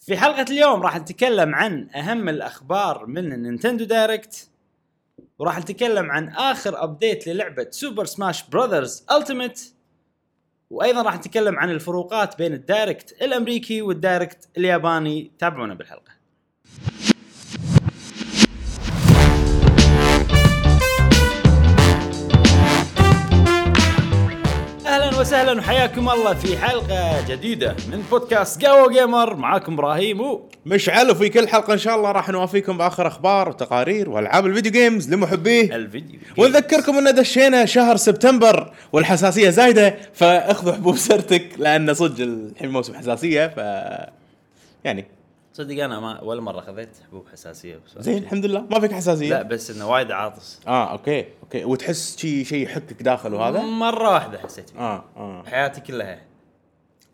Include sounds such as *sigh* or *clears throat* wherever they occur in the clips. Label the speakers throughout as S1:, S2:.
S1: في حلقة اليوم راح نتكلم عن أهم الأخبار من النينتندو دايركت وراح نتكلم عن آخر أبديت للعبة سوبر سماش براذرز ألتيميت وأيضا راح نتكلم عن الفروقات بين الدايركت الأمريكي والدايركت الياباني تابعونا بالحلقة اهلا وسهلا وحياكم الله في حلقه جديده من بودكاست قهوه جيمر معاكم ابراهيم و
S2: مشعل وفي كل حلقه ان شاء الله راح نوافيكم باخر اخبار وتقارير والعاب الفيديو جيمز لمحبيه
S1: الفيديو
S2: ونذكركم ان دشينا شهر سبتمبر والحساسيه زايده فاخذوا حبوب سرتك لان صدق الحين موسم حساسيه ف يعني
S1: صدق انا ما ولا مره خذيت حبوب حساسيه بس
S2: زين الحمد لله ما فيك حساسيه
S1: لا بس انه وايد عاطس
S2: اه اوكي اوكي وتحس شي شيء يحكك داخل وهذا
S1: مره واحده حسيت فيه
S2: اه اه
S1: حياتي كلها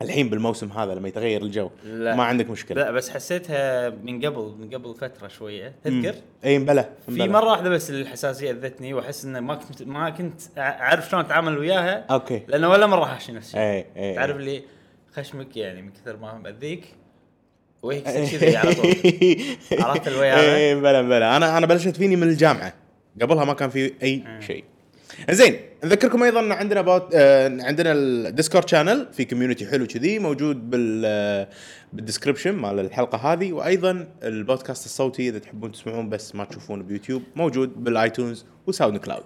S2: الحين بالموسم هذا لما يتغير الجو
S1: لا.
S2: ما عندك مشكله
S1: لا بس حسيتها من قبل من قبل فتره شويه تذكر
S2: اي مبلى
S1: في مره واحده بس الحساسيه اذتني واحس انه ما كنت ما كنت أع- اعرف شلون اتعامل وياها
S2: اوكي
S1: لانه ولا مره حاشي نفسي
S2: اي اي
S1: تعرف اللي خشمك يعني من كثر ما مأذيك وجهك
S2: إيه.
S1: يصير كذي على
S2: *laughs*
S1: طول عرفت الوي هذا؟
S2: اي إيه، بلا بلا انا انا بلشت فيني من الجامعه قبلها ما كان في اي شيء زين نذكركم ايضا إن عندنا باوت آه عندنا الديسكورد شانل في كوميونتي حلو كذي موجود بال آه، بالدسكربشن مال الحلقه هذه وايضا البودكاست الصوتي اذا تحبون تسمعون بس ما تشوفونه بيوتيوب موجود بالايتونز وساوند كلاود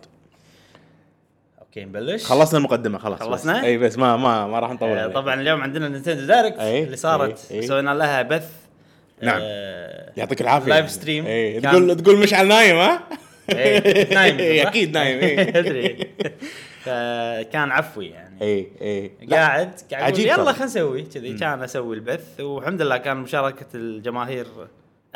S1: اوكي نبلش
S2: خلصنا المقدمه خلاص بس.
S1: خلصنا؟
S2: اي بس ما ما ما راح نطول
S1: آه،
S2: عليه.
S1: طبعا اليوم عندنا نينتندو دايركت
S2: أي،
S1: اللي صارت
S2: أي، أي.
S1: سوينا لها بث
S2: إيه. نعم.
S1: آه،
S2: يعطيك العافيه
S1: لايف ستريم
S2: اي
S1: كان-
S2: تقول تقول مشعل نايم ها؟
S1: *laughs* إيه، نايم
S2: *laughs* إيه،
S1: صح؟
S2: اكيد نايم
S1: *laughs*
S2: إيه.
S1: ادري فكان عفوي يعني
S2: اي اي إيه، لا،
S1: قاعد قاعد أقول
S2: عجيب
S1: يلا
S2: ترى.
S1: خلينا نسوي كذي كان اسوي البث والحمد لله كان مشاركه الجماهير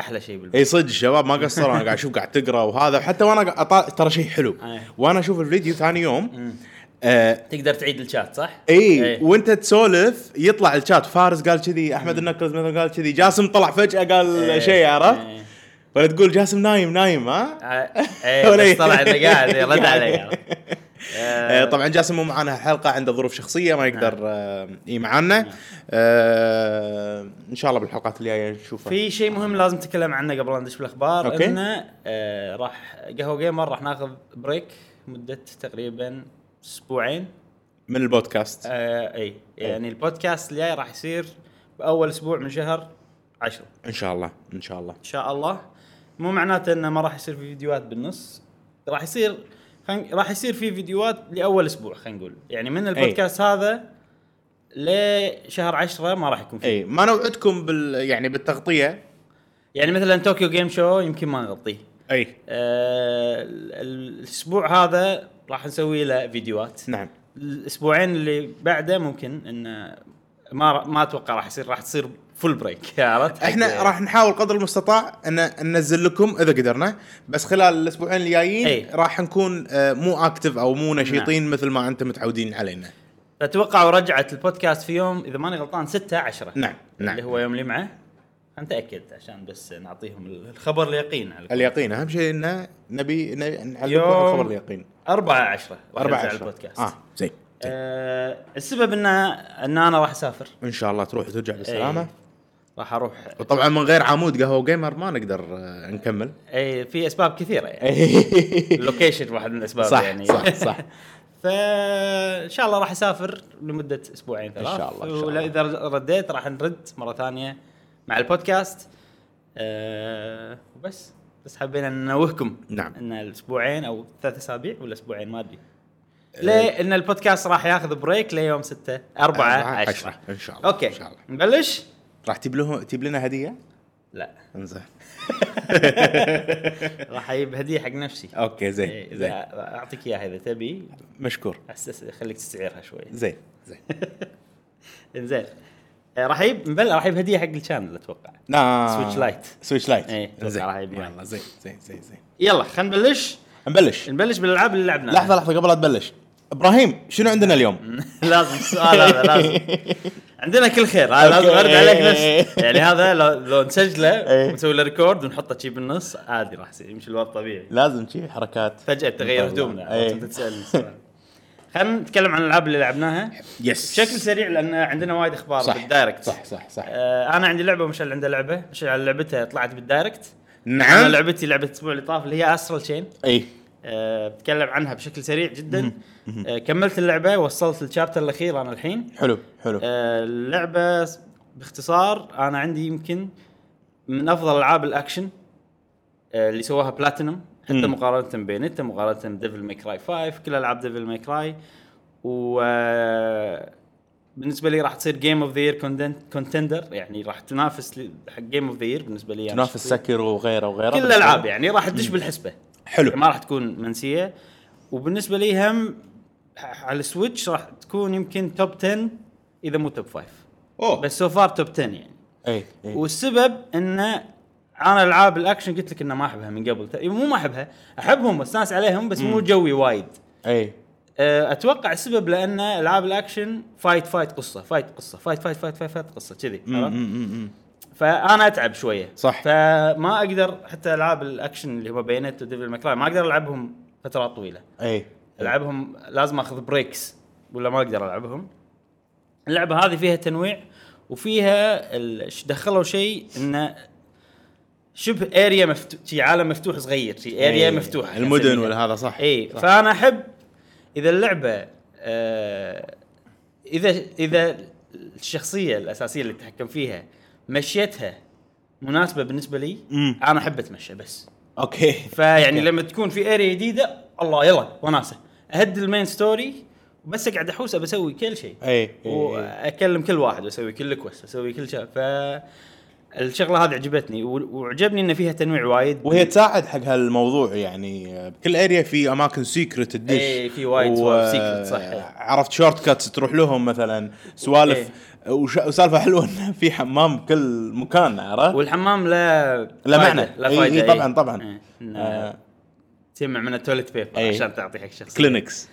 S1: احلى شيء بالبث
S2: اي إيه، صدق الشباب ما قصروا انا قاعد اشوف قاعد تقرا وهذا حتى وانا قاعد أطا... ترى شيء حلو
S1: أي.
S2: وانا اشوف الفيديو ثاني يوم آه
S1: تقدر تعيد الشات صح؟ إيه.
S2: اي وانت تسولف يطلع الشات فارس قال كذي احمد النكرز مثلا قال كذي جاسم طلع فجاه قال
S1: إيه،
S2: شيء عرفت
S1: إيه.
S2: ولا تقول جاسم نايم نايم ها
S1: آه،
S2: *laughs*
S1: إيه،
S2: ولا-
S1: بس طلع انه قاعد رد علي
S2: *laughs* آه، طبعا جاسم مو معانا حلقه عنده ظروف شخصيه ما
S1: نعم.
S2: يقدر آه، اي معانا آه، ان شاء الله بالحلقات الجايه نشوفه
S1: في شيء مهم لازم نتكلم عنه قبل لا ندش بالاخبار
S2: أوكي.
S1: انه آه راح قهوه جيمر راح ناخذ بريك مده تقريبا اسبوعين
S2: من البودكاست
S1: آه اي يعني البودكاست الجاي راح يصير باول اسبوع من شهر عشرة
S2: ان شاء الله ان شاء الله
S1: ان شاء الله مو معناته انه ما راح يصير في فيديوهات بالنص راح يصير خن... راح يصير في فيديوهات لاول اسبوع خلينا نقول يعني من البودكاست هذا لشهر عشرة ما راح يكون فيه
S2: اي ما نوعدكم بال يعني بالتغطيه
S1: يعني مثلا طوكيو جيم شو يمكن ما نغطيه
S2: اي
S1: آه، ال- ال- الاسبوع هذا راح نسوي له فيديوهات
S2: نعم
S1: الاسبوعين اللي بعده ممكن ان ما ما اتوقع راح يصير راح تصير فول بريك عرفت
S2: احنا راح نحاول قدر المستطاع ان ننزل لكم اذا قدرنا بس خلال الاسبوعين
S1: إي. نعم.
S2: الجايين راح نكون آه، مو اكتف او مو نشيطين مثل ما انتم متعودين علينا
S1: اتوقع رجعت البودكاست في يوم اذا ماني غلطان 6 10
S2: نعم، نعم.
S1: اللي هو يوم الجمعه نتاكد عشان بس نعطيهم الخبر اليقين على الأقل.
S2: اليقين اهم شيء انه نبي نبي نعلمكم
S1: يوم-
S2: الخبر اليقين
S1: 4 10
S2: 4
S1: على
S2: 10
S1: البودكاست
S2: اه زين زين.
S1: آه السبب ان ان انا راح اسافر
S2: ان شاء الله تروح وترجع بالسلامه
S1: إيه. راح اروح
S2: وطبعا من غير عمود قهوه جيمر ما نقدر آه، نكمل *laughs*
S1: اي في اسباب كثيره يعني اللوكيشن واحد من الاسباب
S2: إيه. صح،
S1: يعني
S2: صح،
S1: *laughs*
S2: *laughs* صح.
S1: فان شاء الله راح اسافر لمده اسبوعين ثلاث
S2: شاء الله، إن شاء الله.
S1: واذا رديت راح نرد مره ثانيه مع البودكاست أه وبس بس حبينا ننوهكم
S2: نعم.
S1: ان الاسبوعين او ثلاث اسابيع ولا اسبوعين ما ادري
S2: آه.
S1: ليه ان البودكاست راح ياخذ بريك ليوم 6 4
S2: أربعة
S1: 10
S2: آه، عشرة. ان شاء الله
S1: اوكي
S2: ان شاء الله
S1: نبلش؟
S2: راح تجيب لهم تجيب لنا هديه *laughs*
S1: لا
S2: انزين
S1: راح اجيب هديه حق نفسي
S2: اوكي
S1: إيه،
S2: زين
S1: اذا
S2: زين
S1: اعطيك اياها اذا تبي
S2: مشكور
S1: أحسس خليك تستعيرها شوي
S2: زين *laughs* زين
S1: انزين آه، راح يجيب مبلى راح يجيب هديه حق الشانل اتوقع
S2: لا
S1: سويتش لايت.
S2: سويتش لايت
S1: إيه، أتوقع
S2: زين
S1: راح يبيع.
S2: يلا زين زين زين زين
S1: يلا خلينا نبلش
S2: نبلش
S1: نبلش بالالعاب اللي لعبناها
S2: لحظه لحظه قبل لا تبلش ابراهيم شنو عندنا *laughs* اليوم؟
S1: *laughs* لازم السؤال هذا
S2: *laughs*
S1: لازم عندنا كل خير هذا لازم
S2: أوكي.
S1: ارد عليك
S2: *laughs*
S1: نفس يعني هذا لو, لو نسجله
S2: إيه.
S1: ونسوي له ريكورد ونحطه شي بالنص عادي راح يصير- يمشي الوضع طبيعي
S2: لازم شي حركات
S1: فجاه تغير
S2: طبعاً.
S1: هدومنا
S2: إيه.
S1: انت تسالني السؤال خلينا نتكلم عن الالعاب اللي لعبناها
S2: يس
S1: بشكل سريع لان عندنا وايد اخبار
S2: صح
S1: بالدايركت
S2: صح صح صح
S1: آه انا عندي لعبه مشعل عنده لعبه مشعل على لعبتها طلعت بالدايركت انا
S2: نعم
S1: لعبتي لعبه الاسبوع اللي طاف اللي هي اسرل تشين
S2: اي
S1: آه بتكلم عنها بشكل سريع جدا آه كملت اللعبه وصلت للشابتر الاخير انا الحين
S2: حلو حلو
S1: آه اللعبه س- باختصار انا عندي يمكن من افضل العاب الاكشن آه اللي سواها بلاتينوم حتى
S2: مم.
S1: مقارنه بينتا مقارنه بديفل ماي كراي 5 كل العاب ديفل ماي كراي و آه، بالنسبه لي راح تصير جيم اوف ذا يير كونتندر يعني راح تنافس ل- حق جيم اوف ذا يير بالنسبه لي أنا
S3: تنافس
S1: شخصياً.
S3: سكر وغيره وغيره
S1: كل الالعاب يعني راح تدش بالحسبه
S2: حلو
S1: ما راح تكون منسيه وبالنسبه لي هم ح- على السويتش راح تكون يمكن توب 10 اذا مو توب 5
S2: اوه
S1: بس سو فار توب 10 يعني
S2: إيه،
S3: اي اي
S1: والسبب انه انا العاب الاكشن قلت لك انه ما احبها من قبل تق- مو ما احبها احبهم واستانس عليهم بس مو جوي وايد
S3: اي
S2: إيه.
S1: أه، اتوقع السبب لان العاب الاكشن فايت فايت قصه فايت قصه فايت فايت فايت فايت, فايت قصه كذي عرفت؟ فانا اتعب شويه
S2: صح.
S1: فما اقدر حتى العاب الاكشن اللي هو بينت وديفل ماكراي ما اقدر العبهم فترات طويله
S3: اي
S1: العبهم لازم اخذ بريكس ولا ما اقدر العبهم اللعبه هذه فيها تنويع وفيها ال- ش- دخلوا شيء انه شبه اريا مفتوح شي عالم مفتوح صغير شي إيه، اريا
S2: إيه،
S1: مفتوحه
S2: المدن
S1: نسميها.
S2: ولا هذا صح
S1: اي
S2: صح.
S1: فانا احب اذا اللعبه آه اذا اذا الشخصيه الاساسيه اللي تتحكم فيها مشيتها مناسبه بالنسبه لي
S2: مم.
S1: انا احب اتمشى بس
S2: اوكي
S1: فيعني لما تكون في اريا جديده الله يلا وناسه اهد المين ستوري بس اقعد احوس بسوي كل شيء
S2: إيه،
S3: اي اي
S1: واكلم كل واحد واسوي كل كويست اسوي كل شيء ف الشغله هذه عجبتني و- وعجبني ان فيها تنويع وايد
S2: وهي تساعد حق هالموضوع يعني بكل اريا في اماكن سيكرت تدش
S1: إيه، في وايد سوالف secret، صح.
S2: عرفت شورت كاتس تروح لهم مثلا سوالف
S1: إيه.
S2: وش... وسالفه حلوه انه في حمام بكل مكان عرفت؟
S1: والحمام لا
S2: لا
S1: فايدة-
S2: معنى.
S1: لا
S2: إي-
S1: فايده
S2: إي،
S1: إي.
S2: طبعاً- طبعاً.
S1: إي. إنه
S2: آه.
S1: تجمع من التواليت بيبر
S2: إي.
S1: عشان تعطي حق شخص
S2: كلينكس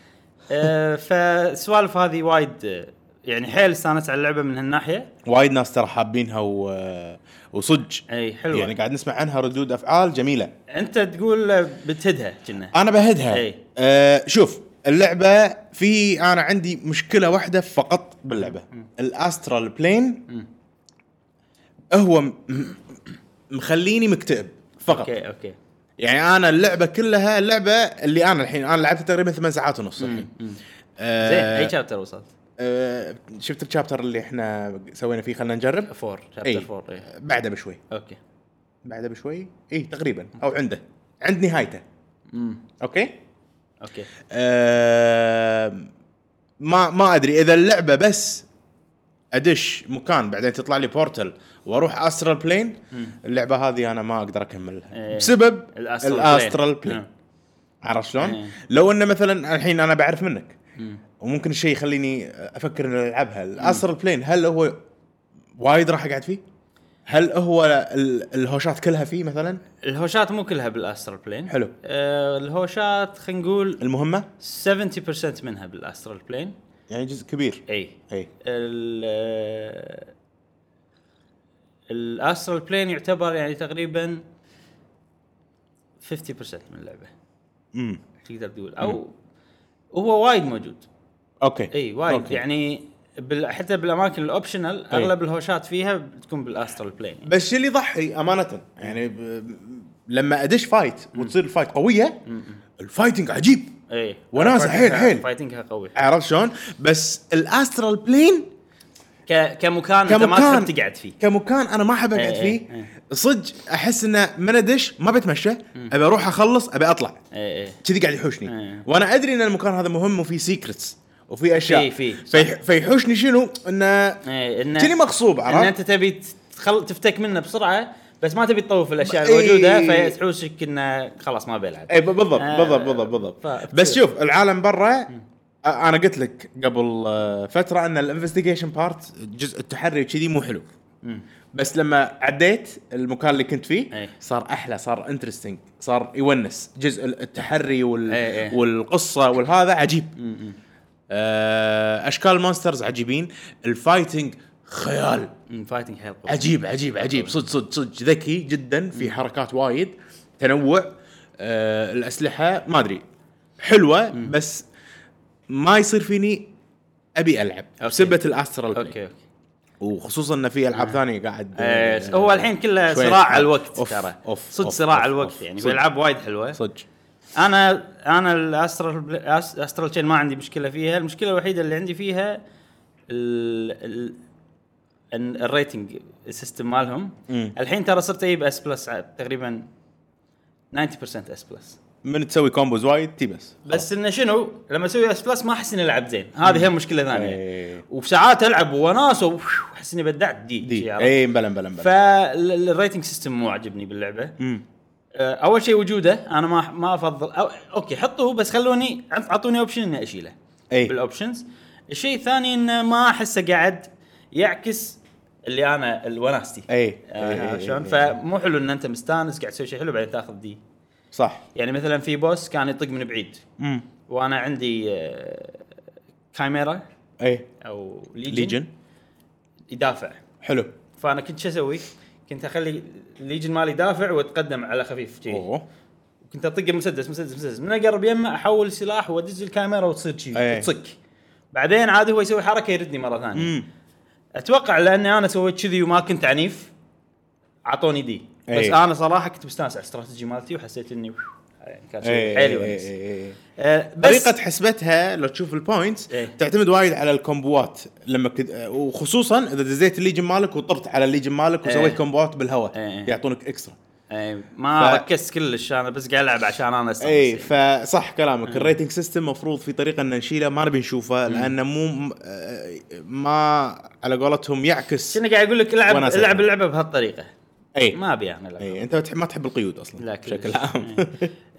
S1: آه، فالسوالف هذه وايد آه، يعني حيل استانست على اللعبه من هالناحيه
S2: وايد ناس ترى حابينها و... وصج
S1: اي حلوه
S2: يعني قاعد نسمع عنها ردود افعال جميله
S1: انت تقول بتهدها كنا
S2: انا بهدها
S1: إي.
S2: آه شوف اللعبه في انا عندي مشكله واحده فقط باللعبه الاسترال بلين هو م- م- مخليني مكتئب فقط
S1: اوكي اوكي
S2: يعني انا اللعبه كلها اللعبه اللي انا الحين انا لعبتها تقريبا ثمان ساعات ونص الحين آه،
S1: زين اي شابتر وصلت؟
S2: آه شفت الشابتر اللي احنا سوينا فيه خلينا نجرب
S1: 4
S2: إي.
S1: شابتر 4 اي
S2: بعده بشوي
S1: اوكي
S2: بعده بشوي اي تقريبا او عنده عند نهايته اوكي
S1: اوكي
S2: آم، ما ما ادري اذا اللعبه بس ادش مكان بعدين تطلع لي بورتل واروح استرال بلين اللعبه هذه انا ما اقدر اكملها
S1: إيه.
S2: بسبب
S1: الأسترال
S2: الاسترال
S1: بلين. نعم.
S2: بلين عرفت شلون؟
S1: إيه.
S2: لو انه مثلا الحين انا بعرف منك
S1: مم.
S2: وممكن الشيء يخليني افكر اني العبها الاسترال بلين هل هو وايد راح اقعد فيه؟ هل هو ال- الهوشات كلها فيه مثلا؟
S1: الهوشات مو كلها بالاسترال بلين
S2: حلو.
S1: آه الهوشات خلينا نقول
S2: المهمه
S1: 70% منها بالاسترال بلين
S2: يعني جزء كبير إيه.
S1: اي
S2: اي
S1: ال آه، الاسترال بلين يعتبر يعني تقريبا 50% من اللعبه
S2: امم
S1: تقدر تقول او هو وايد موجود
S2: اوكي
S1: اي وايد
S2: أوكي.
S1: أوكي. يعني بال... حتى بالاماكن الاوبشنال
S2: أي.
S1: اغلب الهوشات فيها بتكون بالاسترال بلين
S2: بس شو اللي يضحي امانه يعني ب... لما ادش فايت وتصير الفايت قويه الفايتنج عجيب
S1: اي
S2: وناسة حيل- حيل.
S1: فايتنجها قوي
S2: عرفت شلون؟ بس الاسترال بلين
S1: ك... كمكان, انت ما
S2: كمكان
S1: تحب تقعد فيه
S2: كمكان انا ما احب اقعد
S1: إيه،
S2: فيه
S1: إيه، إيه.
S2: صدق احس انه من ادش ما بتمشى ابي اروح اخلص ابي اطلع
S1: اي اي
S2: كذي قاعد يحوشني
S1: إيه.
S2: وانا ادري ان المكان هذا مهم وفيه سيكرتس وفي اشياء
S1: في- في، صح.
S2: فيح... فيحوشني شنو؟ انه
S1: اي انه
S2: كذي مغصوب
S1: ان
S2: عرفت؟
S1: انت تبي تخل... تفتك منه بسرعه بس ما تبي تطوف الاشياء
S2: إي.
S1: الموجوده فتحوسك انه خلاص ما بيلعب
S2: اي ب- إيه، بالضبط
S1: آه،
S2: بالضبط بالضبط بالضبط
S1: ف-
S2: بس شوف العالم برا أ- انا قلت لك قبل آه، فتره ان الانفستيجيشن بارت جزء التحري وكذي مو حلو بس لما عديت المكان اللي كنت فيه
S1: أي.
S2: صار احلى صار انترستنج صار يونس جزء ال- التحري
S1: أي،
S2: وال
S1: أي.
S2: والقصه والهذا عجيب آه، اشكال مونسترز عجيبين الفايتنج خيال
S1: أمم، فايتنج حيل قوي
S2: عجيب عجيب عجيب صدق صدق صدق ذكي جدا في حركات وايد تنوع آه الاسلحه ما ادري حلوه بس ما يصير فيني ابي العب بسبه الاسترال بلاي.
S1: اوكي اوكي
S2: وخصوصا ان في العاب ثانيه قاعد
S1: إيه، هو الحين كله
S2: شوي
S1: صراع
S2: صعب.
S1: على الوقت
S2: أوف،
S1: ترى
S2: أوف،
S1: صدق
S2: أوف،
S1: صراع
S2: أوف،
S1: على الوقت
S2: أوف.
S1: يعني
S2: صدق.
S1: العاب وايد حلوه
S2: صدق
S1: انا انا الاسترال بل- أس- استرال تشين ما عندي مشكله فيها المشكله الوحيده اللي عندي فيها ال ال ال- الريتنج السيستم مالهم
S2: مم.
S1: الحين ترى صرت اجيب اس بلس تقريبا 90% اس بلس
S2: من تسوي كومبوز وايد تي بس
S1: بس انه شنو لما اسوي اس بلس ما احس اني العب زين هذه هم مشكله ثانيه
S2: إيه.
S1: وساعات العب ووناس واحس اني بدعت دي, شي
S2: دي إيه.
S1: عرفت؟
S2: اي مبلا مبلا مبلا
S1: فالريتنج سيستم مو عاجبني باللعبه
S2: مم.
S1: آه، اول شيء وجوده انا ما ما افضل أو اوكي حطوه بس خلوني عط- اعطوني اوبشن اني اشيله
S2: اي.
S1: بالاوبشنز الشيء الثاني انه ما احسه قاعد يعكس اللي انا الوناستي
S2: اي.
S1: آه،
S2: اي، اي،
S1: شلون
S2: اي.
S1: فمو حلو ان انت مستانس قاعد تسوي شيء حلو بعدين تاخذ دي
S2: صح
S1: يعني مثلا في بوس كان يطق من بعيد
S2: امم
S1: وانا عندي آه، كايميرا
S2: اي
S1: او ليجن,
S2: ليجن
S1: يدافع
S2: حلو
S1: فانا كنت شو اسوي؟ كنت اخلي الليجن مالي يدافع واتقدم على خفيف جي.
S2: اوه
S1: كنت اطق مسدس مسدس مسدس من اقرب يمه احول سلاح وادز الكاميرا وتصير شي
S2: أي.
S1: تصك بعدين عاد هو يسوي حركه يردني مره ثانيه
S2: امم
S1: اتوقع لاني انا سويت كذي وما كنت عنيف اعطوني دي بس
S2: أي.
S1: انا صراحه كنت مستانس على الاستراتيجي مالتي وحسيت اني كان شيء
S2: اي
S1: حيل
S2: اي،
S1: يونس
S2: اي، اي.
S1: آه، بس
S2: إيه، طريقة حسبتها لو تشوف البوينتس
S1: إيه.
S2: تعتمد وايد على الكومبوات لما كد... وخصوصا اذا دزيت الليجن مالك وطرت على الليجن مالك وسويت
S1: إيه.
S2: كومبوات بالهواء
S1: إيه، إيه.
S2: يعطونك اكسترا
S1: آه، ما
S2: ف- إيه،
S1: ركزت كلش انا بس قاعد العب عشان يعني انا استانس
S2: اي فصح
S1: إيه.
S2: كلامك الريتنج سيستم مفروض في طريقه ان نشيله ما نبي نشوفه لانه مو م- آه، ما على قولتهم يعكس إيه.
S1: شنو قاعد اقول لك العب
S2: وأنا أسأل.
S1: العب اللعبه بهالطريقه
S2: اي
S1: ما ابي انا العب
S2: اي انت بتح- ما تحب القيود اصلا
S1: لا
S2: بشكل
S1: كلش.
S2: عام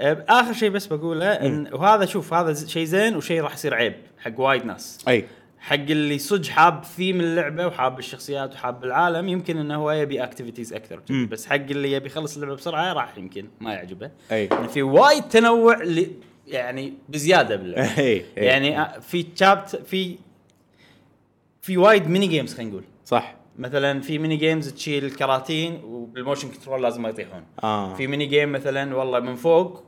S1: آه، اخر شيء بس بقوله إن وهذا شوف هذا ز- شيء زين وشيء راح يصير عيب حق وايد ناس
S2: *laughs* اي
S1: حق اللي صدق حاب ثيم اللعبه وحاب الشخصيات وحاب العالم يمكن انه هو يبي اكتيفيتيز اكثر جداً.
S2: مم.
S1: بس حق اللي يبي يخلص اللعبه بسرعه راح يمكن ما يعجبه
S2: اي
S1: إن في وايد تنوع اللي يعني بزياده باللعبه
S2: اي اي.
S1: يعني آه، في تشابت في في وايد ميني جيمز خلينا نقول
S2: صح
S1: مثلا في ميني جيمز تشيل الكراتين وبالموشن كنترول لازم ما يطيحون
S2: آه.
S1: في ميني جيم مثلا والله من فوق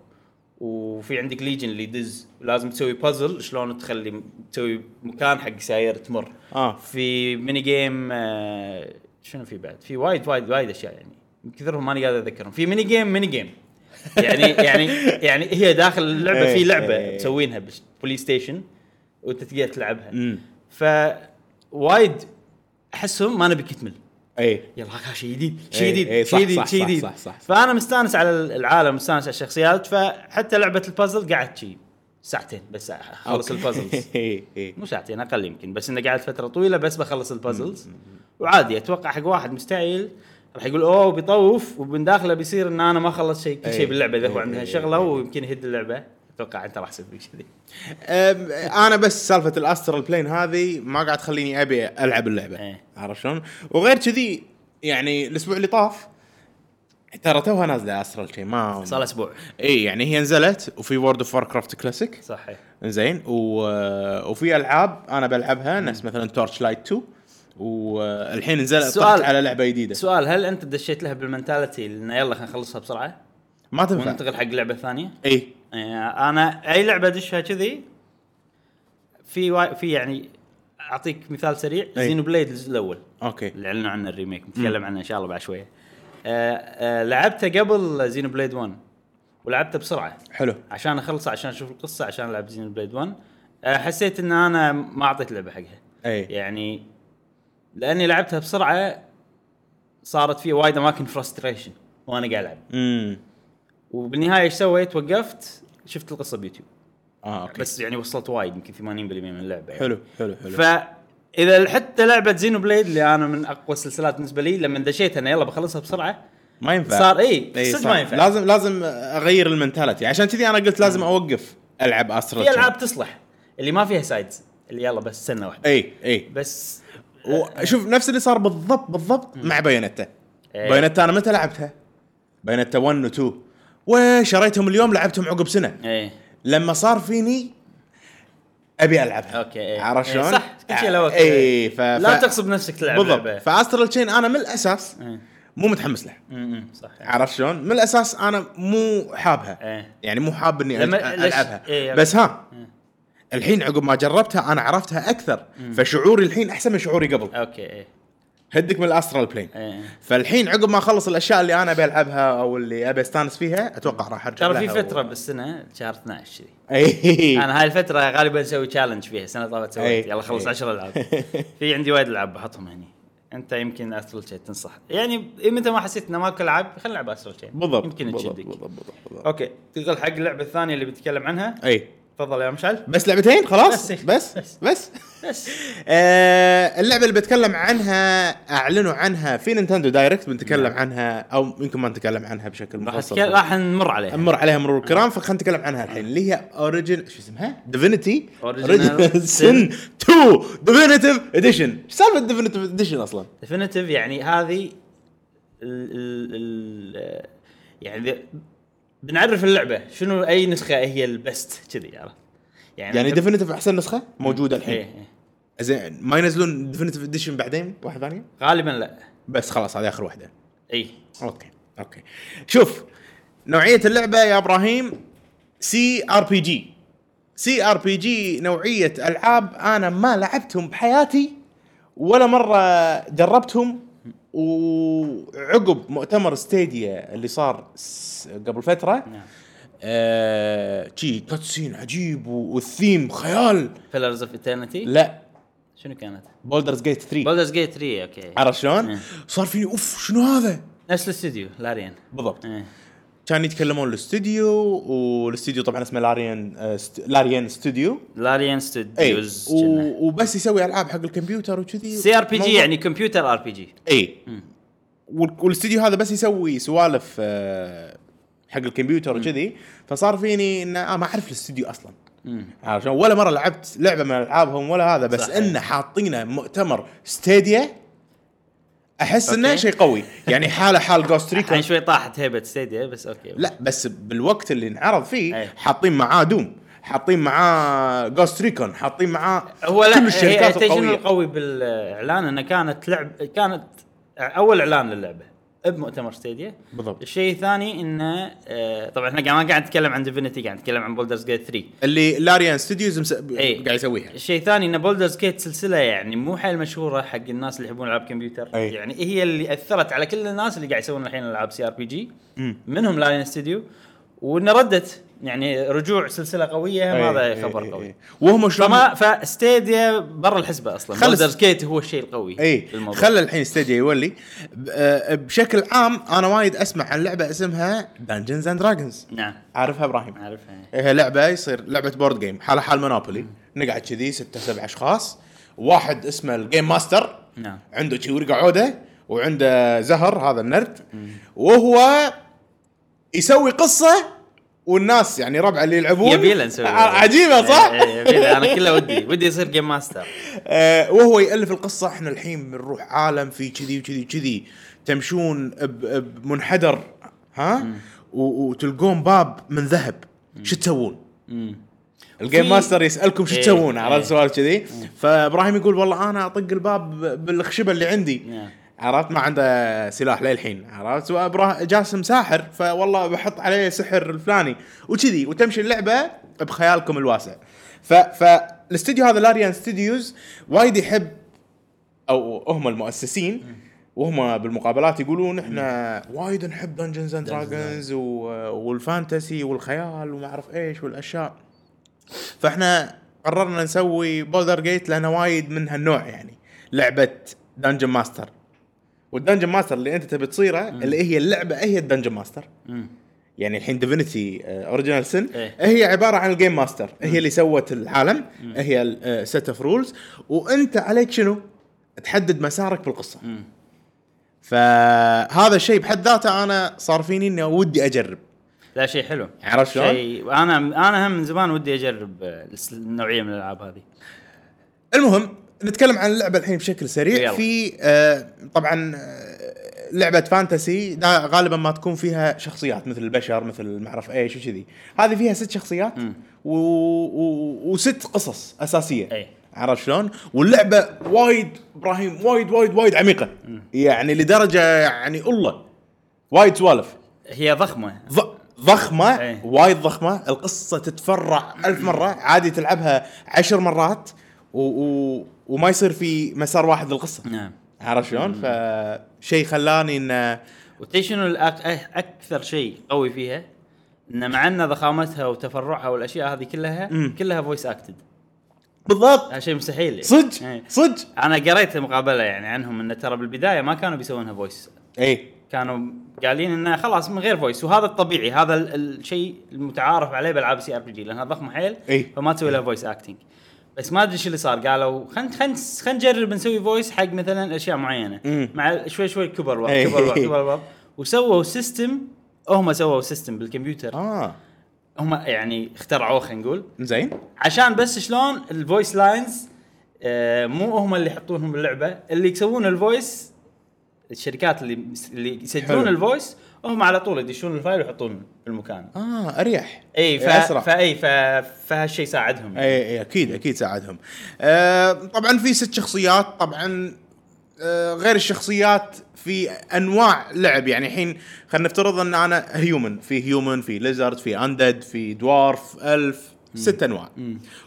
S1: وفي عندك ليجن اللي يدز لازم تسوي بازل شلون تخلي تسوي مكان حق ساير تمر
S2: اه.
S1: في ميني جيم آه شنو في بعد في وايد وايد وايد اشياء يعني من كثرهم ماني قادر اذكرهم في ميني جيم ميني جيم يعني *laughs* يعني يعني هي داخل اللعبه في
S2: إيه،
S1: لعبه
S2: إيه.
S1: مسوينها بالبلاي ستيشن وانت تقدر تلعبها
S2: امم
S1: ف وايد احسهم ما نبي يكتمل
S2: اي
S1: يلا ها شيء جديد
S2: إيه،
S1: شيء جديد
S2: إيه، صح،
S1: شيء جديد شيء
S2: صح، صح،
S1: جديد
S2: صح، صح، صح.
S1: فانا مستانس على العالم مستانس على الشخصيات فحتى لعبه البازل قعدت شيء ساعتين بس اخلص
S2: *laughs*
S1: البازلز
S2: اي اي
S1: مو ساعتين اقل يمكن بس انه قعدت فتره طويله بس بخلص البازلز وعادي اتوقع حق واحد مستعجل راح يقول اوه بيطوف ومن داخله بيصير ان انا ما خلصت شيء كل
S2: إيه،
S1: شيء باللعبه اذا هو
S2: إيه،
S1: عندها
S2: إيه،
S1: شغله
S2: إيه.
S1: ويمكن يهد اللعبه اتوقع انت راح تصير فيك كذي
S2: أم، انا بس سالفه الاسترال بلين هذه ما قاعد تخليني ابي العب اللعبه
S1: إيه.
S2: عرفت شلون؟ وغير كذي يعني الاسبوع اللي طاف ترى توها نازله استرال شيء ما
S1: صار اسبوع
S2: اي يعني هي نزلت وفي وورد اوف كرافت كلاسيك
S1: صحيح
S2: زين و... وفي العاب انا بلعبها نفس مثلا تورش لايت 2 والحين نزلت
S1: السؤال-
S2: طلعت على لعبه جديده
S1: سؤال هل انت دشيت لها بالمنتاليتي انه يلا خلينا نخلصها بسرعه
S2: ما تنفع
S1: وننتقل حق لعبه ثانيه؟
S2: اي
S1: يعني انا اي لعبه ادشها كذي في وا... في يعني اعطيك مثال سريع
S2: أي.
S1: زينو بليد الجزء الاول
S2: اوكي
S1: اللي اعلنوا عنه الريميك نتكلم عنه ان شاء الله بعد شويه آه آه لعبته قبل زينو بليد 1 ولعبته بسرعه
S2: حلو
S1: عشان اخلصه عشان اشوف القصه عشان العب زينو بليد 1 آه حسيت ان انا ما اعطيت لعبه حقها
S2: اي
S1: يعني لاني لعبتها بسرعه صارت في وايد اماكن فرستريشن وانا قاعد العب
S2: امم
S1: وبالنهايه ايش سويت؟ وقفت شفت القصه بيوتيوب
S2: اه اوكي
S1: بس يعني وصلت وايد يمكن 80% من اللعبه يعني.
S2: حلو حلو حلو
S1: فاذا حتى لعبه زينو بليد اللي انا من اقوى السلسلات بالنسبه لي لما دشيت انا يلا بخلصها بسرعه
S2: ما ينفع
S1: صار اي
S2: اي
S1: صدق
S2: إيه، صح.
S1: ما ينفع لازم
S2: لازم لازم اغير المنتاليتي عشان كذي انا قلت لازم اوقف العب استرال
S1: في العاب تصلح اللي ما فيها سايدز اللي يلا بس سنه واحده
S2: اي اي
S1: بس آه.
S2: وشوف إيه. نفس اللي صار بالضبط بالضبط مع بايونتا
S1: إيه.
S2: بايونتا انا متى لعبتها؟ بايونتا 1 و 2 وشريتهم اليوم لعبتهم عقب سنه
S1: ايه
S2: لما صار فيني ابي العبها
S1: اوكي ايه
S2: عرفت
S1: إيه،
S2: شلون؟
S1: صح كل شيء له وقت إيه.
S2: اي ف...
S1: لا
S2: ف-
S1: تغصب نفسك تلعب
S2: بالضبط
S1: لعبة.
S2: فاسترال تشين انا من الاساس
S1: إيه.
S2: مو متحمس له
S1: أمم، صح
S2: عرفت شلون؟ من الاساس انا مو حابها
S1: إيه.
S2: يعني مو حاب اني
S1: لما-
S2: ألع-
S1: ليش-
S2: العبها
S1: إيه،
S2: بس ها الحين عقب ما جربتها انا عرفتها اكثر فشعوري الحين احسن من شعوري قبل
S1: اوكي ايه
S2: هدك من الاسترال بلين
S1: ايه
S2: فالحين عقب ما اخلص الاشياء اللي انا ابي العبها او اللي ابي استانس فيها اتوقع راح ارجع
S1: ترى في
S2: لها
S1: فتره
S2: *laughs* و... إيه.
S1: بالسنه شهر 12 كذي
S2: اي
S1: انا هاي الفتره غالبا اسوي تشالنج فيها السنه طافت سويت
S2: إيه.
S1: يلا خلص
S2: إيه.
S1: 10
S2: *laughs*
S1: العاب في عندي وايد العاب بحطهم هني انت يمكن استرال تشين تنصح يعني متى ما حسيت انه ماكو العاب خلينا نلعب استرال تشين
S2: بالضبط
S1: يمكن
S2: بالضبط
S1: تشدك
S2: بالضبط بالضبط بالضبط.
S1: اوكي تنقل حق اللعبه الثانيه اللي بنتكلم عنها
S2: اي
S1: تفضل يا مشعل
S2: بس لعبتين خلاص
S1: بس. إيه.
S2: بس
S1: بس.
S2: بس, بس.
S1: بس
S2: *laughs* آه اللعبه اللي بتكلم عنها اعلنوا عنها في نينتندو دايركت بنتكلم عنها او يمكن ما نتكلم عنها بشكل
S1: نعم. راح أتكلم-
S2: مفصل
S1: راح نمر عليها
S2: نمر عليها مرور الكرام فخلينا نتكلم عنها الحين اللي هي اوريجن شو اسمها؟ ديفينيتي
S1: Original
S2: *laughs* سن 2 ديفينيتيف اديشن ايش سالفه ديفينيتيف اديشن اصلا؟
S1: ديفينيتيف يعني هذه ال ال ال يعني ذي- بنعرف اللعبه شنو اي نسخه هي البست كذي عرفت
S2: يعني
S1: أنت-
S2: ديفينيتيف احسن نسخه موجوده
S1: إيه،
S2: الحين
S1: إيه.
S2: زين ما ينزلون ديفينيتيف اديشن بعدين واحده ثانيه؟
S1: غالبا لا إيه.
S2: بس خلاص هذه اخر واحده
S1: اي
S2: اوكي اوكي شوف نوعيه اللعبه يا ابراهيم سي ار بي جي سي ار بي جي نوعيه العاب انا ما لعبتهم بحياتي ولا مره جربتهم وعقب مؤتمر ستيديا اللي صار س- قبل فتره
S1: نعم
S2: آه، شي كاتسين عجيب و- والثيم خيال
S1: فيلرز اوف ايترنتي
S2: لا
S1: شنو كانت؟
S2: بولدرز جيت 3
S1: بولدرز جيت 3 اوكي
S2: عرفت شلون؟
S1: إيه.
S2: صار فيني اوف شنو هذا؟
S1: نفس الاستوديو لاريان
S2: بالضبط
S1: إيه.
S2: كانوا يتكلمون الاستوديو والاستوديو طبعا اسمه لاريان آه، ست... لاريان ستوديو
S1: لاريان
S2: اي
S1: ستوديوز
S2: و... وبس يسوي العاب حق الكمبيوتر وكذي
S1: سي ار بي جي
S2: موضوع-
S1: يعني كمبيوتر ار بي جي
S2: اي
S1: مم.
S2: وال... والاستوديو هذا بس يسوي سوالف آه، حق الكمبيوتر وكذي فصار فيني ان آه ما اعرف الاستوديو اصلا عارف شلون؟ ولا مره لعبت لعبه من العابهم ولا هذا بس
S1: صحيح.
S2: انه حاطينه مؤتمر ستيديا احس انه
S1: أوكي.
S2: شيء قوي
S1: *laughs*
S2: يعني حاله حال جوست ريكون
S1: الحين شوي طاحت هيبه ستيديا بس اوكي
S2: لا بس بالوقت اللي انعرض فيه
S1: أي.
S2: حاطين معاه دوم حاطين معاه جوست ريكون حاطين معاه
S1: هو لا إيه،
S2: كل
S1: هي
S2: الشركات
S1: التجنن
S2: القويه
S1: القوي بالاعلان انه كانت لعب كانت اول اعلان للعبه بمؤتمر ستيديا
S2: بالضبط
S1: الشيء الثاني انه آه، طبعا احنا قاعد- ما قاعد نتكلم عن ديفينيتي قاعد نتكلم عن بولدرز جيت 3
S2: اللي لاريان ستوديوز مس...
S1: أي.
S2: قاعد يسويها
S1: الشيء الثاني ان بولدرز جيت سلسله يعني مو حيل مشهوره حق الناس اللي يحبون العاب كمبيوتر
S2: أي.
S1: يعني هي اللي اثرت على كل الناس اللي قاعد يسوون الحين العاب سي ار بي جي منهم لاين ستوديو وانه ردت يعني رجوع سلسله قويه
S2: أي،
S1: هذا
S2: أي،
S1: خبر
S2: أي،
S1: قوي
S2: أي. إيه، وهم شلون
S1: فما فستيديا برا الحسبه اصلا
S2: خلص.
S1: بولدرز جيت هو الشيء القوي
S2: اي
S1: بالموضوع.
S2: خلى إيه. الحين ستيديا يولي ب... آه، بشكل عام انا وايد اسمع عن لعبه اسمها دانجنز اند دراجونز
S1: نعم
S2: عارفها ابراهيم
S1: اعرفها
S2: هي لعبه يصير لعبه بورد جيم حالها حال مونوبولي نقعد كذي ستة سبع اشخاص واحد اسمه الجيم ماستر
S1: نعم
S2: عنده شي ورقه عوده وعنده زهر هذا النرد وهو يسوي قصه والناس يعني ربع اللي يلعبون
S1: يبي له نسوي
S2: ع- عجيبه صح؟
S1: إي- إي، يبي له. *laughs* انا كله ودي ودي يصير جيم ماستر
S2: *laughs* آه، وهو يالف القصه احنا الحين بنروح عالم في كذي وكذي وكذي تمشون ب- بمنحدر ها و- وتلقون باب من ذهب شو تسوون؟ الجيم
S1: في-
S2: ماستر يسالكم شو
S1: إيه،
S2: تسوون
S1: إيه.
S2: عرفت سؤال كذي فابراهيم يقول والله انا اطق الباب ب- بالخشبه اللي عندي
S1: نعم.
S2: عرفت ما عنده سلاح للحين عرفت وابراهيم جاسم ساحر فوالله بحط عليه سحر الفلاني وكذي وتمشي اللعبه بخيالكم الواسع ف فالاستديو هذا لاريان ستوديوز وايد يحب او هم المؤسسين وهم بالمقابلات يقولون احنا وايد نحب دنجنز اند دراجونز والفانتسي والخيال وما اعرف ايش والاشياء فاحنا قررنا نسوي بولدر جيت لانه وايد من هالنوع يعني لعبه دنجن ماستر والدنجن ماستر اللي انت تبي تصيره اللي هي اللعبه هي الدنجن ماستر
S1: مم.
S2: يعني الحين ديفينيتي اوريجينال سن
S1: إيه.
S2: هي عباره عن الجيم ماستر هي اللي سوت العالم هي آه، سيت اوف رولز وانت عليك شنو؟ تحدد مسارك بالقصه
S1: مم.
S2: فهذا الشيء بحد ذاته انا صار فيني اني ودي اجرب
S1: لا شيء حلو
S2: عرفت شلون؟
S1: شيء انا انا هم من زمان ودي اجرب آه، الس- النوعيه من الالعاب هذه
S2: المهم نتكلم عن اللعبه الحين بشكل سريع
S1: يلا.
S2: في آه طبعا آه، لعبه فانتسي دا- غالبا ما تكون فيها شخصيات مثل البشر مثل ما اعرف ايش وكذي هذه فيها ست شخصيات و... و... وست قصص اساسيه
S1: أي.
S2: عرفت شلون؟ واللعبه وايد ابراهيم وايد وايد وايد عميقه يعني لدرجه يعني الله وايد سوالف
S1: هي ضخمه
S2: ض... ضخمه
S1: إيه.
S2: وايد ضخمه القصه تتفرع ألف مره عادي تلعبها عشر مرات و... و... وما يصير في مسار واحد للقصه
S1: نعم
S2: عرفت شلون؟ فشيء خلاني انه
S1: وتدري شنو الأك- أه- اكثر شيء قوي فيها؟ ان مع ان ضخامتها وتفرعها والاشياء هذه كلها
S2: مم.
S1: كلها فويس اكتد
S2: بالضبط
S1: هذا شيء مستحيل يعني.
S2: صدق
S1: إيه.
S2: صدق
S1: انا قريت مقابله يعني عنهم انه ترى بالبدايه ما كانوا بيسوونها فويس
S2: اي
S1: كانوا قالين انه خلاص من غير فويس وهذا الطبيعي هذا ال- الشيء المتعارف عليه بالعاب سي ار بي جي لانها ضخمه حيل
S2: إي.
S1: فما تسوي لها فويس اكتنج بس ما ادري شو اللي صار قالوا خلينا خلينا خلينا نجرب نسوي فويس حق مثلا اشياء معينه
S2: مم.
S1: مع ال- شوي شوي كبر الوضع
S2: إي.
S1: كبر الوضع
S2: *laughs*
S1: كبر الوضع وسووا سيستم هم سووا سيستم بالكمبيوتر
S2: اه
S1: هم يعني اخترعوه خلينا نقول
S2: زين
S1: عشان بس شلون الفويس لاينز آه، مو هم اللي يحطونهم باللعبه اللي يسوون الفويس الشركات اللي اللي يسجلون
S2: حلو.
S1: الفويس هم على طول يدشون الفايل ويحطون بالمكان
S2: اه اريح
S1: اي إيه، ف...
S2: اسرع
S1: فاي ف... فهالشيء ساعدهم يعني.
S2: اي اي اكيد اكيد إيه، ساعدهم. آه طبعا في ست شخصيات طبعا آه غير الشخصيات في انواع لعب يعني الحين خلينا نفترض ان انا هيومن في هيومن في ليزرد في اندد في دوارف الف ست انواع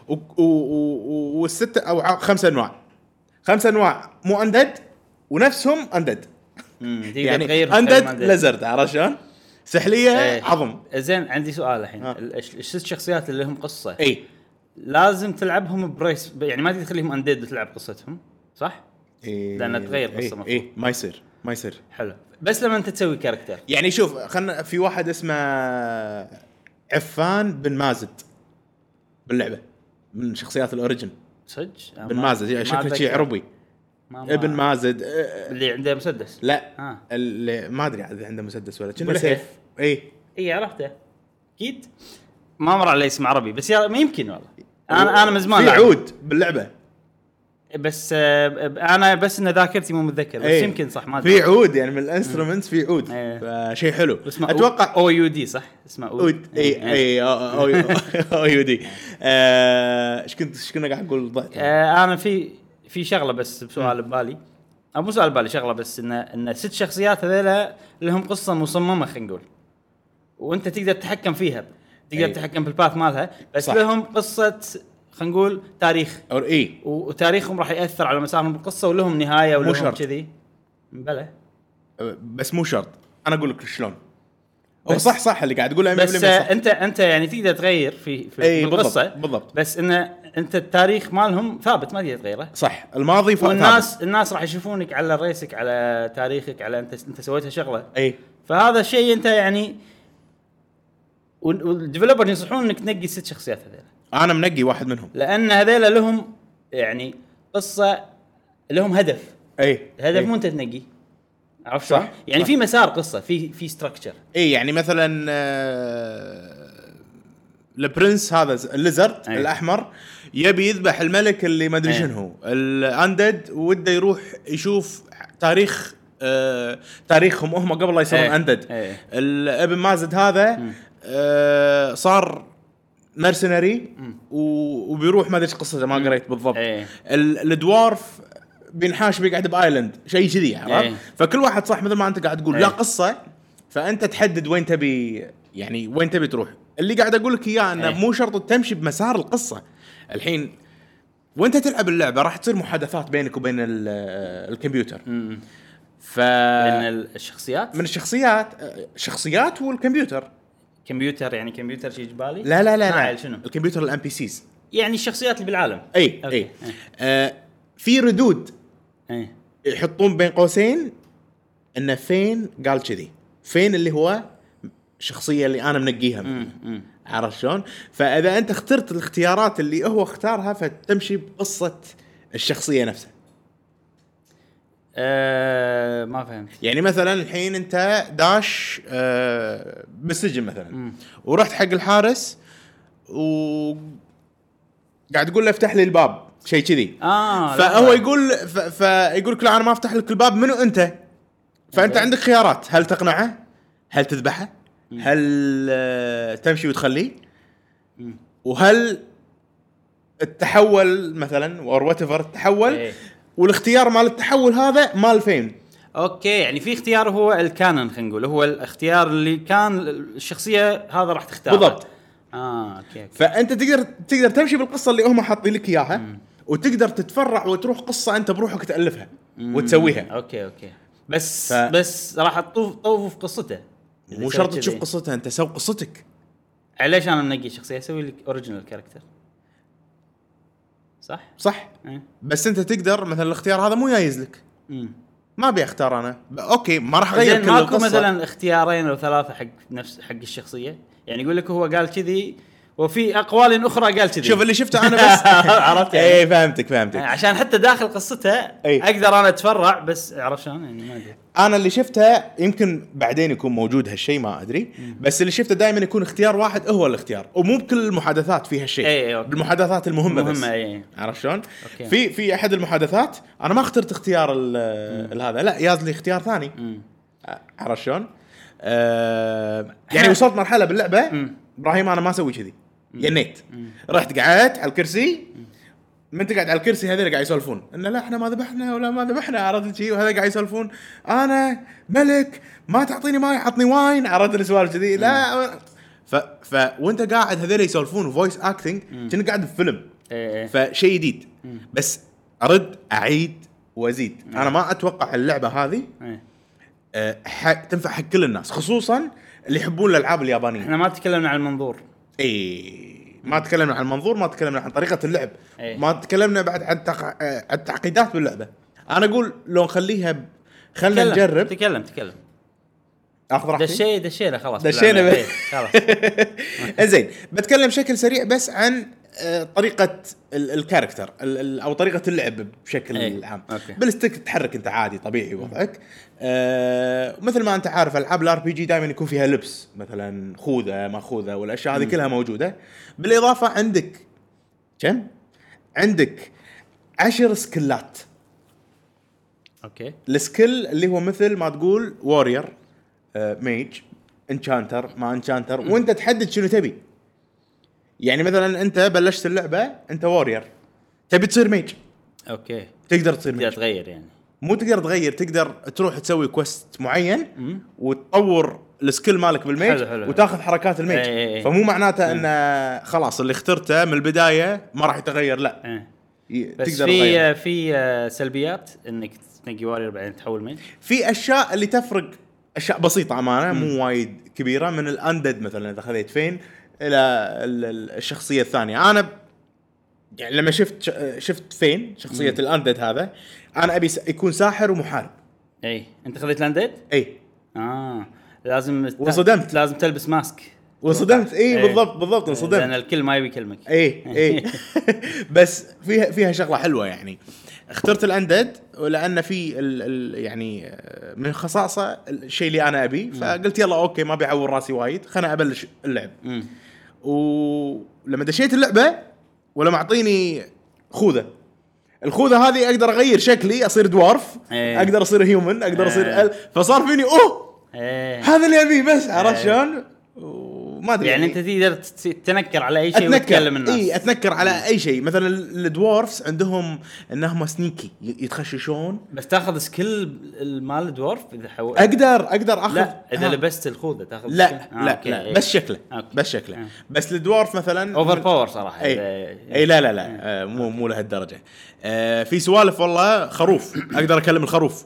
S2: و- و- و- والست او ع- خمس انواع خمس انواع مو اندد ونفسهم اندد
S1: أمم، تقدر تغير
S2: يعني
S1: من خلال
S2: اندد
S1: ما
S2: ليزرد عرفت شلون؟ سحليه
S1: إيه.
S2: عظم
S1: زين عندي سؤال الحين
S2: ها.
S1: ال- الش- الست شخصيات اللي لهم قصه
S2: اي
S1: لازم تلعبهم بريس يعني ما تقدر تخليهم انديد وتلعب قصتهم صح؟ لأنه تغير قصة
S2: قصه
S1: مفروض.
S2: اي إيه، ما يصير ما يصير
S1: حلو بس لما انت تسوي كاركتر
S2: يعني شوف خلنا في واحد اسمه عفان بن مازد باللعبه من شخصيات الاوريجن
S1: صدق أنا
S2: بن
S1: ما-
S2: مازد
S1: ما
S2: شكله شي
S1: أتذكر.
S2: عربي
S1: ما- ما-
S2: ابن مازد آه، آه،
S1: اللي عنده مسدس
S2: لا
S1: آه.
S2: اللي ما ادري عاد اذا عنده مسدس ولا
S1: أبو
S2: كنا
S1: لحية.
S2: سيف اي
S1: اي عرفته اكيد ما مر علي اسم عربي بس يا ما يمكن والله انا انا من زمان
S2: في
S1: لعبت.
S2: عود باللعبه
S1: بس آه، ب- انا بس ان ذاكرتي مو متذكر بس
S2: إي.
S1: يمكن صح ما ادري
S2: في عود يعني من الانسترومنتس في عود
S1: إيه.
S2: فشيء حلو
S1: اسمه
S2: اتوقع
S1: او يو دي صح اسمه او
S2: عود اي اي او يو دي آه، ايش كنت ايش كنا قاعد نقول ضعت
S1: انا آه، في في شغله بس بسؤال ببالي او مو سؤال ببالي شغله بس ان ان ست شخصيات هذيلا لهم قصه مصممه خلينا نقول وانت تقدر تتحكم فيها تقدر
S2: إي.
S1: تتحكم بالباث مالها بس
S2: صح.
S1: لهم قصه خلينا نقول تاريخ
S2: او اي
S1: و- وتاريخهم راح ياثر على مسارهم بالقصه ولهم نهايه
S2: مو
S1: ولهم
S2: شرط.
S1: كذي بلى
S2: بس مو شرط انا اقول لك شلون هو
S1: بس-
S2: صح صح اللي قاعد تقوله 100%
S1: بس
S2: صح
S1: آه، انت انت يعني تقدر تغير في في
S2: إي،
S1: القصه
S2: بالضبط، بالضبط.
S1: بس انه انت التاريخ مالهم ثابت ما تقدر تغيره
S2: صح الماضي ف- ثابت.
S1: والناس الناس راح يشوفونك على ريسك على تاريخك على انت انت سويتها شغله
S2: اي
S1: فهذا الشيء انت يعني وال- والديفلوبر ينصحون انك تنقي ست شخصيات هذيلا
S2: انا منقي واحد منهم
S1: لان هذيلا لهم يعني قصه لهم هدف
S2: اي
S1: الهدف
S2: إي.
S1: مو انت تنقي عرفت
S2: صح،
S1: شلون؟ يعني
S2: إيه. صح.
S1: في مسار قصه في في ستراكشر
S2: اي يعني مثلا آه، البرنس هذا ز- الليزرد
S1: أي.
S2: الاحمر يبي يذبح الملك اللي ما ادري
S1: أي.
S2: شنو الاندد وده يروح يشوف تاريخ آه، تاريخهم هم قبل لا يصيرون
S1: أي.
S2: اندد
S1: أي.
S2: الابن مازد هذا آه، صار مرسنري و- وبيروح ما ادري ايش قصته ما قريت بالضبط
S1: أي.
S2: ال- الدوارف بينحاش بيقعد بايلاند شيء كذي
S1: أي.
S2: عرفت فكل واحد صح مثل ما انت قاعد تقول لا
S1: أي.
S2: قصه فانت تحدد وين تبي يعني وين تبي تروح اللي قاعد اقول لك اياه انه
S1: أي.
S2: مو شرط تمشي بمسار القصه الحين وانت تلعب اللعبه راح تصير محادثات بينك وبين ال- الكمبيوتر ف آه.
S1: لان ال- الشخصيات
S2: من الشخصيات شخصيات والكمبيوتر
S1: كمبيوتر يعني كمبيوتر شيء جبالي
S2: لا لا لا لا
S1: ناعل شنو؟
S2: الكمبيوتر الام بي سيز
S1: يعني الشخصيات اللي بالعالم
S2: اي
S1: أوكي. إيه.
S2: اي إيه، آه في ردود إيه.
S1: ايه
S2: يحطون بين قوسين انه فين قال كذي فين اللي هو الشخصيه اللي انا منقيها منه.
S1: أمم.
S2: عرفت شلون؟ فاذا انت اخترت الاختيارات اللي هو اختارها فتمشي بقصه الشخصيه نفسها
S1: آه، ما فهمت
S2: يعني مثلا الحين انت داش آه، بالسجن مثلا ورحت حق الحارس و قاعد تقول له افتح لي الباب شيء كذي
S1: اه
S2: فهو
S1: لحظة.
S2: يقول ف... فيقول لك لا انا ما افتح لك الباب منو انت؟ فانت عندك خيارات هل تقنعه؟ هل تذبحه؟ هل آه، تمشي وتخليه؟ وهل تتحول مثلا اور وات ايفر تتحول
S1: إيه.
S2: والاختيار مال التحول هذا مال فين؟
S1: اوكي يعني في اختيار هو الكانون خلينا نقول هو الاختيار اللي كان الشخصيه هذا راح تختار
S2: بالضبط.
S1: اه اوكي, أوكي.
S2: فانت تقدر تقدر تمشي بالقصه اللي هم حاطين لك اياها وتقدر تتفرع وتروح قصه انت بروحك تالفها وتسويها
S1: اوكي اوكي بس
S2: ف-
S1: ف... بس راح تطوف طوف في قصته
S2: مو شرط تشوف قصتها انت سو قصتك
S1: قصته ليش انا منقي شخصيه اسوي لك اوريجنال كاركتر صح؟
S2: صح
S1: إيه.
S2: بس انت تقدر مثلا الاختيار هذا مو جايز لك
S1: امم
S2: ما ابي اختار انا ب- اوكي ما راح اغير
S1: زين
S2: كل
S1: ماكو
S2: القصه مثلا
S1: مثلا اختيارين او ثلاثه حق نفس حق الشخصيه يعني يقول لك هو قال كذي وفي اقوال اخرى قال كذي
S2: شوف اللي شفته انا بس
S1: *laughs* عرفت يعني.
S2: اي فهمتك فهمتك
S1: عشان حتى داخل قصتها
S2: أي.
S1: اقدر انا اتفرع بس عرفت شلون يعني ما ادري
S2: انا اللي شفته يمكن بعدين يكون موجود هالشيء ما ادري بس اللي شفته دائما يكون اختيار واحد هو الاختيار ومو بكل المحادثات فيها الشيء
S1: إي إي إيه، أوكي.
S2: بالمحادثات المهمه, بس
S1: مهمه اي
S2: عرفت شلون؟
S1: إيه. أوكي.
S2: في في احد المحادثات انا ما اخترت اختيار ال- هذا لا ياز لي اختيار ثاني
S1: مم.
S2: عرفت شلون؟ آه يعني وصلت مرحله باللعبه ابراهيم انا ما اسوي كذي ينيت رحت قعدت على الكرسي من تقعد على الكرسي هذول قاعد يسولفون انه لا احنا ما ذبحنا ولا ما ذبحنا عرفت شي وهذا قاعد يسولفون انا ملك ما تعطيني ماي عطني واين عرفت السوالف كذي لا ف ف وانت قاعد هذول يسولفون فويس اكتنج كأنك قاعد بفيلم
S1: اي اي
S2: فشيء جديد بس ارد اعيد وازيد انا ما اتوقع اللعبه هذه
S1: إي.
S2: أه، ح- تنفع حق كل الناس خصوصا اللي يحبون الالعاب اليابانيه
S1: احنا ما تكلمنا عن المنظور
S2: اي إيه. ما تكلمنا عن المنظور ما تكلمنا عن طريقه اللعب
S1: إيه.
S2: ما تكلمنا بعد عن تق... آه، عن التعقيدات باللعبه انا اقول لو نخليها ب... خلينا
S1: تكلم،
S2: نجرب
S1: تكلم تكلم
S2: اخذ راحتي
S1: دشينا دشينا خلاص
S2: دشينا
S1: بالعمل.
S2: ب-
S1: إيه، خلاص
S2: *laughs* زين بتكلم بشكل سريع بس عن آه، طريقه ال- الكاركتر ال- ال- او طريقه اللعب بشكل
S1: إيه.
S2: عام
S1: أوكي.
S2: بالستيك تتحرك انت عادي طبيعي وضعك آه مثل ما انت عارف العاب الار بي جي دائما يكون فيها لبس مثلا خوذه ما خوذه والاشياء هذه كلها موجوده بالاضافه عندك كم عندك عشر سكلات
S1: اوكي
S2: السكيل اللي هو مثل ما تقول وورير ميج انشانتر ما انشانتر وانت تحدد شنو تبي يعني مثلا انت بلشت اللعبه انت وورير تبي تصير ميج
S1: اوكي
S2: تقدر تصير
S1: بدي
S2: ميج
S1: اتغير يعني
S2: مو تقدر تغير تقدر تروح تسوي كوست معين
S1: مم.
S2: وتطور السكيل مالك بالميج
S1: حلو، إيه، حلو، حلو.
S2: وتاخذ حركات الميج
S1: إي، إي، إي.
S2: فمو معناته انه خلاص اللي اخترته من البدايه ما راح يتغير لا
S1: إيه.
S2: ي-
S1: بس
S2: تقدر تغيره.
S1: في في آه، سلبيات انك تنقي وارير بعدين تحول ميج
S2: في اشياء اللي تفرق اشياء بسيطه امانه مو وايد كبيره من الاندد مثلا اذا خذيت فين الى ال- ال- الشخصيه الثانيه انا ب- يعني لما شفت ش- شفت فين شخصيه الاندد هذا انا ابي س- يكون ساحر ومحارب إيه.
S1: اي انت إيه. خذيت لانديد؟
S2: اي
S1: اه لازم ت-
S2: وانصدمت.
S1: لازم تلبس ماسك
S2: وانصدمت اي بالضبط بالضبط
S1: لان
S2: انصدمت
S1: الكل ما يبي يكلمك
S2: اي اي بس فيها فيها شغله حلوه يعني اخترت الاندد لان في ال ال يعني من خصاصه الشيء اللي انا ابيه فقلت يلا اوكي ما بيعور راسي وايد خلنا ابلش اللعب
S1: مم.
S2: ولما دشيت اللعبه ولا معطيني خوذه الخوذه هذه اقدر اغير شكلي اصير دوارف
S1: إيه.
S2: اقدر اصير هيومن اقدر اصير
S1: إيه.
S2: أل... فصار فيني اوه
S1: ايه
S2: هذا اللي ابيه بس عرفت
S1: إيه.
S2: شلون؟ وما ادري
S1: يعني انت تقدر تت- تتنكر على اي شيء وتكلم
S2: اتنكر
S1: الناس إيه.
S2: اي اتنكر إيه، على اي شيء مثلا الدوارفز عندهم انهم سنيكي يتخششون
S1: بس تاخذ سكيل مال الدورف اذا حول
S2: اقدر اقدر اخذ
S1: لا اذا
S2: ها.
S1: لبست الخوذه تاخذ
S2: آه. لا
S1: سكيل؟ آه،
S2: لا,
S1: أوكي،
S2: لا
S1: إيه.
S2: بس شكله
S1: أوكي.
S2: بس شكله
S1: آه.
S2: بس الدوارف مثلا
S1: اوفر باور صراحه
S2: اي
S1: إذا- إيه.
S2: اي إيه. لا لا لا آه، مو مو لهالدرجه آه، في سوالف والله خروف اقدر اكلم الخروف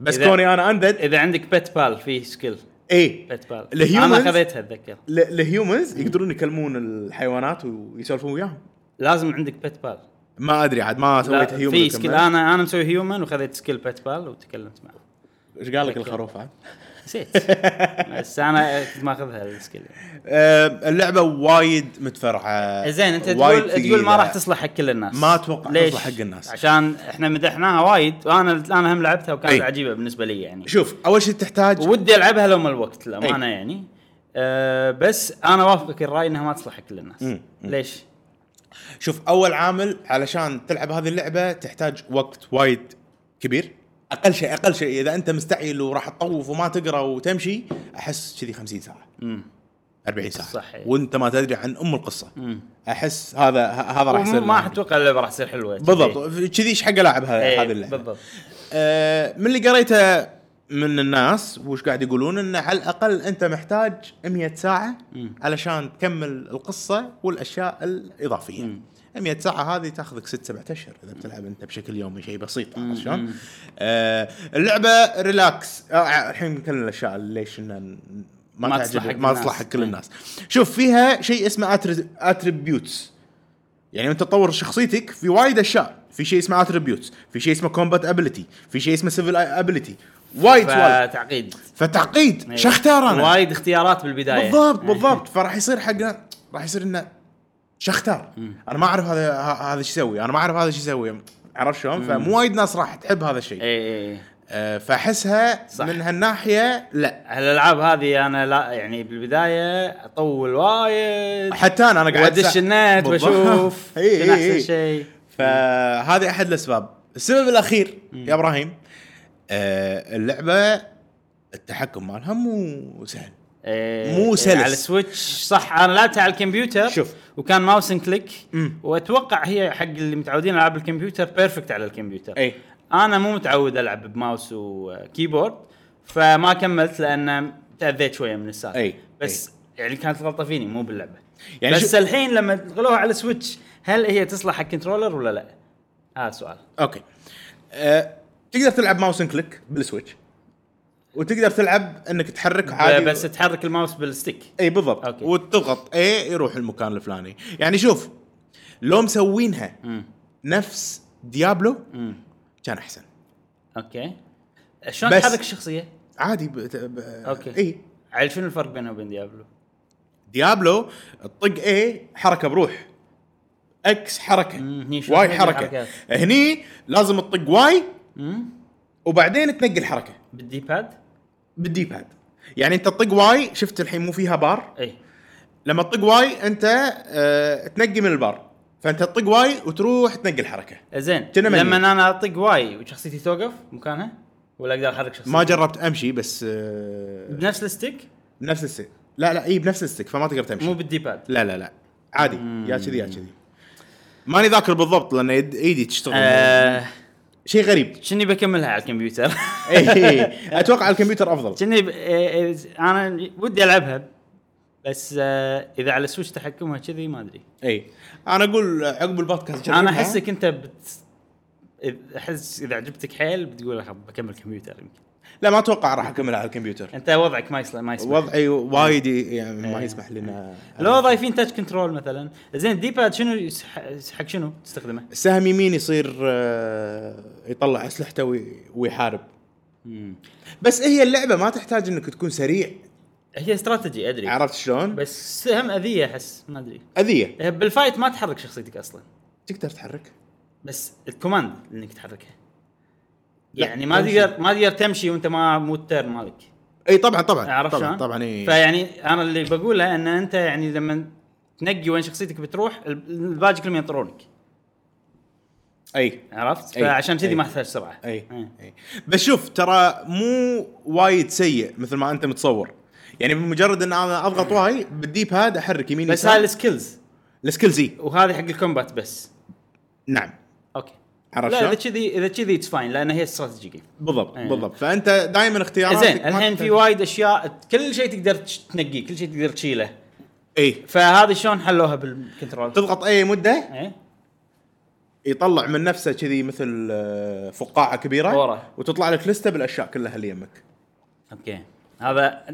S2: بس
S1: إذا-
S2: كوني انا اندد
S1: اذا عندك بيت بال في سكيل
S2: اي
S1: بيت بال انا
S2: الهيومنز
S1: خذيتها اتذكر
S2: ال- الهيومنز يقدرون يكلمون الحيوانات ويسولفون وياهم
S1: لازم عندك بيت بال
S2: ما ادري عاد ما سويت
S1: لا،
S2: هيومن
S1: في
S2: كمان.
S1: سكيل انا انا مسوي هيومن وخذيت سكيل بيت بال وتكلمت معه
S2: ايش قال لك الخروف عاد؟ *laughs*
S1: نسيت بس انا كنت ماخذها السكيل
S2: آه، اللعبه وايد متفرعه
S1: زين انت
S2: وايد
S1: تقول تقول ما
S2: ثقيلة.
S1: راح تصلح حق كل الناس
S2: ما أتوقع
S1: ليش؟
S2: تصلح حق الناس.
S1: عشان احنا مدحناها وايد وانا الان هم لعبتها وكانت
S2: أي.
S1: عجيبه بالنسبه لي يعني
S2: شوف اول شيء تحتاج
S1: ودي العبها لو ما الوقت للامانه يعني أه بس انا وافقك الراي انها ما تصلح حق كل الناس
S2: مم،
S1: ليش؟
S2: شوف اول عامل علشان تلعب هذه اللعبه تحتاج وقت وايد كبير اقل شيء اقل شيء اذا انت مستعجل وراح تطوف وما تقرا وتمشي احس كذي 50 ساعه
S1: امم
S2: 40 ساعه
S1: صح، إيه.
S2: وانت ما تدري عن ام القصه
S1: امم
S2: احس هذا ه- هذا راح يصير
S1: ما
S2: لعبي.
S1: اتوقع اللعبه راح تصير حلوه
S2: بالضبط كذي ايش حق العب هذا
S1: إيه،
S2: هذه اللعبه
S1: بالضبط
S2: آه، آه، من اللي قريته من الناس وش قاعد يقولون انه على الاقل انت محتاج 100 ساعه
S1: مم.
S2: علشان تكمل القصه والاشياء الاضافيه
S1: مم.
S2: 100 ساعه هذه تاخذك 6 7 اشهر اذا بتلعب انت بشكل يومي شيء بسيط
S1: مم.
S2: عرفت شلون؟ آه اللعبه ريلاكس آه الحين كل الاشياء ليش إن ن- ما,
S1: ما
S2: ما
S1: تصلح
S2: تعجبك
S1: حق
S2: ما
S1: الناس.
S2: تصلح حق كل الناس شوف فيها شيء اسمه اتريبيوتس يعني انت تطور شخصيتك في وايد اشياء في شيء اسمه اتريبيوتس في شيء اسمه كومبات ابيلتي في شيء اسمه سيفل ابيلتي وايد وايد
S1: فتعقيد
S2: فتعقيد
S1: أيوة.
S2: شو اختار انا
S1: وايد إيه. اختيارات بالبدايه
S2: بالضبط بالضبط فراح يصير حقنا راح يصير انه شختار انا ما اعرف هذا ه- هذا شو يسوي انا ما اعرف هذا شو يسوي عرفت شلون فمو وايد ناس راح تحب هذا الشيء
S1: اي اي
S2: أه فاحسها
S1: إيه. صح.
S2: من هالناحيه لا
S1: الالعاب هذه انا لا يعني بالبدايه اطول وايد
S2: حتى انا انا قاعد
S1: وادش
S2: سا-
S1: النت
S2: بالضبط. *laughs* إيه،
S1: واشوف
S2: إي
S1: شنو
S2: إي إي.
S1: احسن شيء
S2: فهذه احد الاسباب السبب الاخير يا ابراهيم أه اللعبه التحكم مالها مو سهل
S1: إيه،
S2: مو
S1: إيه،
S2: سلس.
S1: على السويتش صح انا لعبتها على الكمبيوتر
S2: شوف.
S1: وكان ماوس إن كليك
S2: مم.
S1: واتوقع هي حق اللي متعودين العاب الكمبيوتر بيرفكت على الكمبيوتر
S2: اي
S1: انا مو متعود العب بماوس وكيبورد فما كملت لان تاذيت شويه من السالفه
S2: أي،
S1: بس يعني كانت غلطه فيني مو باللعبه يعني
S2: يعني
S1: بس
S2: شو-
S1: الحين لما تغلوها على سويتش هل هي تصلح حق كنترولر ولا لا؟ هذا السؤال
S2: اوكي أه تقدر تلعب ماوس إند كليك بالسويتش وتقدر تلعب انك تحرك عادي
S1: بس تحرك الماوس بالستيك
S2: اي بالضبط
S1: أوكي.
S2: أوكي. وتضغط اي يروح المكان الفلاني يعني شوف لو مسوينها
S1: مم.
S2: نفس ديابلو
S1: مم.
S2: كان احسن
S1: اوكي شلون
S2: بس-
S1: تحرك الشخصيه؟
S2: عادي ب... ب...
S1: أوكي.
S2: اي
S1: عيل شنو الفرق بينها وبين ديابلو؟
S2: ديابلو تطق اي حركه بروح اكس حركه
S1: مم، هني شلون
S2: واي
S1: تنقل
S2: حركه
S1: الحركات؟
S2: هني لازم تطق واي
S1: مم؟
S2: وبعدين تنقل حركه
S1: بالدي باد؟
S2: بالدي باد يعني انت تطق واي شفت الحين مو فيها بار
S1: اي
S2: لما تطق واي انت آه، تنقي من البار فانت تطق واي وتروح تنقي الحركه
S1: زين
S2: كنا منيو.
S1: لما انا اطق واي وشخصيتي توقف مكانها ولا اقدر احرك شخصيتي؟
S2: ما جربت امشي بس آه،
S1: بنفس الستيك
S2: بنفس السن لا لا اي بنفس السك فما تقدر تمشي
S1: مو بالدي باد
S2: لا لا لا عادي يا كذي يا كذي ماني ذاكر بالضبط لان يد- ايدي تشتغل
S1: آه
S2: شيء غريب
S1: شني بكملها على الكمبيوتر
S2: إيه، اي اتوقع الكمبيوتر افضل
S1: *laughs* شني ب... إيه، إيه، انا ودي العبها بس آه اذا على سويتش تحكمها كذي ما ادري
S2: اي انا اقول عقب البودكاست جربها.
S1: انا احسك انت بت إذ- احس اذا عجبتك حيل بتقول خب بكمل كمبيوتر يمكن
S2: لا ما اتوقع راح اكمل على الكمبيوتر
S1: انت وضعك ما يسمح ما يسمح
S2: وضعي وايد يعني ما
S1: إيه.
S2: يسمح لنا
S1: لو ضايفين تاتش كنترول مثلا زين الدي باد شنو يس- حق شنو تستخدمه؟
S2: السهم يمين يصير آه، يطلع اسلحته وي- ويحارب بس هي اللعبه ما تحتاج انك تكون سريع
S1: هي استراتيجي ادري
S2: عرفت شلون؟
S1: إيه. بس هم اذيه احس ما ادري
S2: اذيه
S1: إيه، بالفايت ما تحرك شخصيتك اصلا
S2: تقدر تحرك
S1: بس الكوماند انك تحركها
S2: لا،
S1: يعني ما
S2: تمشي.
S1: تقدر ما تقدر تمشي وانت ما مو التيرن مالك
S2: اي طبعا طبعا
S1: عرفت
S2: طبعا
S1: شلون؟
S2: طبعا اي
S1: فيعني انا اللي بقوله ان انت يعني لما تنقي وين شخصيتك بتروح الب- الباقي كلهم ينطرونك
S2: اي
S1: عرفت؟
S2: أي.
S1: فعشان كذي
S2: أي.
S1: ما احتاج سرعه
S2: اي
S1: إيه.
S2: اي بس شوف ترى مو وايد سيء مثل ما انت متصور يعني بمجرد ان انا اضغط واي بالديب هاد احرك يمين
S1: إيه. بس هاي السكيلز
S2: السكيل زي
S1: وهذه حق الكومبات بس
S2: نعم
S1: اوكي
S2: عرفت
S1: لا اذا
S2: شلون؟
S1: كذي اذا كذي اتس فاين لان هي استراتيجي جيم
S2: بالضبط
S1: إيه.
S2: بالضبط فانت دائما اختياراتك
S1: زين
S2: ما
S1: الحين
S2: تحتاج-
S1: في وايد اشياء كل شيء تقدر تش- تنقيه كل شيء تقدر تشيله
S2: اي
S1: فهذه شلون حلوها بالكنترول؟
S2: إيه. تضغط اي مده
S1: ايه
S2: يطلع من نفسه كذي مثل آه، فقاعه كبيره
S1: ورا.
S2: وتطلع لك لسته بالاشياء كلها اللي يمك
S1: اوكي هذا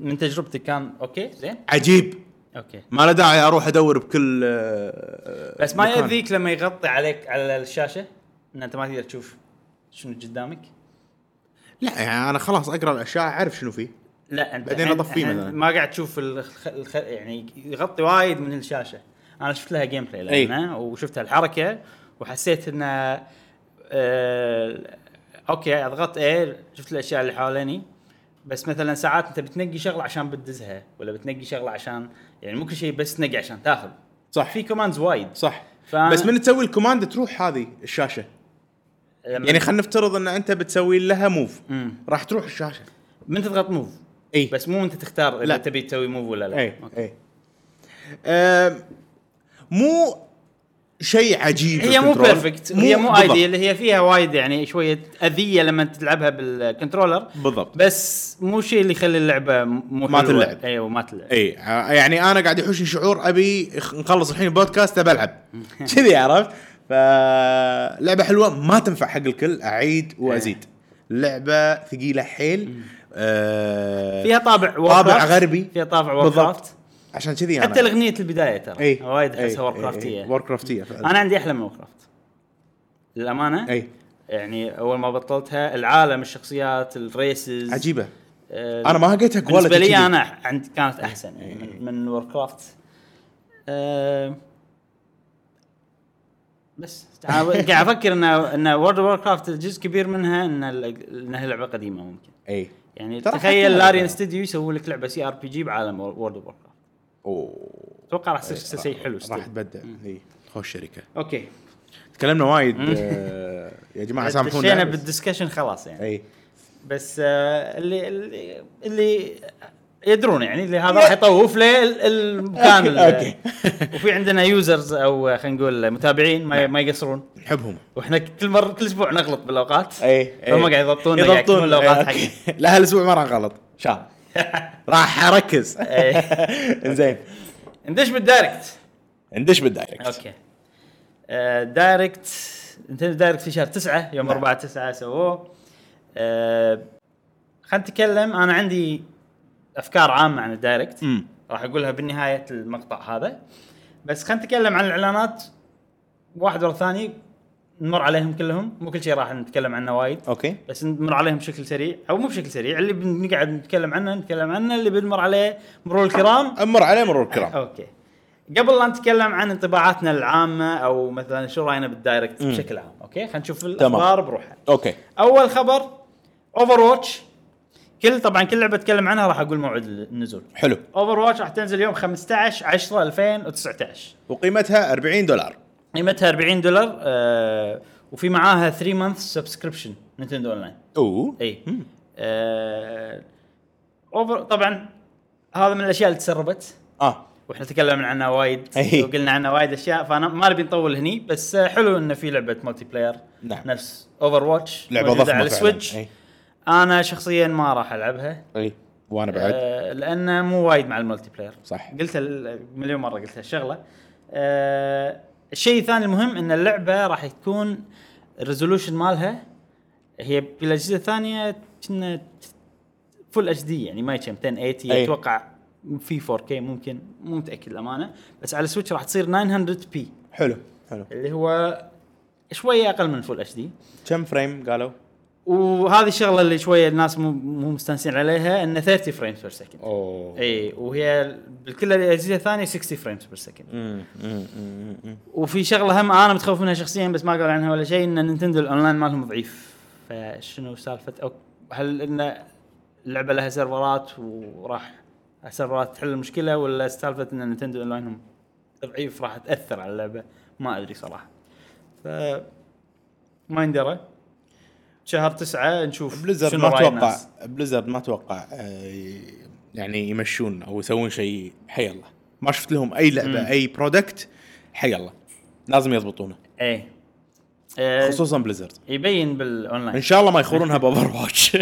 S1: من تجربتي كان اوكي زين
S2: عجيب
S1: اوكي
S2: ما له داعي اروح ادور بكل آه،
S1: بس ما
S2: مكان.
S1: يأذيك لما يغطي عليك على الشاشه ان انت ما تقدر تشوف شنو قدامك؟
S2: لا يعني انا خلاص اقرا الاشياء اعرف شنو فيه
S1: لا انت
S2: بعدين
S1: الحين-
S2: أطفيه
S1: الحين
S2: مثلاً.
S1: ما قاعد تشوف الخ... الخ... يعني يغطي وايد من الشاشه انا شفت لها جيم بلاي
S2: أي.
S1: لانه وشفت الحركه وحسيت ان آه... اوكي اضغط ايه شفت الاشياء اللي حواليني بس مثلا ساعات انت بتنقي شغله عشان بتدزها ولا بتنقي شغله عشان يعني مو كل شيء بس تنقي عشان تاخذ
S2: صح
S1: في كوماندز وايد
S2: صح
S1: فأنا-
S2: بس من تسوي الكوماند تروح هذه الشاشه
S1: لما-
S2: يعني خلينا نفترض ان انت بتسوي لها موف
S1: مم.
S2: راح تروح الشاشه
S1: من تضغط موف
S2: اي
S1: بس مو انت تختار اذا
S2: لا. إيه.
S1: تبي تسوي موف ولا لا
S2: اي
S1: أوكي.
S2: اي آم، مو شيء عجيب
S1: هي مو
S2: الكنترول.
S1: بيرفكت هي مو
S2: بالضبط.
S1: ايديال هي فيها وايد يعني شويه اذيه لما تلعبها بالكنترولر
S2: بالضبط
S1: بس مو شيء اللي يخلي اللعبه مو
S2: مات
S1: حلوة.
S2: اللعب.
S1: ايوه مات اللعب
S2: اي ع- يعني انا قاعد يحوشني شعور ابي إخ- نخلص الحين البودكاست
S1: *laughs*
S2: ابى العب كذي عرفت فلعبه حلوه ما تنفع حق الكل اعيد وازيد لعبه ثقيله حيل آه
S1: فيها طابع
S2: طابع
S1: Warcraft.
S2: غربي
S1: فيها طابع
S2: بالضبط يعني. إيه.
S1: ووركرافت
S2: عشان كذي
S1: حتى الاغنيه البدايه ترى
S2: اي
S1: وايد احسها ووركرافتيه
S2: وور كرافتيه فعلا
S1: انا عندي احلى من ووركرافت للامانه
S2: اي
S1: يعني اول ما بطلتها العالم الشخصيات الريسز
S2: عجيبه
S1: آه،
S2: انا ما لقيتها quality
S1: بالنسبه
S2: كذي. إيه.
S1: لي انا عند كانت احسن يعني من, من ووركرافت آه، بس أنا *laughs* قاعد افكر ان ان وورد اوف كرافت جزء كبير منها ان ال- انها لعبه قديمه ممكن
S2: اي
S1: يعني
S2: ترى
S1: تخيل
S2: حتى-
S1: لاريان ستوديو يسوي لك لعبه سي ار بي جي بعالم وورد اوف كرافت
S2: اوه
S1: اتوقع راح يصير شيء حلو still.
S2: إيه، راح تبدع اي خوش شركه
S1: اوكي
S2: تكلمنا وايد آه،
S1: *laughs*
S2: يا جماعه
S1: دشينا
S2: سامحونا إيه،
S1: بالدسكشن خلاص يعني
S2: اي
S1: بس آه، اللي اللي اللي يدرون يعني اللي هذا راح يطوف له ال- المكان ال-
S2: أوكي.
S1: *laughs*
S2: نعم.
S1: وفي عندنا يوزرز او خلينا نقول متابعين ما, ما يقصرون
S2: نحبهم
S1: واحنا كل مره كل اسبوع نغلط بالاوقات
S2: اي
S1: إيه، هم قاعد يضبطون قاعد يكتبون الاوقات حقنا
S2: *laughs* لا هالاسبوع ما راح غلط ان
S1: *laughs*
S2: شاء الله راح اركز *laughs*
S1: إيه.
S2: زين
S1: ندش بالدايركت
S2: ندش بالدايركت
S1: اوكي آه، دايركت نتندو دايركت في شهر 9
S2: نعم.
S1: يوم 4 9 سووه آه، خلينا نتكلم انا عندي افكار عامه عن الدايركت
S2: امم
S1: راح اقولها بنهايه المقطع هذا بس خلينا نتكلم عن الاعلانات واحد ورا الثاني نمر عليهم كلهم مو كل شيء راح نتكلم عنه وايد
S2: اوكي
S1: بس نمر عليهم بشكل سريع او مو بشكل سريع اللي بنقعد نتكلم عنه نتكلم عنه اللي بنمر عليه مرور الكرام
S2: امر عليه مرور الكرام
S1: اوكي قبل لا نتكلم عن انطباعاتنا العامه او مثلا شو راينا بالدايركت بشكل عام اوكي خلينا نشوف الاخبار بروحها
S2: اوكي
S1: اول خبر اوفر واتش كل طبعا كل لعبه اتكلم عنها راح اقول موعد النزول
S2: حلو
S1: اوفر واتش راح تنزل يوم 15 10 2019
S2: وقيمتها 40 دولار
S1: قيمتها 40 دولار آه وفي معاها 3 مانث سبسكريبشن نينتندو اون لاين
S2: اوه
S1: اي آه اوفر طبعا هذا من الاشياء اللي تسربت
S2: اه
S1: واحنا تكلمنا عنها وايد
S2: أي.
S1: وقلنا عنها وايد اشياء فانا ما نبي نطول هني بس آه، حلو انه في لعبه مالتي بلاير
S2: نعم.
S1: نفس اوفر واتش
S2: لعبه ضخمه
S1: على
S2: فعلاً. إيه.
S1: السويتش
S2: إي.
S1: انا شخصيا ما راح العبها
S2: اي وانا بعد
S1: آه، لانه مو وايد مع الملتي بلاير
S2: صح.
S1: قلت مليون مره قلت هالشغله آه، الشيء الثاني المهم ان اللعبه راح تكون الريزولوشن مالها هي بالاجهزه الثانيه كنا فول اتش دي يعني ما يتم 1080
S2: أي.
S1: اتوقع في 4K ممكن مو متاكد الامانه بس على السويتش راح تصير 900 بي
S2: حلو حلو
S1: اللي هو شويه اقل من فول اتش دي
S2: كم فريم قالوا؟
S1: وهذه الشغله اللي شويه الناس مو مو مستانسين عليها انه 30 فريمز بير سكند
S2: اوه
S1: اي وهي بكل الاجهزه الثانيه 60 فريمز بير سكند
S2: أمم، أمم، أمم، أمم.
S1: وفي شغله هم انا متخوف منها شخصيا بس ما قال عنها ولا شيء ان نينتندو الاونلاين مالهم ضعيف فشنو سالفه او هل ان اللعبه لها سيرفرات وراح السيرفرات تحل المشكله ولا سالفه ان نينتندو اونلاينهم ضعيف راح تاثر على اللعبه ما ادري صراحه ف ما يندرى شهر تسعة نشوف
S2: بليزرد
S1: شنو
S2: ما
S1: رأي
S2: اتوقع
S1: الناس.
S2: بليزرد ما اتوقع آه، يعني يمشون او يسوون شيء حي الله ما شفت لهم اي لعبه اي برودكت حي الله لازم يضبطونه
S1: ايه آه،
S2: خصوصا بليزرد
S1: يبين بالاونلاين
S2: ان شاء الله
S1: *laughs*
S2: ما يخورونها باوفر واتش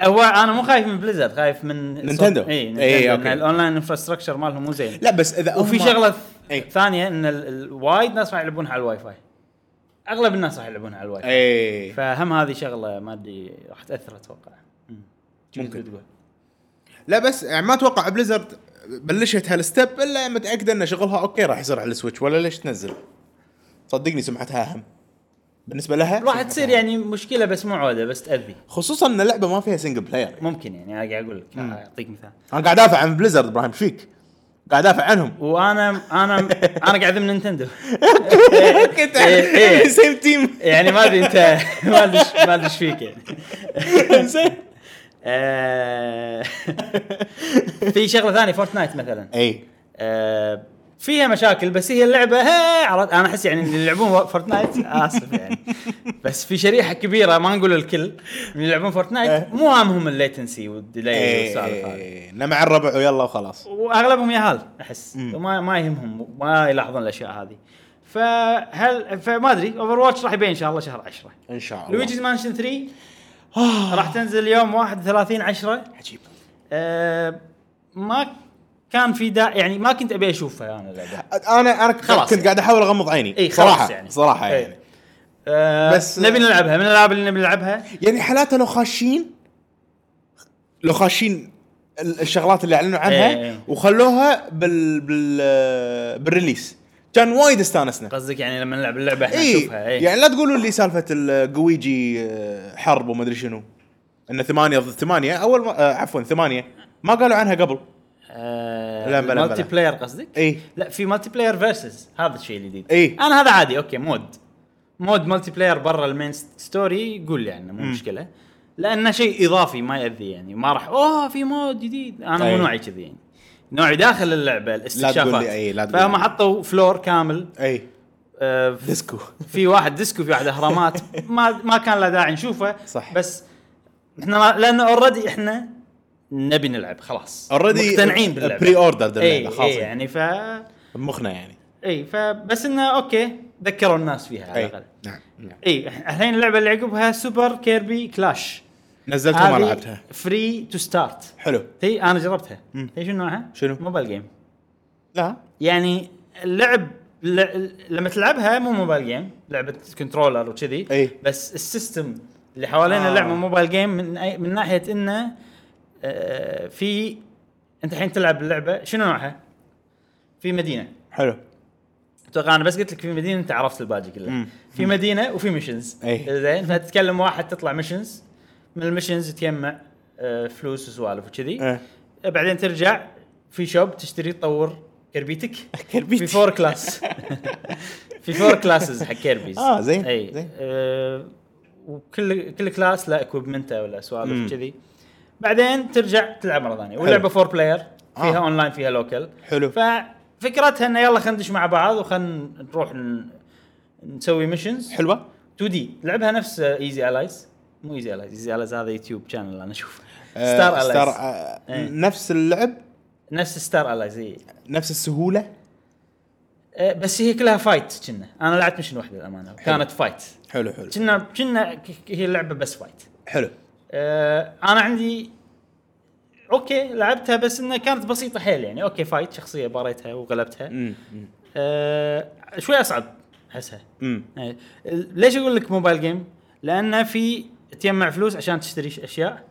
S1: هو انا مو خايف من بليزرد خايف من
S2: نينتندو.
S1: اي نينتندو
S2: إي،
S1: إيه
S2: أوكي.
S1: اوكي الاونلاين انفراستراكشر مالهم مو زين
S2: لا بس اذا
S1: وفي
S2: هم- إيه.
S1: شغله
S2: إي.
S1: ث- ثانيه ان ال- ال- وايد ناس راح يلعبونها على الواي فاي اغلب الناس راح يلعبونها على الواي فاي
S2: اي
S1: فهم هذه شغله ما ادري راح تاثر اتوقع ممكن تقول
S2: لا بس يعني ما اتوقع بليزرد بلشت هالستب الا متاكده ان شغلها اوكي راح يصير على السويتش ولا ليش تنزل صدقني سمعتها اهم بالنسبه لها
S1: راح
S2: سمعتها
S1: تصير
S2: أهم.
S1: يعني مشكله بس مو عوده بس تاذي
S2: خصوصا ان اللعبه ما فيها سنجل بلاير
S1: ممكن يعني انا قاعد اقول لك اعطيك مثال
S2: انا قاعد ادافع عن بليزرد ابراهيم ايش فيك؟ قاعد ادافع
S1: *laughs*
S2: عنهم
S1: وانا انا
S2: *laughs*
S1: انا قاعد من نينتندو
S2: كنت
S1: إيه، إيه.
S2: سيم
S1: *laughs*
S2: تيم
S1: يعني ما ادري انت ما ادري إيش- ما ادري ايش فيك يعني آه، *laughs* في شغله ثانيه فورتنايت مثلا
S2: اي
S1: آه، فيها مشاكل بس هي اللعبه ها، عرفت انا احس يعني اللي يلعبون فورتنايت اسف يعني بس في شريحه كبيره ما نقول الكل من اللي يلعبون
S2: آه.
S1: فورتنايت مو هامهم الليتنسي
S2: إيه،
S1: والديلي والسالفه إيه، هذه
S2: انا مع الربع ويلا وخلاص
S1: واغلبهم يهال احس
S2: مم.
S1: ما ما يهمهم ما يلاحظون الاشياء هذه ف فهل فما ادري اوفر واتش راح يبين ان شاء الله شهر 10
S2: ان شاء الله آه.
S1: لويجيز مانشن 3 راح تنزل يوم 31 10
S2: عجيب
S1: أه ما كان في دا يعني ما كنت ابي اشوفها انا اللعبه
S2: انا انا
S1: خلاص
S2: خلاص كنت
S1: يعني.
S2: قاعد احاول اغمض عيني
S1: اي خلاص
S2: صراحه
S1: يعني
S2: صراحه
S1: إي.
S2: يعني
S1: أه بس
S2: بس-
S1: نبي نلعبها من الالعاب اللي نبي نلعبها
S2: يعني حالاته لو خاشين لو خاشين ال- الشغلات اللي اعلنوا
S1: إي، إي.
S2: عنها وخلوها بال بال بالريليس كان وايد استانسنا
S1: قصدك يعني لما نلعب اللعبه احنا
S2: اي
S1: نشوفها إيه. اي
S2: يعني لا تقولوا لي سالفه القويجي آه، حرب وما ادري شنو انه ثمانية ضد ثمانية اول ما آه، عفوا ثمانية ما قالوا عنها قبل إيه، لا، بلا، بلا.
S1: مالتي بلاير آه، قصدك؟
S2: اي
S1: لا في مالتي بلاير فيرسز هذا الشيء الجديد
S2: إي.
S1: انا هذا عادي اوكي مود مود مالتي بلاير برا المين ستوري قول لي عنه مو مشكله لانه شيء اضافي ما ياذي يعني ما راح اوه في مود جديد انا مو
S2: أي.
S1: نوعي كذي يعني نوعي داخل اللعبه الاستكشافات
S2: طيب. تقول لي أي، لا تقول
S1: فهم
S2: لي.
S1: حطوا فلور كامل
S2: اي
S1: آه، في-
S2: ديسكو
S1: في واحد ديسكو في واحد
S2: *laughs*
S1: اهرامات ما ما كان له داعي نشوفه
S2: صح.
S1: بس احنا ما- لانه اوريدي احنا نبي نلعب خلاص
S2: Already
S1: مقتنعين باللعبه
S2: pre-ordered اللعبة،
S1: اي
S2: خلاص
S1: اي يعني ف إيه،
S2: مخنا يعني
S1: اي فبس انه اوكي ذكروا الناس فيها على
S2: اي
S1: الاقل
S2: نعم نعم.
S1: اي الحين اللعبه اللي عقبها سوبر كيربي كلاش
S2: نزلتها ما لعبتها
S1: فري تو ستارت
S2: حلو
S1: هي انا جربتها
S2: مم.
S1: هي شنو نوعها؟
S2: شنو؟
S1: موبايل جيم
S2: لا
S1: يعني اللعب ل... لما تلعبها مو موبايل جيم لعبه كنترولر وكذي
S2: أي.
S1: بس السيستم اللي حوالينا
S2: آه.
S1: آه. لعبه موبايل جيم من أي... من ناحيه انه آه في انت الحين تلعب اللعبه شنو نوعها؟ في مدينه
S2: حلو
S1: اتوقع انا بس قلت لك في مدينه انت عرفت الباقي كله
S2: مم.
S1: في مدينه وفي ميشنز
S2: أي.
S1: زين فتتكلم واحد تطلع ميشنز من الميشنز تجمع آه، فلوس وسوالف وكذي
S2: إيه.
S1: بعدين ترجع في شوب تشتري تطور كربيتك
S2: كربيت.
S1: في فور
S2: *laughs*
S1: كلاس في فور كلاسز حق كيربيز
S2: آه، زين،
S1: اي
S2: زين.
S1: آه، وكل كل كلاس له اكوبمنته ولا
S2: مم.
S1: سوالف كذي بعدين ترجع تلعب مره ثانيه واللعبه فور بلاير فيها
S2: آه.
S1: اونلاين فيها لوكال
S2: حلو.
S1: ففكرتها انه يلا خلينا ندش مع بعض وخلينا نروح ن- نسوي ميشنز
S2: حلوه
S1: 2 دي لعبها نفس ايزي الايز مو ايزي الايز ايزي الايز هذا يوتيوب شانل انا اشوفه
S2: آه،
S1: ستار
S2: ستار
S1: الايز
S2: آه،
S1: إيه.
S2: نفس اللعب
S1: نفس ستار الايز اي
S2: نفس السهوله
S1: أه، بس هي كلها فايت كنا انا لعبت مشن واحده للامانه كانت فايت
S2: حلو حلو
S1: كنا كنا ك- هي اللعبه بس فايت
S2: حلو
S1: أه انا عندي اوكي لعبتها بس انها كانت بسيطه حيل يعني اوكي فايت شخصيه باريتها وغلبتها
S2: امم أمم،
S1: أه شوي اصعب احسها
S2: امم
S1: أي. ال- إيه، ليش اقول لك موبايل جيم؟ لانه في تجمع فلوس عشان تشتري ش- اشياء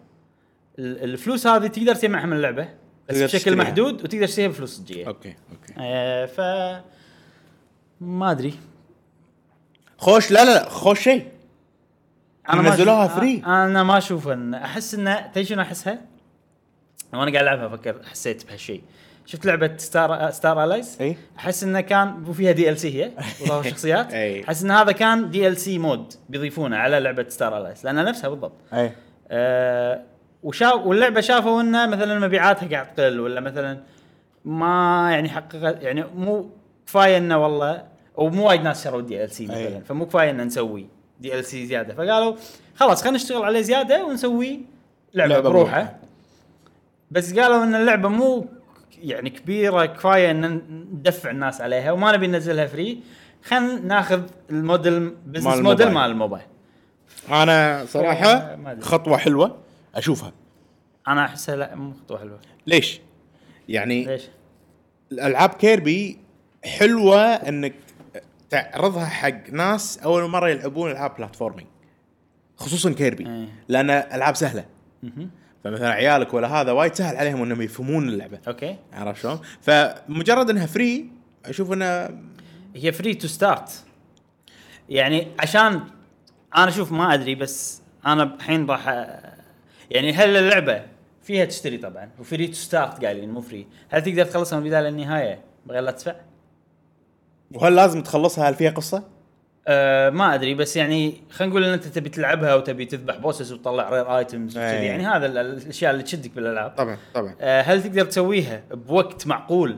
S1: ال- الفلوس هذه تقدر تجمعها من اللعبه بس
S2: تقدر
S1: بشكل
S2: تشتريها.
S1: محدود وتقدر تشتريها بفلوس صجيه
S2: اوكي اوكي
S1: أه ف ما ادري
S2: خوش لا لا لا خوش شيء
S1: ما
S2: نزلوها
S1: أشوف-
S2: free.
S1: انا ما اشوف ان احس انه تدري شنو احسها؟ وانا قاعد العبها افكر حسيت بهالشيء شفت لعبه ستار ستار الايز
S2: اي.
S1: احس انه كان وفيها دي ال سي هي وظهر شخصيات
S2: اي.
S1: احس ان هذا كان دي ال سي مود بيضيفونه على لعبه ستار الايز لانها نفسها بالضبط
S2: اي
S1: أه وشا واللعبه شافوا انه مثلا مبيعاتها قاعد تقل ولا مثلا ما يعني حققت يعني مو كفايه انه والله او مو وايد ناس شروا دي ال سي مثلا
S2: أي.
S1: فمو كفايه ان نسوي دي ال سي زياده فقالوا خلاص خلينا نشتغل عليه زياده ونسوي لعبه,
S2: لعبة
S1: بروحه
S2: بروحها.
S1: بس قالوا ان اللعبه مو يعني كبيره كفايه ان ندفع الناس عليها وما نبي ننزلها فري خلينا ناخذ الموديل بزنس موديل
S2: الموبايل.
S1: مال الموبايل
S2: انا
S1: آه،
S2: صراحه
S1: ما أدري.
S2: خطوه حلوه اشوفها
S1: انا احسها لا مو خطوه حلوه
S2: ليش؟ يعني
S1: ليش؟
S2: الالعاب كيربي حلوه انك تعرضها حق ناس اول مره يلعبون العاب بلاتفورمينج خصوصا كيربي
S1: إيه.
S2: لان العاب سهله
S1: مهم.
S2: فمثلا عيالك ولا هذا وايد سهل عليهم انهم يفهمون اللعبه
S1: اوكي
S2: عرفت شلون؟ فمجرد انها فري اشوف انها
S1: هي فري تو ستارت يعني عشان انا اشوف ما ادري بس انا الحين راح أ- يعني هل اللعبه فيها تشتري طبعا وفري تو ستارت قايلين مو فري هل تقدر تخلصها من البدايه للنهايه من غير لا تدفع؟
S2: وهل لازم تخلصها هل فيها قصه؟
S1: أه ما ادري بس يعني خلينا نقول ان انت تبي تلعبها وتبي تذبح بوسس وتطلع رير ايتمز
S2: أي.
S1: يعني هذا ال- الاشياء اللي تشدك بالالعاب
S2: طبعا طبعا
S1: أه هل تقدر تسويها بوقت معقول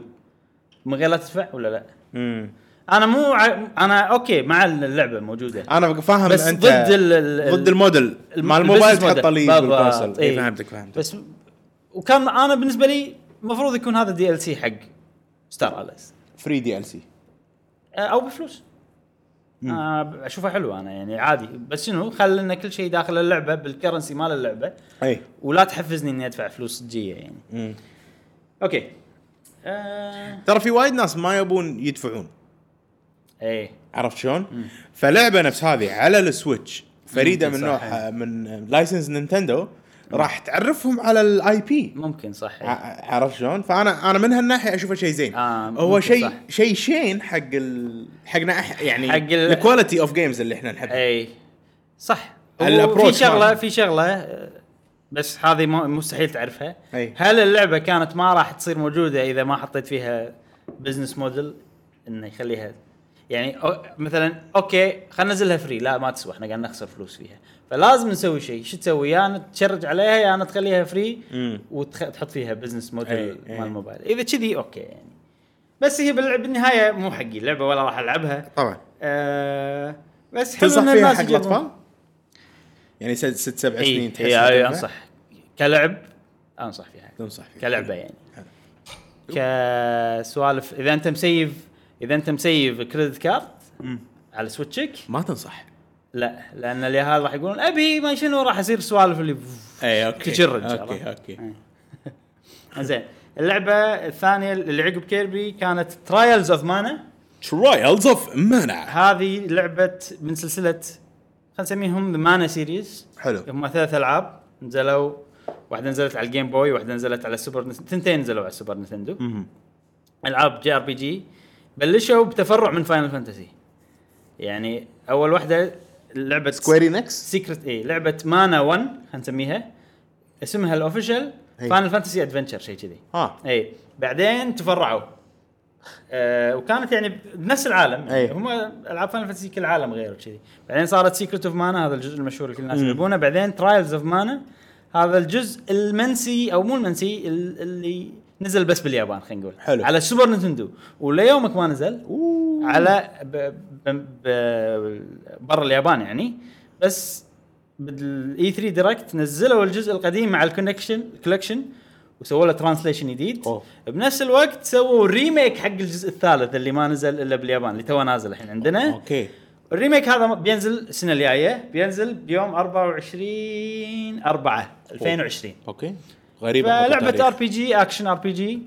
S1: من غير لا تدفع ولا لا؟
S2: امم
S1: انا مو ع... انا اوكي مع اللعبه موجوده
S2: انا فاهم
S1: بس
S2: انت
S1: ضد ال- ال-
S2: ضد الموديل
S1: الم-
S2: مع الموبايل
S1: البزنس
S2: تحطه لي
S1: موديل.
S2: بالكونسل
S1: بالضبط،
S2: اي
S1: إي.
S2: فهمتك فهمتك
S1: بس وكان انا بالنسبه لي المفروض يكون هذا دي ال سي حق ستار الايز
S2: فري دي ال سي
S1: او آه، بفلوس آه اشوفها حلوه انا يعني عادي بس شنو خلينا كل شيء داخل اللعبه بالكرنسي مال اللعبه
S2: اي
S1: ولا تحفزني اني ادفع فلوس صجيه يعني اوكي آه
S2: ترى في وايد ناس ما يبون يدفعون
S1: ايه
S2: عرفت شلون؟ فلعبه نفس هذه على السويتش فريده
S1: ممكن
S2: من
S1: صح،
S2: نوعها من لايسنس نينتندو راح تعرفهم على الاي بي
S1: ممكن صح
S2: آه،
S1: إيه.
S2: ع- عرفت شلون؟ فانا انا من هالناحيه اشوفه شيء زين
S1: آه،
S2: هو
S1: ممكن
S2: شيء
S1: صح.
S2: شيء شين حق ال... حقنا أح... يعني
S1: حق ال- إيه.
S2: الكواليتي اوف جيمز اللي احنا نحبها
S1: اي صح
S2: الأبروتش
S1: في شغله
S2: مالها.
S1: في شغله آه، بس هذه مو- مستحيل تعرفها
S2: أي.
S1: هل اللعبه كانت ما راح تصير موجوده اذا ما حطيت فيها بزنس موديل انه يخليها يعني أو مثلا اوكي خلينا ننزلها فري لا ما تسوى احنا قاعد نخسر فلوس فيها فلازم نسوي شيء شو تسوي يا يعني تشرج عليها يا يعني تخليها فري
S2: مم.
S1: وتحط فيها بزنس
S2: أي،
S1: موديل
S2: أي.
S1: مال الموبايل اذا كذي اوكي يعني بس هي باللعب بالنهايه مو حقي اللعبه ولا راح العبها
S2: طبعا
S1: آه بس حلو
S2: تنصح
S1: ان
S2: فيها
S1: الناس
S2: حق
S1: يجربون.
S2: الاطفال؟ يعني ست ست سبع
S1: اي
S2: سنين تحس
S1: اي اي
S2: إنها تنفع؟
S1: انصح إيه، كلعب انصح فيها
S2: تنصح فيها
S1: كلعبه يعني كسوالف اذا انت مسيف اذا انت مسيف كريدت كارد على سويتشك
S2: ما تنصح
S1: لا لان اليهال راح يقولون ابي ما شنو راح يصير سوالف اللي
S2: اي اوكي
S1: تشرج،
S2: اوكي
S1: عرفت؟
S2: اوكي
S1: زين اللعبه الثانيه اللي عقب كيربي كانت ترايلز اوف مانا
S2: ترايلز اوف مانع
S1: هذه لعبه من سلسله خلينا نسميهم ذا مانا سيريز
S2: حلو
S1: هم ثلاث العاب نزلوا واحده نزلت على الجيم بوي واحده نزلت على السوبر نس... تنتين نزلوا على السوبر نتندو العاب جي ار بي جي بلشوا بتفرع من فاينل فانتسي يعني اول واحده لعبه
S2: سكويري نكس
S1: سيكرت اي لعبه مانا 1 خلينا نسميها اسمها الاوفيشال
S2: أي.
S1: فاينل فانتسي ادفنتشر شيء كذي
S2: اه
S1: اي إيه. بعدين تفرعوا آه وكانت يعني بنفس العالم
S2: أي.
S1: يعني هم العاب فاينل فانتسي كل عالم غير وكذي بعدين صارت سيكرت اوف مانا هذا الجزء المشهور اللي كل الناس يلعبونه بعدين ترايلز اوف مانا هذا الجزء المنسي او مو المنسي ال- اللي نزل بس باليابان خلينا نقول
S2: حلو.
S1: على السوبر نينتندو وليومك ما نزل
S2: أوه.
S1: على ب... ب... ب... برا اليابان يعني بس بالاي 3 دايركت نزلوا الجزء القديم مع الكونكشن كولكشن وسووا له ترانسليشن جديد
S2: أوه.
S1: بنفس الوقت سووا ريميك حق الجزء الثالث اللي ما نزل الا باليابان اللي تو نازل الحين عندنا
S2: اوكي
S1: الريميك هذا بينزل السنه الجايه بينزل بيوم 24 4 2020
S2: اوكي غريبه
S1: فلعبه ار
S2: تاريخ.
S1: بي جي اكشن ار بي جي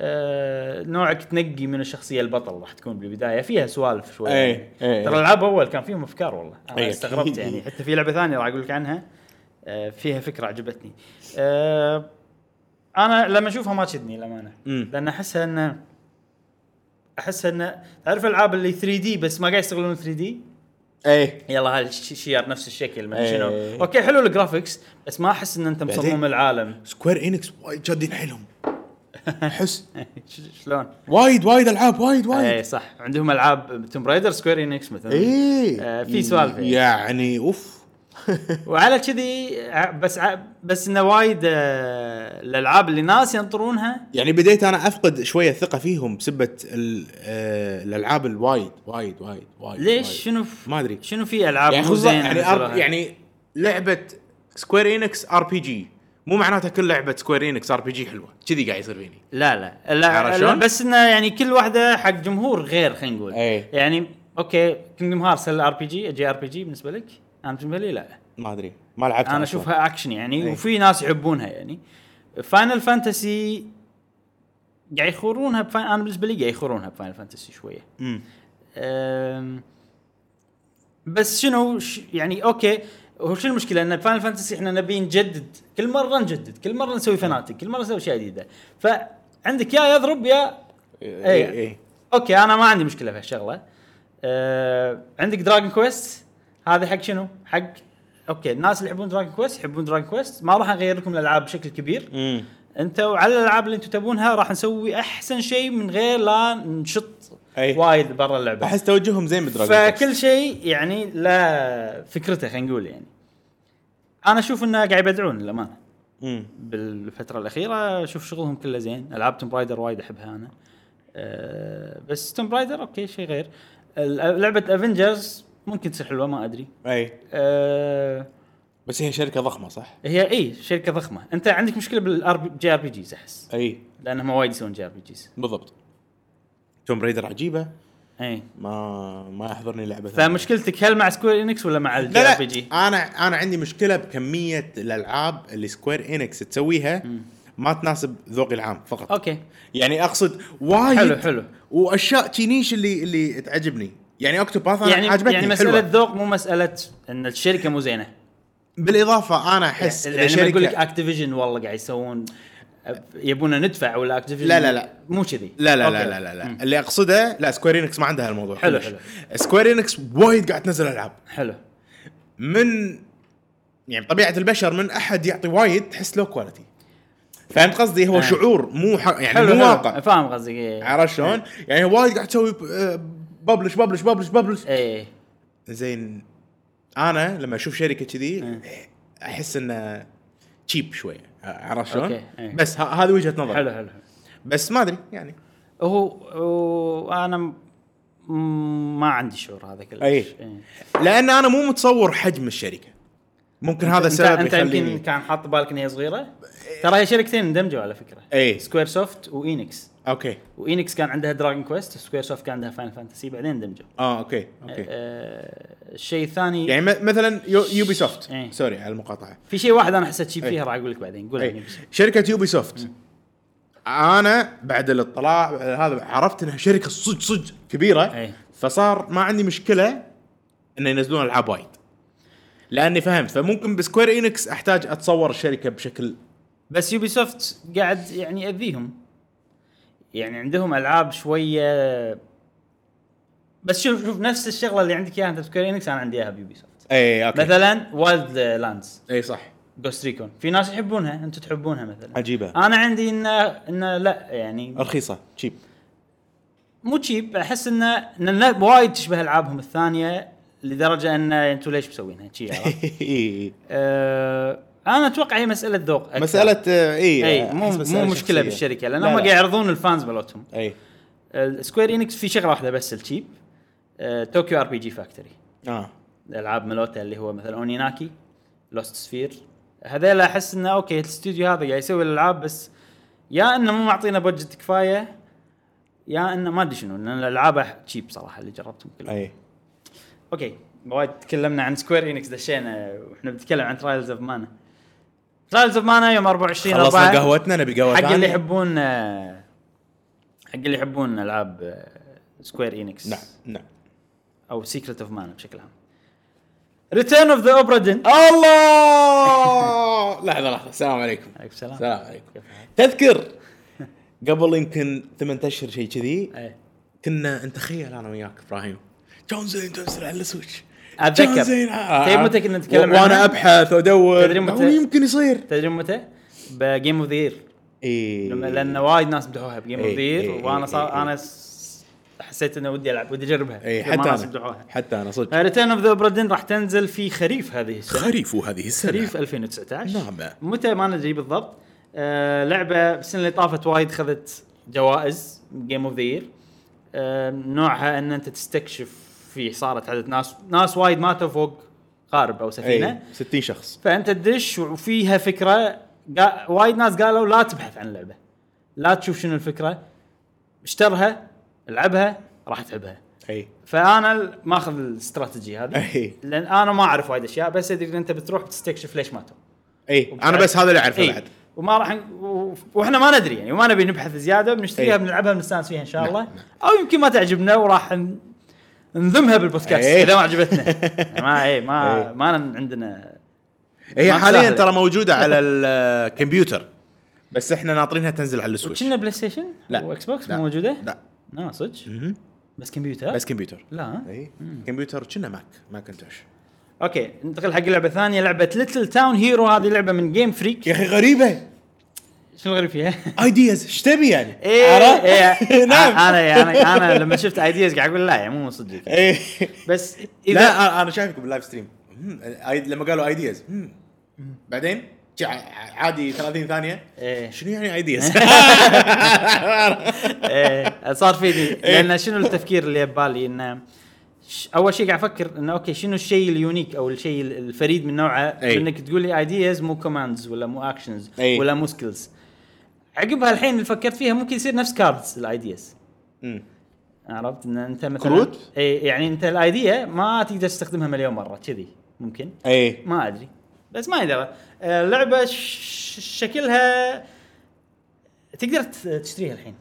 S1: آه، نوعك تنقي من الشخصيه البطل راح تكون بالبدايه فيها سوالف شوي
S2: إيه،
S1: يعني.
S2: إيه،
S1: ترى
S2: إيه.
S1: الالعاب اول كان فيهم افكار والله
S2: إيه،
S1: انا استغربت
S2: أكيد.
S1: يعني حتى في لعبه ثانيه راح اقول لك عنها آه، فيها فكره عجبتني آه، انا لما اشوفها ما تشدني للامانه
S2: مم.
S1: لان احسها انه احسها انه تعرف الالعاب اللي 3 دي بس ما قاعد يستغلون 3 دي
S2: ايه
S1: يلا هالشير نفس الشكل ما
S2: إيه.
S1: شنو اوكي حلو الجرافكس بس ما احس ان انت
S2: بعدين-
S1: مصمم العالم *laughs*
S2: سكوير انكس وايد جادين حيلهم احس
S1: ش- شلون؟
S2: وايد وايد العاب وايد
S1: اي
S2: وايد
S1: إيه، صح عندهم العاب توم رايدر سكوير انكس مثلا آه،
S2: ايه
S1: في سوالف يعني.
S2: يعني اوف
S1: وعلى كذي ع- بس ع- بس انه وايد آه، الالعاب اللي ناس ينطرونها
S2: يعني بديت انا افقد شويه الثقه فيهم بسبه ال- آه، الالعاب الوايد وايد وايد وايد
S1: ليش
S2: وايد.
S1: شنو ف-
S2: ما ادري
S1: شنو في العاب
S2: يعني
S1: مو
S2: خصوصا
S1: زينة
S2: يعني
S1: نزلوها؟
S2: أر... يعني لعبه سكوير انكس ار بي جي مو معناتها كل لعبه سكوير انكس ار بي جي حلوه كذي قاعد يصير فيني
S1: لا لا
S2: عرفت
S1: لا, لا
S2: شلون؟
S1: بس انه يعني كل واحده حق جمهور غير خلينا نقول
S2: إيه.
S1: يعني اوكي كينجدم هارتس هل ار بي جي جي ار بي جي بالنسبه لك؟ انا بالنسبه لي لا
S2: ما ادري ما لعبت
S1: انا اشوفها اكشن يعني
S2: إيه.
S1: وفي ناس يحبونها يعني فاينل فانتسي قاعد يخورونها بفاين... انا بالنسبه لي قاعد يخورونها بفاينل فانتسي شويه
S2: مم.
S1: أم... بس شنو ش... يعني اوكي هو شنو المشكله ان فاينل فانتسي احنا نبي نجدد كل مره نجدد كل مره نسوي فناتك كل مره نسوي اشياء جديده فعندك يا يضرب يا
S2: اي
S1: إيه.
S2: اي
S1: اوكي انا ما عندي مشكله في هالشغله أه عندك دراجون كويست هذا حق شنو؟ حق اوكي الناس اللي يحبون دراجون كويست يحبون دراجون كويست ما راح نغير لكم الالعاب بشكل كبير
S2: مم.
S1: انتوا على الالعاب اللي انتم تبونها راح نسوي احسن شيء من غير لا نشط
S2: أي.
S1: وايد برا اللعبه
S2: احس توجههم زين بالدراجون
S1: فكل شيء يعني لا فكرته خلينا نقول يعني انا اشوف انه قاعد يبدعون للامانه
S2: مم.
S1: بالفتره الاخيره اشوف شغلهم كله زين العاب توم برايدر وايد احبها انا أه بس توم برايدر اوكي شيء غير ال- لعبه افنجرز ممكن تصير حلوه ما ادري
S2: اي
S1: أه
S2: بس هي شركه ضخمه صح؟
S1: هي اي شركه ضخمه انت عندك مشكله بالجي ار بي جيز احس
S2: اي
S1: لانهم وايد يسوون جي ار بي جيز
S2: بالضبط توم ريدر عجيبه
S1: اي
S2: ما ما يحضرني لعبه ثانية.
S1: فمشكلتك هل مع سكوير انكس ولا مع الجي ار بي جي؟
S2: طيب. انا انا عندي مشكله بكميه الالعاب اللي سكوير انكس تسويها ما تناسب ذوقي العام فقط
S1: اوكي
S2: يعني اقصد وايد
S1: حلو، حلو.
S2: واشياء تشينيش اللي اللي تعجبني يعني اوكتوباث انا
S1: يعني
S2: عجبتني
S1: يعني مساله
S2: حلوه
S1: ذوق مو مساله ان الشركه مو زينه
S2: بالاضافه انا احس
S1: يعني
S2: إذا
S1: لما
S2: شركة-
S1: يقول لك اكتيفيجن والله قاعد يسوون يبونا ندفع ولا اكتيفيجن
S2: لا، لا، لا.
S1: مو كذي
S2: لا لا
S1: أوكي.
S2: لا لا لا, لا.
S1: مم.
S2: اللي اقصده لا سكوير انكس ما عندها هالموضوع
S1: حلو،
S2: كلش. سكوير انكس وايد قاعد تنزل العاب
S1: حلو
S2: من يعني طبيعه البشر من احد يعطي وايد تحس لو كواليتي فهمت قصدي هو
S1: آه.
S2: شعور مو ح... يعني
S1: حلو
S2: مو
S1: حلو.
S2: واقع
S1: فاهم قصدك ايه
S2: عرفت شلون؟ يعني وايد قاعد تسوي ببلش ببلش ببلش ببلش
S1: ايه
S2: زين انا لما اشوف شركه كذي
S1: إيه.
S2: احس انه تشيب شويه عرفت شلون؟
S1: أوكي، إيه.
S2: بس ه- هذه وجهه نظري
S1: حلو حلو
S2: بس ما ادري يعني
S1: هو هو انا م- م- ما عندي شعور هذا إيه. كله
S2: أي. لان انا مو متصور حجم الشركه ممكن هذا
S1: انت
S2: السبب
S1: انت يمكن
S2: يخليني
S1: كان حاط بالك ان هي صغيره ترى هي شركتين اندمجوا على فكره
S2: إيه.
S1: سكوير سوفت واينكس
S2: اوكي
S1: واينكس كان عندها دراجون كويست سكوير سوفت كان عندها فاين فانتسي بعدين اندمجوا
S2: اه اوكي اوكي
S1: آه، الشيء الثاني
S2: يعني م- مثلا يو- يوبي سوفت
S1: إيه.
S2: سوري على إيه. المقاطعه
S1: في شيء واحد انا حسيت شيء
S2: أي.
S1: فيها راح اقول لك بعدين قول
S2: أي.
S1: يعني بس.
S2: شركه يوبي سوفت
S1: إيه.
S2: انا بعد الاطلاع على هذا عرفت انها شركه صدق صدق كبيره
S1: أي.
S2: فصار ما عندي مشكله ان ينزلون العاب وايد لاني فهمت فممكن بسكوير انكس احتاج اتصور الشركه بشكل
S1: بس يوبي سوفت قاعد يعني ياذيهم يعني عندهم العاب شويه بس شوف شوف نفس الشغله اللي عندك اياها انت بسكوير انكس انا عندي اياها بيوبي سوفت
S2: اي اوكي
S1: مثلا وايلد لاندز
S2: اي إيه، صح
S1: جوست ريكون في ناس يحبونها انتم تحبونها مثلا
S2: عجيبه
S1: انا عندي انه انه لا يعني
S2: رخيصه *laughs* تشيب
S1: مو تشيب احس انه إن النا- وايد تشبه العابهم الثانيه لدرجه انه انتم ليش مسوينها شي عرفت؟ آه، انا اتوقع هي مساله ذوق أكثر.
S2: مساله آه، اي
S1: اي
S2: أحس
S1: مو
S2: مسألة
S1: إيه، مو مشكله
S2: شخصية.
S1: بالشركه لان
S2: لا،
S1: هم
S2: لا. إيه.
S1: قاعد يعرضون الفانز مالتهم
S2: اي
S1: سكوير انكس في شغله واحده بس آه، التشيب طوكيو ار بي جي فاكتوري
S2: اه
S1: الالعاب مالوتا اللي هو مثلا اونيناكي لوست سفير هذيلا احس انه اوكي الاستوديو هذا قاعد يسوي الالعاب بس يا انه مو معطينا بجت كفايه يا انه ما ادري شنو لان الالعاب تشيب صراحه اللي جربتهم كلهم
S2: اي
S1: اوكي وايد تكلمنا عن سكوير انكس دشينا واحنا بنتكلم عن ترايلز اوف مانا ترايلز اوف مانا يوم 24
S2: خلصنا
S1: أربعة.
S2: قهوتنا نبي قهوه
S1: حق اللي
S2: ثانية.
S1: يحبون آه، حق اللي يحبون العاب آه، سكوير انكس
S2: نعم نعم
S1: او سيكرت اوف مان بشكل عام ريتيرن اوف ذا اوبرا دين
S2: *laughs* الله لحظه لحظه السلام عليكم
S1: عليكم السلام
S2: السلام عليكم
S1: كيف حالك؟
S2: تذكر
S1: *laughs*
S2: قبل يمكن ثمان اشهر شيء كذي
S1: إيه.
S2: كنا نتخيل انا وياك ابراهيم جون زين تنزل على السويتش
S1: أتذكر.
S2: جون زين، آه.
S1: تدري متى كنا نتكلم
S2: و- وانا
S1: عنها؟
S2: ابحث وادور
S1: تدري متى؟
S2: هو يمكن يصير
S1: تدري متى؟ بجيم اوف ذا يير إيه.
S2: اي
S1: لان وايد ناس مدحوها بجيم اوف
S2: إيه،
S1: ذا
S2: إيه،
S1: يير وانا
S2: إيه،
S1: صار
S2: إيه.
S1: انا س- حسيت انه ودي العب ودي اجربها
S2: اي
S1: ما
S2: إيه، حتى
S1: ناس مدحوها
S2: انا حتى انا صدق
S1: ريتيرن اوف ذا اوبرا دين راح تنزل في خريف هذه السنه
S2: خريف هذه السنه
S1: خريف 2019
S2: نعم.
S1: متى ما ندري بالضبط آه لعبه السنه اللي طافت وايد خذت جوائز جيم اوف ذا آه نوعها ان انت تستكشف في صارت عدد ناس ناس وايد ماتوا فوق قارب او سفينه
S2: اي 60 إيه، شخص
S1: فانت تدش وفيها فكره قا... وايد ناس قالوا لا تبحث عن اللعبه لا تشوف شنو الفكره اشترها العبها راح تحبها
S2: اي
S1: فانا ال- ماخذ الاستراتيجي هذه
S2: أي.
S1: لان انا ما اعرف وايد اشياء بس ادري ان انت بتروح بتستكشف ليش ماتوا
S2: اي انا إيه. بس هذا اللي
S1: إيه.
S2: اعرفه بعد
S1: وما راح ن- و- واحنا ما ندري يعني وما نبي نبحث زياده بنشتريها
S2: أي.
S1: بنلعبها بنستانس فيها ان
S2: نعم.
S1: شاء الله او يمكن ما تعجبنا وراح ن- نذمها بالبودكاست
S2: أي.
S1: اذا ما عجبتنا
S2: *laughs*
S1: يعني ما اي ما
S2: أي.
S1: ما ن- عندنا
S2: هي
S1: ما
S2: حاليا
S1: تسهل.
S2: ترى موجوده على *laughs* الكمبيوتر بس احنا ناطرينها تنزل على السويتش
S1: كنا بلاي ستيشن
S2: لا.
S1: واكس بوكس
S2: لا.
S1: مو موجوده
S2: لا
S1: لا صدق
S2: مهم.
S1: بس كمبيوتر
S2: بس كمبيوتر
S1: لا ها؟
S2: اي كمبيوتر كنا ماك ماكنتوش
S1: اوكي ننتقل حق لعبه ثانيه لعبه ليتل تاون هيرو هذه لعبه من جيم
S2: يا
S1: فريك
S2: اخي غريبه
S1: شنو الغريب فيها؟
S2: *laughs* ايدياز ايش تبي يعني؟
S1: ايه
S2: عرفت؟
S1: ايه
S2: نعم
S1: انا انا انا لما شفت ايدياز قاعد اقول لا يعني مو صدق
S2: *laughs* إيه.
S1: بس
S2: لا
S1: اذا
S2: أنا- انا شايفك باللايف ستريم مم، آي- لما قالوا ايدياز بعدين شي ع- عادي 30 ثانيه
S1: إيه.
S2: شنو يعني ايدياز؟ *laughs*
S1: إيه، صار في دي
S2: إيه.
S1: لان شنو التفكير اللي ببالي انه ش- اول شيء قاعد افكر انه اوكي شنو الشيء اليونيك او الشيء ال- الفريد من نوعه
S2: أي.
S1: انك تقول لي ايدياز مو كوماندز ولا مو اكشنز
S2: أي.
S1: ولا مو سكيلز عقبها الحين اللي فكرت فيها ممكن يصير نفس كاردز الايدياز عرفت ان انت مثلا
S2: كروت؟
S1: اي يعني انت الايديا ما تقدر تستخدمها مليون مره كذي ممكن
S2: اي
S1: ما ادري بس ما يدرى آه، اللعبه ش- شكلها تقدر ت- تشتريها الحين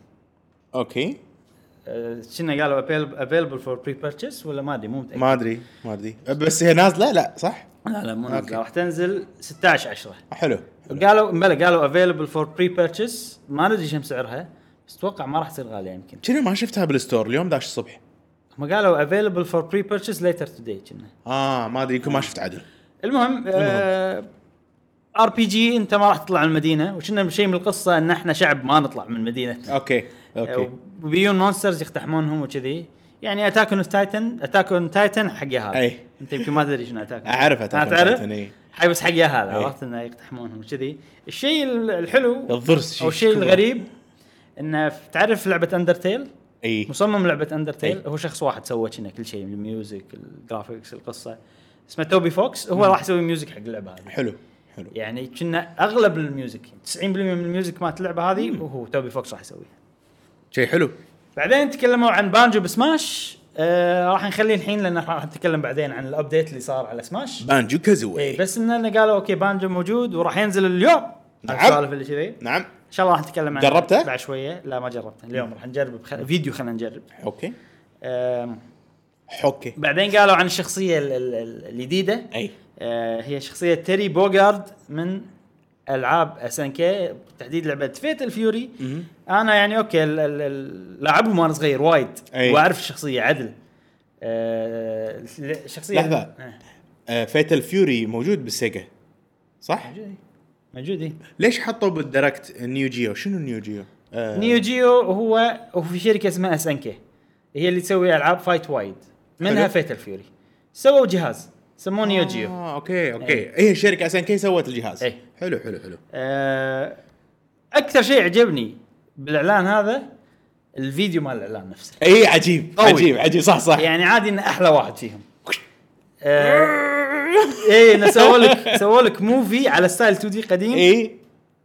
S2: اوكي
S1: آه، كنا قالوا available for pre-purchase ولا ما ادري مو متاكد
S2: ما ادري ما ادري بس هي نازله لا صح؟
S1: لا لا مو
S2: أوكي.
S1: نازله راح تنزل 16 10
S2: حلو
S1: قالوا بلى قالوا available for pre-purchase ما ندري كم سعرها بس اتوقع ما راح تصير غاليه يمكن
S2: كنا ما شفتها بالستور اليوم داش الصبح
S1: هم قالوا available for pre-purchase later today كنا
S2: اه ما ادري يمكن ما شفت عدل
S1: المهم ار بي جي انت ما راح تطلع من المدينه وشنا شيء من القصه ان احنا شعب ما نطلع من مدينتنا
S2: اوكي اوكي
S1: وبيون مونسترز يقتحمونهم وكذي يعني اتاك اون تايتن اتاك اون تايتن حق يا هذا
S2: أي.
S1: انت يمكن ما تدري شنو اتاك
S2: أعرف Attack on
S1: تعرف؟
S2: Titan، أي.
S1: حي بس حق يا هذا
S2: أي.
S1: عرفت انه يقتحمونهم وكذي الشيء ال- الحلو
S2: الضرس شيء
S1: او الشيء
S2: كبير.
S1: الغريب انه ف- تعرف لعبه اندرتيل
S2: اي
S1: مصمم لعبه اندرتيل
S2: أي.
S1: هو شخص واحد سوى كنا كل شيء الميوزك الجرافيكس القصه اسمه توبي فوكس هو راح يسوي ميوزك حق اللعبه هذه
S2: حلو حلو
S1: يعني كنا اغلب الميوزك 90% من الميوزك مالت اللعبه هذه وهو توبي فوكس راح يسويها
S2: شيء حلو
S1: بعدين تكلموا عن بانجو بسماش آه راح نخليه الحين لان راح نتكلم بعدين عن الابديت اللي صار على سماش
S2: بانجو
S1: اي
S2: كازوي
S1: بس اننا قالوا اوكي بانجو موجود وراح ينزل اليوم
S2: نعم.
S1: السوالف اللي كذي
S2: نعم
S1: ان شاء الله راح نتكلم عنه
S2: جربته؟
S1: بعد شويه لا ما جربته اليوم راح نجرب بخ... فيديو خلينا نجرب
S2: اوكي
S1: آم،
S2: اوكي
S1: بعدين قالوا عن الشخصيه ال- ال- ال- الجديده
S2: اي
S1: آه، هي شخصية تيري بوغارد من العاب اس ان كي بالتحديد لعبة فيت الفيوري
S2: مهم.
S1: انا يعني اوكي ال- ال- ال- لاعبهم وانا صغير وايد
S2: أي.
S1: واعرف الشخصية عدل آه، الشخصية
S2: لحظة.
S1: آه،
S2: فيتل فيوري موجود بالسيجا صح؟
S1: موجود موجود إيه.
S2: ليش حطوا بالدركت نيو جيو؟ شنو نيو جيو؟ آه،
S1: نيو جيو هو هو في شركة اسمها اس ان كي هي اللي تسوي العاب فايت وايد منها
S2: حلو.
S1: فيت الفيوري سووا جهاز سموه نيو جيو
S2: اه اوكي اوكي هي الشركه اساسا كي سوت الجهاز
S1: أي.
S2: حلو حلو حلو
S1: آه، اكثر شيء عجبني بالاعلان هذا الفيديو مال الاعلان نفسه
S2: اي عجيب
S1: قوي.
S2: عجيب عجيب صح صح
S1: يعني عادي ان احلى واحد فيهم اي انه سووا لك سووا لك موفي على ستايل 2 دي قديم
S2: اي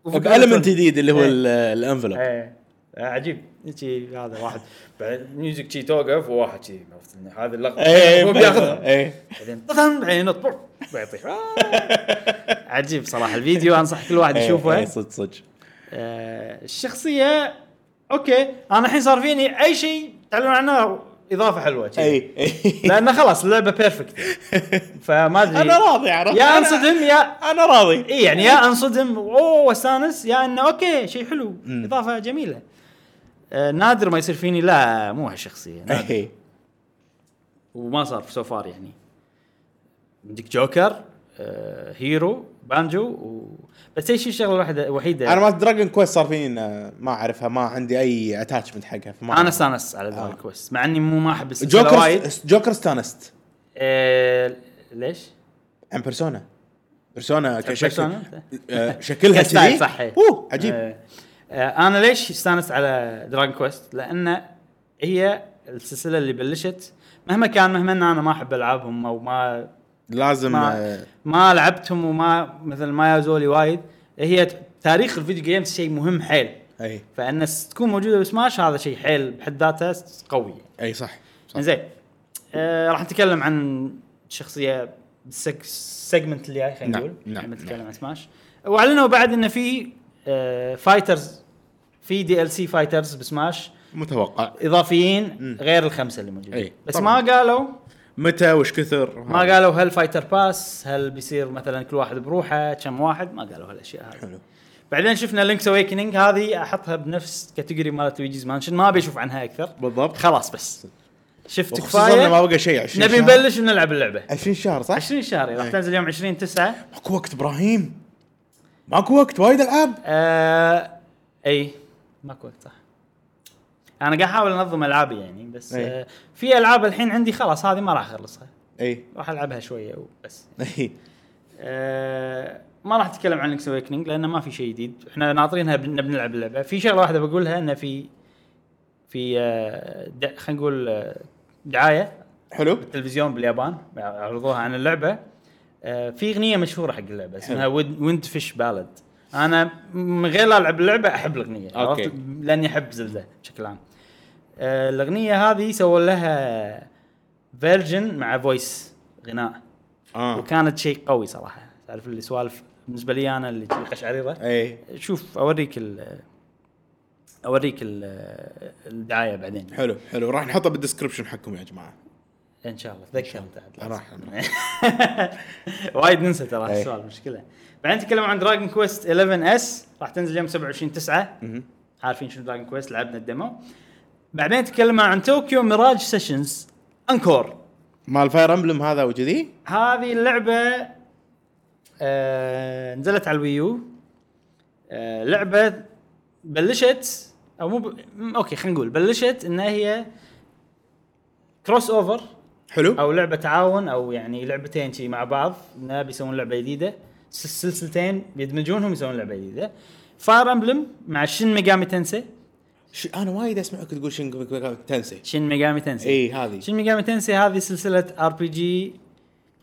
S1: وفي
S2: بالمنت جديد اللي هو
S1: إيه.
S2: ال- الانفلوب
S1: إيه. آه، عجيب شي هذا واحد بعد ميوزك شي توقف وواحد شي عرفت إنه هذه اللقطه
S2: إيه،
S1: هو بياخذها
S2: اي
S1: بعدين طن، بعدين ينط بوم، ويطيح آه. عجيب صراحه الفيديو انصح كل
S2: إيه،
S1: واحد يشوفه
S2: صدق صدق
S1: آه، الشخصيه اوكي انا الحين صار فيني اي شيء تعلن عنه اضافه حلوه شي.
S2: اي إي.
S1: لانه خلاص اللعبه بيرفكت فما ادري
S2: انا راضي عرفت
S1: يا
S2: إيه. *laughs* أنا-
S1: انصدم يا
S2: انا راضي
S1: اي يعني يا انصدم اوه واستانس يا انه اوكي شيء حلو
S2: مم.
S1: اضافه جميله آه نادر ما يصير فيني لا مو هالشخصيه
S2: *laughs*
S1: نادر.
S2: إي.
S1: وما صار سو فار يعني عندك جوكر آه هيرو بانجو و... بس ايش الشغله الوحيده الوحيده
S2: انا ما دراجون كويست صار فيني إنه آه، ما اعرفها ما عندي اي اتاتشمنت حقها فما
S1: انا استانس على دراجون
S2: آه.
S1: كويست مع اني مو ما احب السلسله
S2: جوكر
S1: وايد
S2: جوكر استانست
S1: آه ليش؟
S2: عن بيرسونا بيرسونا كشكل
S1: بيرسونا؟
S2: آه، شكلها
S1: كستايل
S2: كذي
S1: صح، إي.
S2: اوه عجيب
S1: آه آه، انا ليش استانست على دراجون كويست؟ لان هي السلسله اللي بلشت مهما كان مهما ان انا ما احب العابهم او ما
S2: لازم
S1: ما,
S2: آه،
S1: ما لعبتهم وما مثل ما يازولي وايد هي ت- تاريخ الفيديو جيمز شيء مهم حيل
S2: اي
S1: فان س- تكون موجوده بسماش هذا شيء حيل بحد ذاته س- قوي
S2: اي صح صح.
S1: زين آه راح نتكلم عن شخصيه السيجمنت اللي جاي خلينا
S2: نعم،
S1: نقول
S2: نعم،
S1: لما نتكلم
S2: نعم.
S1: عن سماش واعلنوا بعد انه في آه فايترز في دي ال سي فايترز بسماش
S2: متوقع
S1: اضافيين
S2: مم.
S1: غير الخمسه اللي موجودين
S2: أي،
S1: بس
S2: طبعاً.
S1: ما قالوا
S2: متى وش كثر
S1: ما قالوا هل فايتر باس هل بيصير مثلا كل واحد بروحه كم واحد ما قالوا هالاشياء هذه
S2: حلو
S1: بعدين شفنا لينكس اويكننج هذه احطها بنفس كاتيجوري مالت لويجيز مانشن ما ابي اشوف عنها اكثر
S2: بالضبط
S1: خلاص بس شفت
S2: وخصوصا إنه ما
S1: كفايه
S2: بقى شيء 20
S1: نبي
S2: شهر.
S1: نبلش ونلعب إيه. اللعبه
S2: 20 شهر صح؟
S1: 20 شهر راح
S2: أي.
S1: تنزل يوم 20 9
S2: ماكو وقت ابراهيم ماكو وقت وايد العاب
S1: آه اي ماكو وقت صح انا قاعد احاول انظم العابي يعني بس
S2: أي.
S1: آه في العاب الحين عندي خلاص هذه ما راح اخلصها
S2: اي
S1: راح العبها شويه وبس
S2: اي
S1: آه، ما راح اتكلم عن لينكس اويكننج لانه ما في شيء جديد احنا ناطرينها بن- بنلعب اللعبه في شغله واحده بقولها انه في في آه، دع- خلينا نقول آه، دعايه
S2: حلو
S1: تلفزيون باليابان عرضوها عن اللعبه آه، في اغنيه مشهوره حق اللعبه اسمها ويند فيش بالد انا من غير لا العب اللعبه احب الاغنيه
S2: أوكي.
S1: عرفت؟ لاني احب زلده بشكل عام آه، الاغنيه هذه سووا لها فيرجن مع فويس غناء
S2: اه
S1: وكانت شيء قوي صراحه تعرف اللي سوالف بالنسبه لي انا اللي شي قشعريره
S2: اي
S1: شوف اوريك ال اوريك ال الدعايه بعدين
S2: حلو حلو راح نحطه بالدسكربشن حقكم يا جماعه
S1: ان شاء الله تذكر انت عاد.
S2: راح
S1: *laughs* وايد ننسى ترى
S2: أي.
S1: السؤال مشكله بعدين تكلموا عن دراجون كويست 11 اس راح تنزل يوم 27 9
S2: مهم.
S1: عارفين شنو دراجون كويست لعبنا الديمو بعدين تكلموا عن طوكيو ميراج سيشنز انكور
S2: مال فاير امبلم هذا وكذي
S1: هذه اللعبة آه نزلت على الويو آه لعبة بلشت او مو ب... م- اوكي خلينا نقول بلشت انها هي كروس اوفر
S2: حلو
S1: او لعبة تعاون او يعني لعبتين شي مع بعض انها بيسوون لعبة جديدة س- سلسلتين بيدمجونهم يسوون لعبة جديدة فاير امبلم مع شن ميجامي تنسي
S2: ش... انا وايد اسمعك تقول شنك تنسي
S1: شن ميجامي تنسي
S2: اي هذه
S1: شن ميجامي تنسي هذه سلسلة ار بي جي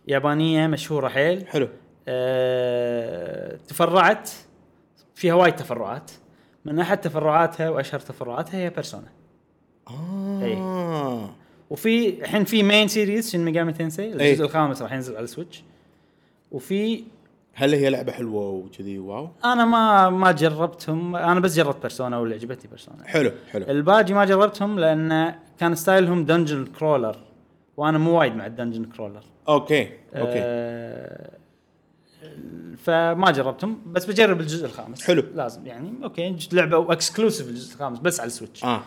S1: يابانية مشهورة حيل
S2: حلو
S1: آه، تفرعت فيها وايد تفرعات من احد تفرعاتها واشهر تفرعاتها هي بيرسونا
S2: اه
S1: وفي الحين في مين سيريز شن ميجامي تنسي
S2: إي.
S1: الجزء الخامس راح ينزل على السويتش وفي
S2: هل هي لعبه حلوه وكذي واو
S1: انا ما ما جربتهم انا بس جربت بيرسونا واللي عجبتني بيرسونا
S2: حلو حلو
S1: الباقي ما جربتهم لان كان ستايلهم دنجن كرولر وانا مو وايد مع الدنجن كرولر
S2: اوكي اوكي
S1: آه، فما جربتهم بس بجرب الجزء الخامس
S2: حلو.
S1: لازم يعني اوكي ج- لعبه اكسكلوسيف الجزء الخامس بس على السويتش
S2: اه اه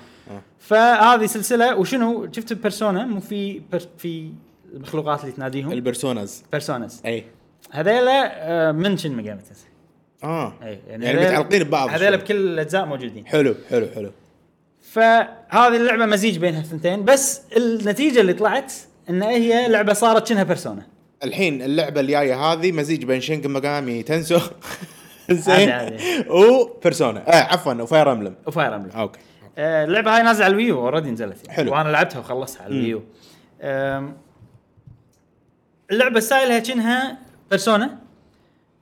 S1: فهذه سلسله وشنو شفت بيرسونا مو في بر في المخلوقات اللي تناديهم
S2: البرسوناز
S1: بيرسوناز
S2: اي
S1: هذيلا آه، من شن ميجامي تنسي
S2: اه
S1: اي
S2: يعني
S1: هذيلا-
S2: متعلقين ببعض
S1: هذيلا
S2: شوي.
S1: بكل الاجزاء موجودين
S2: حلو حلو حلو
S1: فهذه اللعبه مزيج بين هالثنتين بس النتيجه اللي طلعت ان هي لعبه صارت شنها بيرسونا
S2: الحين اللعبه الجايه هذه مزيج بين شينج مقامي تنسو
S1: عادي،
S2: *laughs* زين
S1: عادي.
S2: وبيرسونا آه عفوا وفاير امبلم
S1: وفاير امبلم
S2: اوكي
S1: آه، اللعبه هاي نازله على الويو اوريدي نزلت يعني
S2: حلو.
S1: وانا لعبتها وخلصتها على الويو آم، اللعبه ستايلها كأنها بيرسونا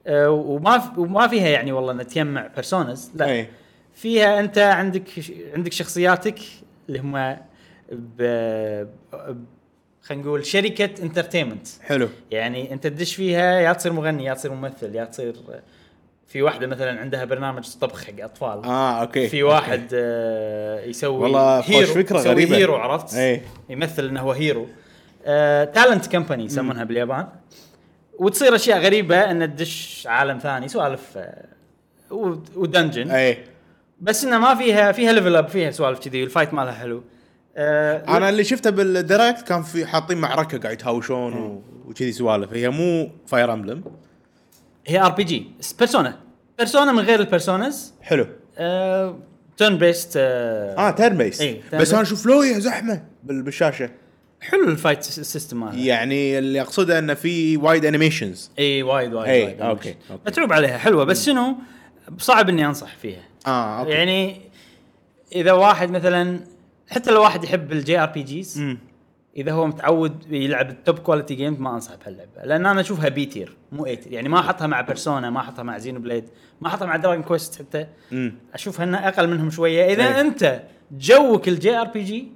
S1: آه، وما ف- وما فيها يعني والله انها تجمع بيرسونز لا
S2: اي
S1: فيها انت عندك عندك شخصياتك اللي هم ب ب- خلينا نقول شركه انترتينمنت
S2: حلو
S1: يعني انت تدش فيها يا تصير مغني يا تصير ممثل يا تصير في واحده مثلا عندها برنامج طبخ حق اطفال
S2: اه اوكي
S1: في واحد آه، يسوي
S2: والله خوش
S1: هيرو
S2: فكرة
S1: يسوي
S2: غريبة.
S1: هيرو عرفت؟
S2: إيه.
S1: يمثل انه هو هيرو تالنت كمباني يسمونها باليابان وتصير اشياء غريبه ان تدش عالم ثاني سوالف آه، ود- ودنجن
S2: اي
S1: بس انه ما فيها فيها ليفل اب فيها سوالف كذي الفايت مالها حلو آه،
S2: انا اللي شفته بالدايركت كان في حاطين معركه قاعد يتهاوشون و- وكذي سوالف هي مو فاير امبلم
S1: هي ار بي جي بيرسونا بيرسونا من غير البيرسونز
S2: حلو
S1: آه، تيرن بيست
S2: اه تيرن بيس
S1: إيه، turn
S2: بس
S1: based.
S2: انا اشوف لويا زحمه بال- بالشاشه
S1: حلو الفايت سيستم مالها
S2: يعني اللي اقصده انه في وايد انيميشنز
S1: اي وايد وايد
S2: إي،
S1: وايد
S2: أوكي،
S1: أمشي.
S2: أوكي.
S1: متعوب عليها حلوه بس شنو صعب اني انصح فيها
S2: اه اوكي
S1: يعني اذا واحد مثلا حتى لو واحد يحب الجي ار بي جيز
S2: مم.
S1: اذا هو متعود يلعب التوب كواليتي جيمز ما انصح بهاللعبه لان انا اشوفها بي تير مو اي تير يعني ما احطها مع بيرسونا ما احطها مع زينو بليد ما احطها مع دراجون كويست حتى
S2: مم.
S1: اشوفها انها اقل منهم شويه اذا
S2: إي.
S1: انت جوك الجي ار بي جي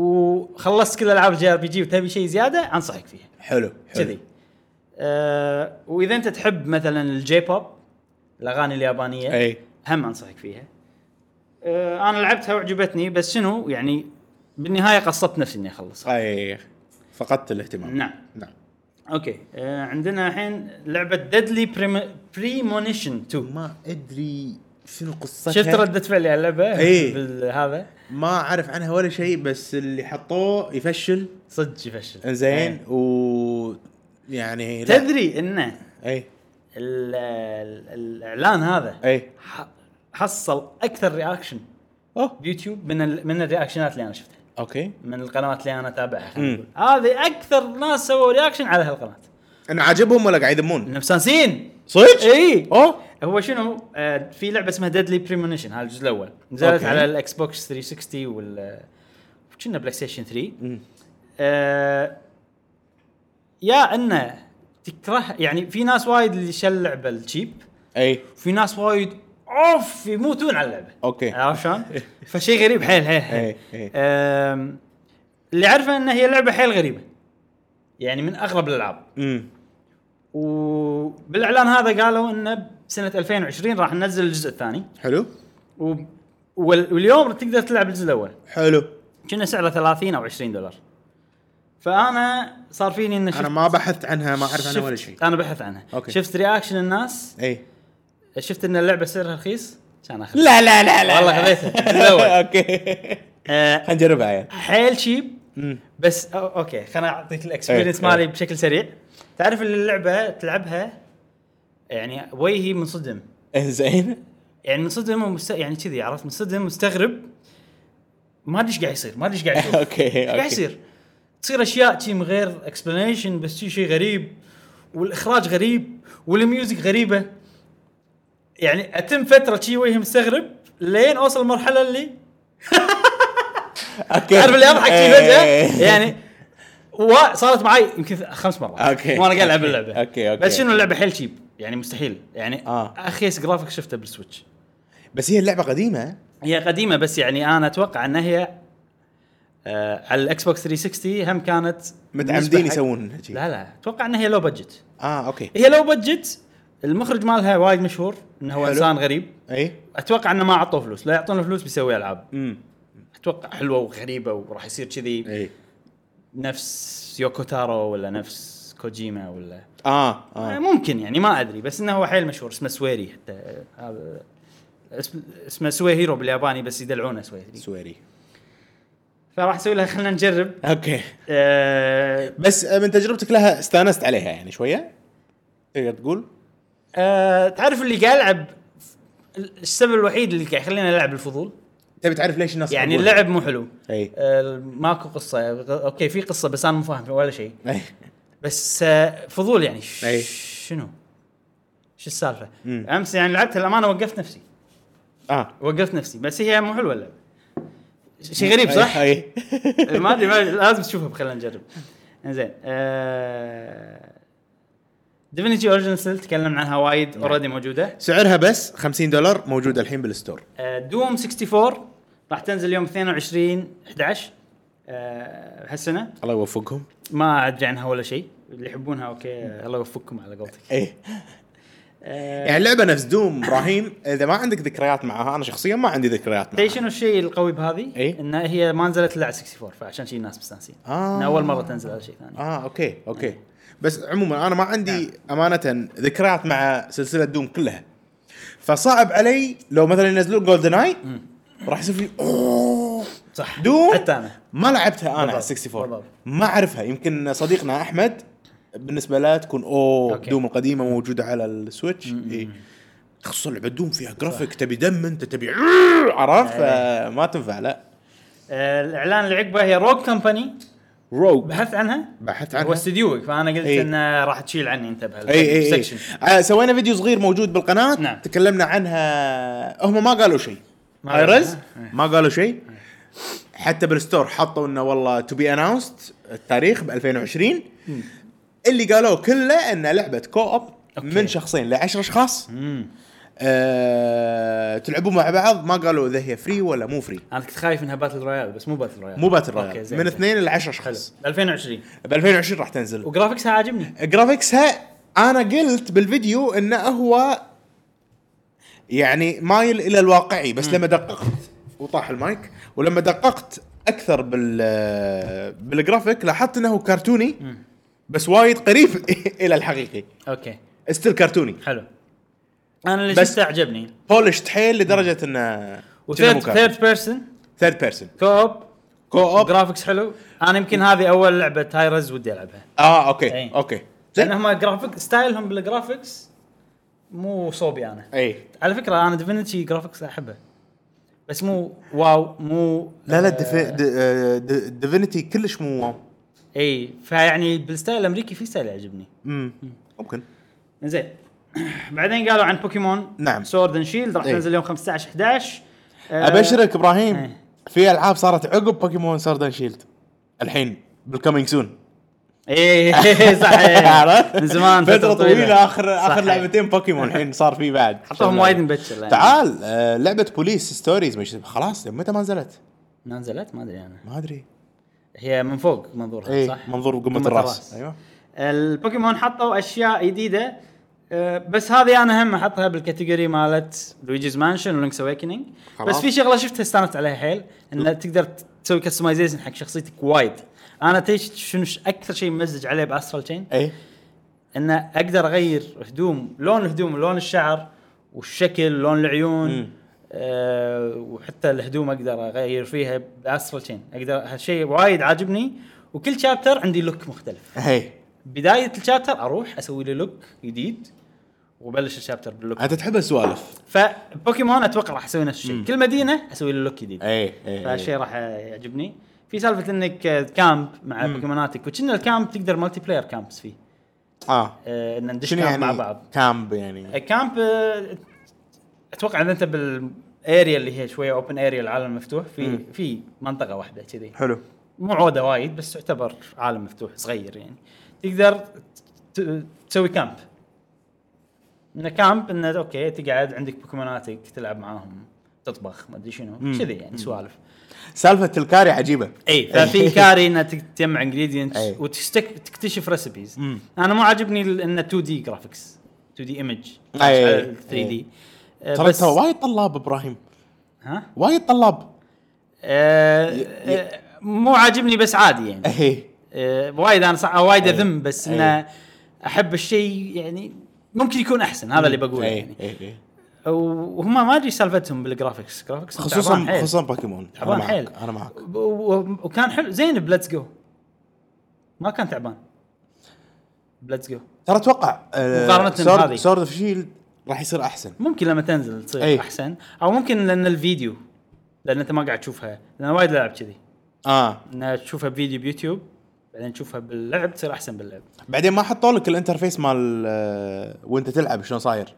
S1: وخلصت كل العاب الجي ار بي جي وتبي شيء زياده انصحك فيها
S2: حلو حلو
S1: كذي آه واذا انت تحب مثلا الجي بوب الاغاني اليابانيه
S2: أي.
S1: هم انصحك فيها آه انا لعبتها وعجبتني بس شنو يعني بالنهايه قصدت نفسي اني اخلصها
S2: اي طيب. فقدت الاهتمام
S1: نعم
S2: نعم
S1: اوكي آه عندنا الحين لعبه ديدلي بريمونيشن 2
S2: ما ادري شنو قصتها
S1: شفت رده فعلي على اللعبه
S2: إي.
S1: بالهذا
S2: ما اعرف عنها ولا شيء بس اللي حطوه يفشل
S1: صدق يفشل
S2: انزين و يعني لا. إيه.
S1: تدري انه
S2: اي
S1: ال- ال- الاعلان هذا
S2: اي
S1: ح- حصل اكثر رياكشن
S2: اوه
S1: بيوتيوب من ال... من الرياكشنات اللي انا شفتها
S2: اوكي
S1: من القنوات اللي انا اتابعها خلينا
S2: مم.
S1: نقول. هذه اكثر ناس سووا رياكشن على هالقناه
S2: انا عاجبهم ولا قاعد يذمون
S1: انهم سانسين
S2: صدق؟ إيه.
S1: اي
S2: اوه
S1: هو شنو آه في لعبه اسمها ديدلي بريمونيشن هذا الجزء الاول نزلت
S2: أوكي.
S1: على الاكس بوكس 360 وال كنا بلاي ستيشن 3
S2: مم.
S1: آه يا انه تكره يعني في ناس وايد اللي شل اللعبه الشيب
S2: اي
S1: وفي ناس وايد اوف يموتون على اللعبه
S2: اوكي
S1: عرفت شلون؟ فشيء غريب حيل حيل حيل
S2: إيه، إيه.
S1: أم، اللي عارفه ان هي لعبه حيل غريبه يعني من اغرب الالعاب
S2: امم
S1: وبالاعلان هذا قالوا انه بسنه 2020 راح ننزل الجزء الثاني
S2: حلو
S1: و... وال- واليوم تقدر تلعب الجزء الاول
S2: حلو
S1: كنا سعره 30 او 20 دولار فانا صار فيني ان
S2: انا ما بحثت عنها ما اعرف عنها
S1: شفت-
S2: ولا إيه. شيء
S1: انا بحث عنها
S2: أوكي.
S1: شفت رياكشن الناس
S2: اي
S1: شفت ان اللعبه سعرها رخيص كان اخذ
S2: لا لا لا لا
S1: والله خذيتها الجزء الاول
S2: *laughs* اوكي
S1: آه،
S2: خلينا نجربها عيال
S1: حيل شيب
S2: مم.
S1: بس أو- اوكي خليني اعطيك الاكسبيرينس
S2: إيه،
S1: مالي
S2: إيه.
S1: بشكل سريع تعرف اللي اللعبه تلعبها يعني وجهي منصدم
S2: انزين
S1: يعني منصدم ومست... يعني كذي عرفت منصدم مستغرب ما ادري ايش قاعد يصير ما ادري ايش قاعد يشوف
S2: *laughs* *laughs* أوكي،
S1: ايش قاعد
S2: أوكي.
S1: يصير تصير اشياء شي من غير اكسبلانيشن بس شي شيء غريب والاخراج غريب والميوزك غريبه يعني اتم فتره شي وجهي مستغرب لين اوصل المرحله اللي
S2: اوكي
S1: تعرف اللي اضحك شي
S2: إيه.
S1: فجاه يعني و- صارت معي يمكن خمس مرات
S2: أوكي.
S1: وانا قاعد العب
S2: أوكي.
S1: اللعبه
S2: أوكي، أوكي.
S1: بس شنو اللعبه حيل شيب يعني مستحيل يعني
S2: آه.
S1: اخيس جرافيك شفته بالسويتش
S2: بس هي اللعبه قديمه
S1: هي قديمه بس يعني انا اتوقع ان هي آه على الاكس بوكس 360 هم كانت بالنسبة
S2: متعمدين
S1: حق-
S2: يسوون هيك
S1: لا لا اتوقع ان هي لو بادجت
S2: اه اوكي
S1: هي لو بادجت المخرج مالها وايد مشهور انه هو
S2: حلو.
S1: انسان غريب
S2: اي
S1: اتوقع انه ما اعطوه فلوس لا يعطونه فلوس بيسوي العاب
S2: امم
S1: اتوقع حلوه وغريبه وراح يصير كذي
S2: اي
S1: نفس يوكوتارو ولا نفس كوجيما ولا
S2: اه
S1: آه.
S2: اه
S1: ممكن يعني ما ادري بس انه هو حيل مشهور اسمه سويري حتى آه، هذا اسم- اسمه سوي هيرو بالياباني بس يدلعونه سوي هيرو.
S2: سويري
S1: فراح اسوي لها خلينا نجرب
S2: اوكي
S1: آه
S2: بس آه، من تجربتك لها استانست عليها يعني شويه تقدر تقول
S1: آه تعرف اللي قاعد العب السبب الوحيد اللي قاعد يخليني العب الفضول
S2: تبي تعرف ليش الناس
S1: يعني
S2: يحبونها. إيه.
S1: اللعب مو حلو *laughs*
S2: اي
S1: آه ماكو قصه اوكي في قصه بس انا مو فاهم ولا شيء
S2: أي.
S1: بس آه فضول يعني ش-
S2: أي.
S1: شنو شو السالفه
S2: مم.
S1: امس يعني لعبتها الامانه وقفت نفسي
S2: اه
S1: وقفت نفسي بس هي مو حلوه اللعبه شيء غريب صح؟
S2: اي
S1: *laughs*
S2: أي.
S1: ما ادري ما- لازم تشوفها خلينا نجرب انزين آه... ديفينيتي اوريجن سيل تكلمنا عنها وايد اوريدي موجوده
S2: سعرها بس 50 دولار موجوده الحين بالستور
S1: آه دوم 64 راح تنزل يوم 22 11 آه هالسنه
S2: الله يوفقهم
S1: ما ادري عنها ولا شيء اللي يحبونها اوكي آه، الله يوفقكم على قولتك
S2: اي
S1: آه
S2: إيه. يعني اللعبه نفس دوم ابراهيم اذا ما عندك ذكريات معها انا شخصيا ما عندي ذكريات
S1: تدري
S2: معها
S1: شنو الشيء القوي بهذه؟
S2: إيه؟
S1: ان هي ما نزلت الا على 64 فعشان شيء الناس مستانسين
S2: آه.
S1: إنها اول مره تنزل على شيء ثاني
S2: اه اوكي اوكي بس عموما انا ما
S1: نعم.
S2: عندي امانه ذكريات مع سلسله دوم كلها فصعب علي لو مثلا ينزلون جولدن اي راح يصير في اوه
S1: صح
S2: دوم
S1: حتى انا
S2: ما لعبتها انا على
S1: بالضبط،
S2: 64
S1: بالضبط.
S2: ما اعرفها يمكن صديقنا احمد بالنسبه له تكون اوه
S1: أوكي.
S2: دوم القديمه موجوده على السويتش اي خصوصا لعبه دوم فيها جرافيك تبي دم
S1: *laughs*
S2: انت تبي عرفت
S1: إيه.
S2: ما تنفع لا
S1: آه الاعلان اللي عقبه هي روك كمباني
S2: روج
S1: بحثت عنها
S2: بحثت
S1: هو
S2: عنها
S1: استديوك فانا قلت
S2: إي.
S1: انه راح تشيل عني انت بهال
S2: اي اي, أي.
S1: section.
S2: إيه، آه سوينا فيديو صغير موجود بالقناه
S1: نعم.
S2: تكلمنا عنها هم ما قالوا شيء
S1: ما قالوا إيه.
S2: ايرز
S1: عنها.
S2: ما قالوا شيء حتى بالستور حطوا انه والله تو بي اناونست التاريخ ب 2020 اللي قالوا كله انه لعبه كو اوب من شخصين لعشر اشخاص
S1: مم.
S2: آه تلعبوا مع بعض ما قالوا اذا هي فري ولا مو فري
S1: انا كنت خايف انها باتل رويال بس مو باتل رويال
S2: مو باتل
S1: أوكي،
S2: رويال
S1: زين،
S2: من
S1: زين.
S2: اثنين لعشر
S1: حلو
S2: اشخاص
S1: 2020
S2: ب 2020 راح تنزل
S1: وجرافكسها عاجبني
S2: جرافيكسها انا قلت بالفيديو انه هو يعني مايل الى الواقعي بس لما دققت وطاح المايك ولما دققت اكثر بال بالجرافيك لاحظت انه كرتوني بس وايد قريب *laughs* الى الحقيقي
S1: اوكي
S2: استيل كرتوني
S1: حلو انا اللي
S2: بس-
S1: شفته عجبني
S2: بولشت حيل لدرجه انه
S1: وثيرد ثيرد بيرسون
S2: ثيرد بيرسون
S1: كوب
S2: كو اوب
S1: جرافكس حلو انا يمكن هذه اول لعبه تايرز ودي العبها
S2: اه اوكي
S1: إيه.
S2: اوكي
S1: لان
S2: زين
S1: هم جرافيك ستايلهم بالجرافكس مو صوبي انا
S2: اي
S1: على فكره انا ديفينيتي جرافكس احبه بس مو واو مو
S2: لا
S1: آه،
S2: لا ديفينيتي كلش مو واو
S1: اي فيعني بالستايل الامريكي في ستايل يعجبني
S2: مم. ممكن
S1: زين *clears throat* بعدين قالوا عن بوكيمون
S2: نعم.
S1: سورد اند شيلد راح
S2: إيه.
S1: تنزل يوم 15 11 آه،
S2: ابشرك ابراهيم
S1: إيه.
S2: في العاب صارت عقب بوكيمون سورد اند شيلد الحين بالكومينج سون
S1: ايه صحيح
S2: *laughs* عرفت؟
S1: من زمان
S2: فتره طويله اخر اخر
S1: صحيح.
S2: لعبتين بوكيمون الحين صار في بعد
S1: حطوهم وايد مبكر يعني.
S2: تعال آه، لعبه بوليس ستوريز مش خلاص متى ما نزلت؟
S1: ما نزلت ما ادري انا
S2: ما ادري
S1: هي من فوق منظورها
S2: اي
S1: صح؟
S2: منظور قمه الراس ايوه
S1: البوكيمون حطوا اشياء جديده أه، بس هذه انا هم احطها بالكاتيجوري مالت لويجيز مانشن ولينكس اويكننج بس
S2: خلاص.
S1: في شغله شفتها استانست عليها حيل ان تقدر تسوي كستمايزيشن حق شخصيتك وايد انا تيش شنو ش- اكثر شيء ممزج عليه باسترال تشين
S2: اي
S1: ان اقدر اغير هدوم لون الهدوم لون الشعر والشكل لون
S2: مم.
S1: العيون أه وحتى الهدوم اقدر اغير فيها باسترال تشين اقدر هالشيء وايد عاجبني وكل شابتر عندي لوك مختلف
S2: اي
S1: بدايه الشابتر اروح اسوي لي لوك جديد وبلش الشابتر باللوك
S2: انت تحب السوالف
S1: فبوكيمون اتوقع راح اسوي نفس الشيء كل مدينه اسوي لي لوك جديد
S2: اي اي
S1: فهالشيء راح يعجبني في سالفه انك كامب مع بوكيموناتك وكنا الكامب تقدر مالتي بلاير كامبس فيه
S2: اه
S1: آه، ان ندش
S2: شنو
S1: كامب
S2: يعني
S1: مع بعض
S2: كامب يعني
S1: الكامب آه، اتوقع ان انت بالاريا اللي هي شويه اوبن اريا العالم المفتوح في في منطقه واحده كذي
S2: حلو
S1: مو عوده وايد بس تعتبر عالم مفتوح صغير يعني تقدر ت- تسوي كامب انه كامب انه اوكي تقعد عندك بوكيموناتك تلعب معاهم تطبخ ما ادري شنو كذي يعني سوالف
S2: سالفه الكاري إيه. عجيبه
S1: اي إيه، ففي كاري انه تك- تجمع انجريدينتس
S2: أي.
S1: وتكتشف ريسبيز
S2: مم.
S1: انا مو عاجبني ال- انه 2 دي جرافكس 2 دي ايمج
S2: أي.
S1: 3 دي
S2: ترى ترى وايد طلاب ابراهيم
S1: ها
S2: وايد طلاب
S1: آه، آه، مو عاجبني بس عادي يعني
S2: اي
S1: آه، وايد انا صح وايد
S2: أي.
S1: اذم بس
S2: أي.
S1: انه احب الشيء يعني ممكن يكون احسن هذا اللي بقوله
S2: اي
S1: يعني
S2: اي
S1: وهم ما ادري سالفتهم بالجرافكس جرافكس تعبان
S2: خصوصا
S1: حيل.
S2: خصوصا بوكيمون انا
S1: تعبان
S2: معك
S1: حيل
S2: انا معك
S1: و- و- وكان حلو زين بليتس جو ما كان تعبان بليتس جو
S2: ترى اتوقع آه،
S1: مقارنة
S2: سورد-
S1: بهذه.
S2: سورد اوف شيلد راح يصير احسن
S1: ممكن لما تنزل تصير
S2: أي.
S1: احسن او ممكن لان الفيديو لان انت ما قاعد تشوفها لان وايد لعب كذي
S2: اه
S1: ان تشوفها بفيديو بيوتيوب بعدين تشوفها باللعب تصير احسن باللعب
S2: بعدين ما حطوا لك الانترفيس مال آه، وانت تلعب شلون صاير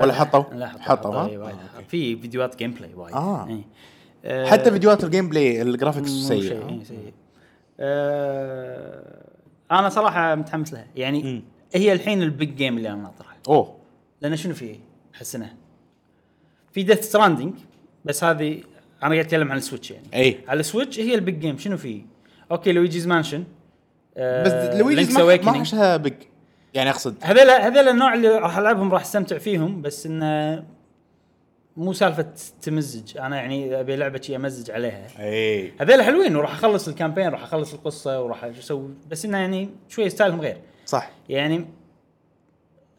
S2: ولا حطوا؟
S1: لا حطوا
S2: حطوا، ها؟
S1: إي وايد.
S2: آه، أوكي.
S1: في فيديوهات جيم بلاي وايد
S2: آه.
S1: إي. آه،
S2: حتى فيديوهات الجيم بلاي الجرافكس
S1: مو شيء، إي،
S2: سيء
S1: سيء آه، انا صراحه متحمس لها يعني
S2: مم.
S1: هي الحين البيج جيم اللي انا ناطرها
S2: اوه
S1: لان شنو في حسنه في ديث ستراندنج بس هذه انا قاعد اتكلم عن السويتش يعني
S2: اي
S1: على السويتش هي البيج جيم شنو في اوكي لويجيز مانشن آه،
S2: بس لويجيز ما- ما حشها بق يعني اقصد
S1: هذول هذول النوع اللي راح العبهم راح استمتع فيهم بس انه مو سالفه تمزج انا يعني ابي لعبه شي امزج عليها
S2: اي
S1: هذول حلوين وراح اخلص الكامبين راح اخلص القصه وراح اسوي بس انه يعني شويه ستايلهم غير
S2: صح
S1: يعني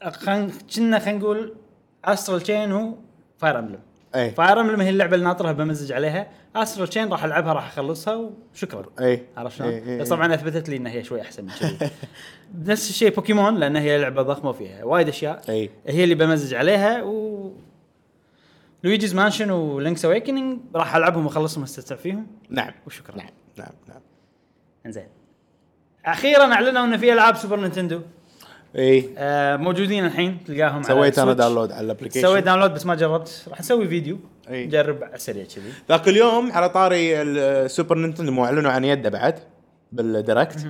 S1: خلينا كنا خلينا نقول استرال تشين هو فاير امبلم
S2: اي
S1: فاير امبلم هي اللعبه اللي ناطرها بمزج عليها استرال تشين راح العبها راح اخلصها وشكرا
S2: اي
S1: عرفت
S2: إي، إي،
S1: شلون؟
S2: إي.
S1: بس طبعا اثبتت لي انها هي شوي احسن من كذي *laughs* نفس الشيء بوكيمون لان هي لعبه ضخمه وفيها وايد اشياء
S2: اي
S1: هي اللي بمزج عليها و لويجيز مانشن ولينكس اويكننج راح العبهم واخلصهم واستمتع فيهم
S2: نعم
S1: وشكراً.
S2: نعم نعم نعم
S1: انزين اخيرا اعلنوا ان في العاب سوبر نينتندو
S2: اي
S1: آه موجودين الحين تلقاهم على
S2: إيه. سويت انا
S1: السويتش.
S2: داونلود على الابلكيشن
S1: سويت داونلود بس ما جربت راح نسوي فيديو
S2: إي.
S1: نجرب على السريع كذي
S2: ذاك اليوم على طاري السوبر نينتندو مو اعلنوا عن يده بعد بالديركت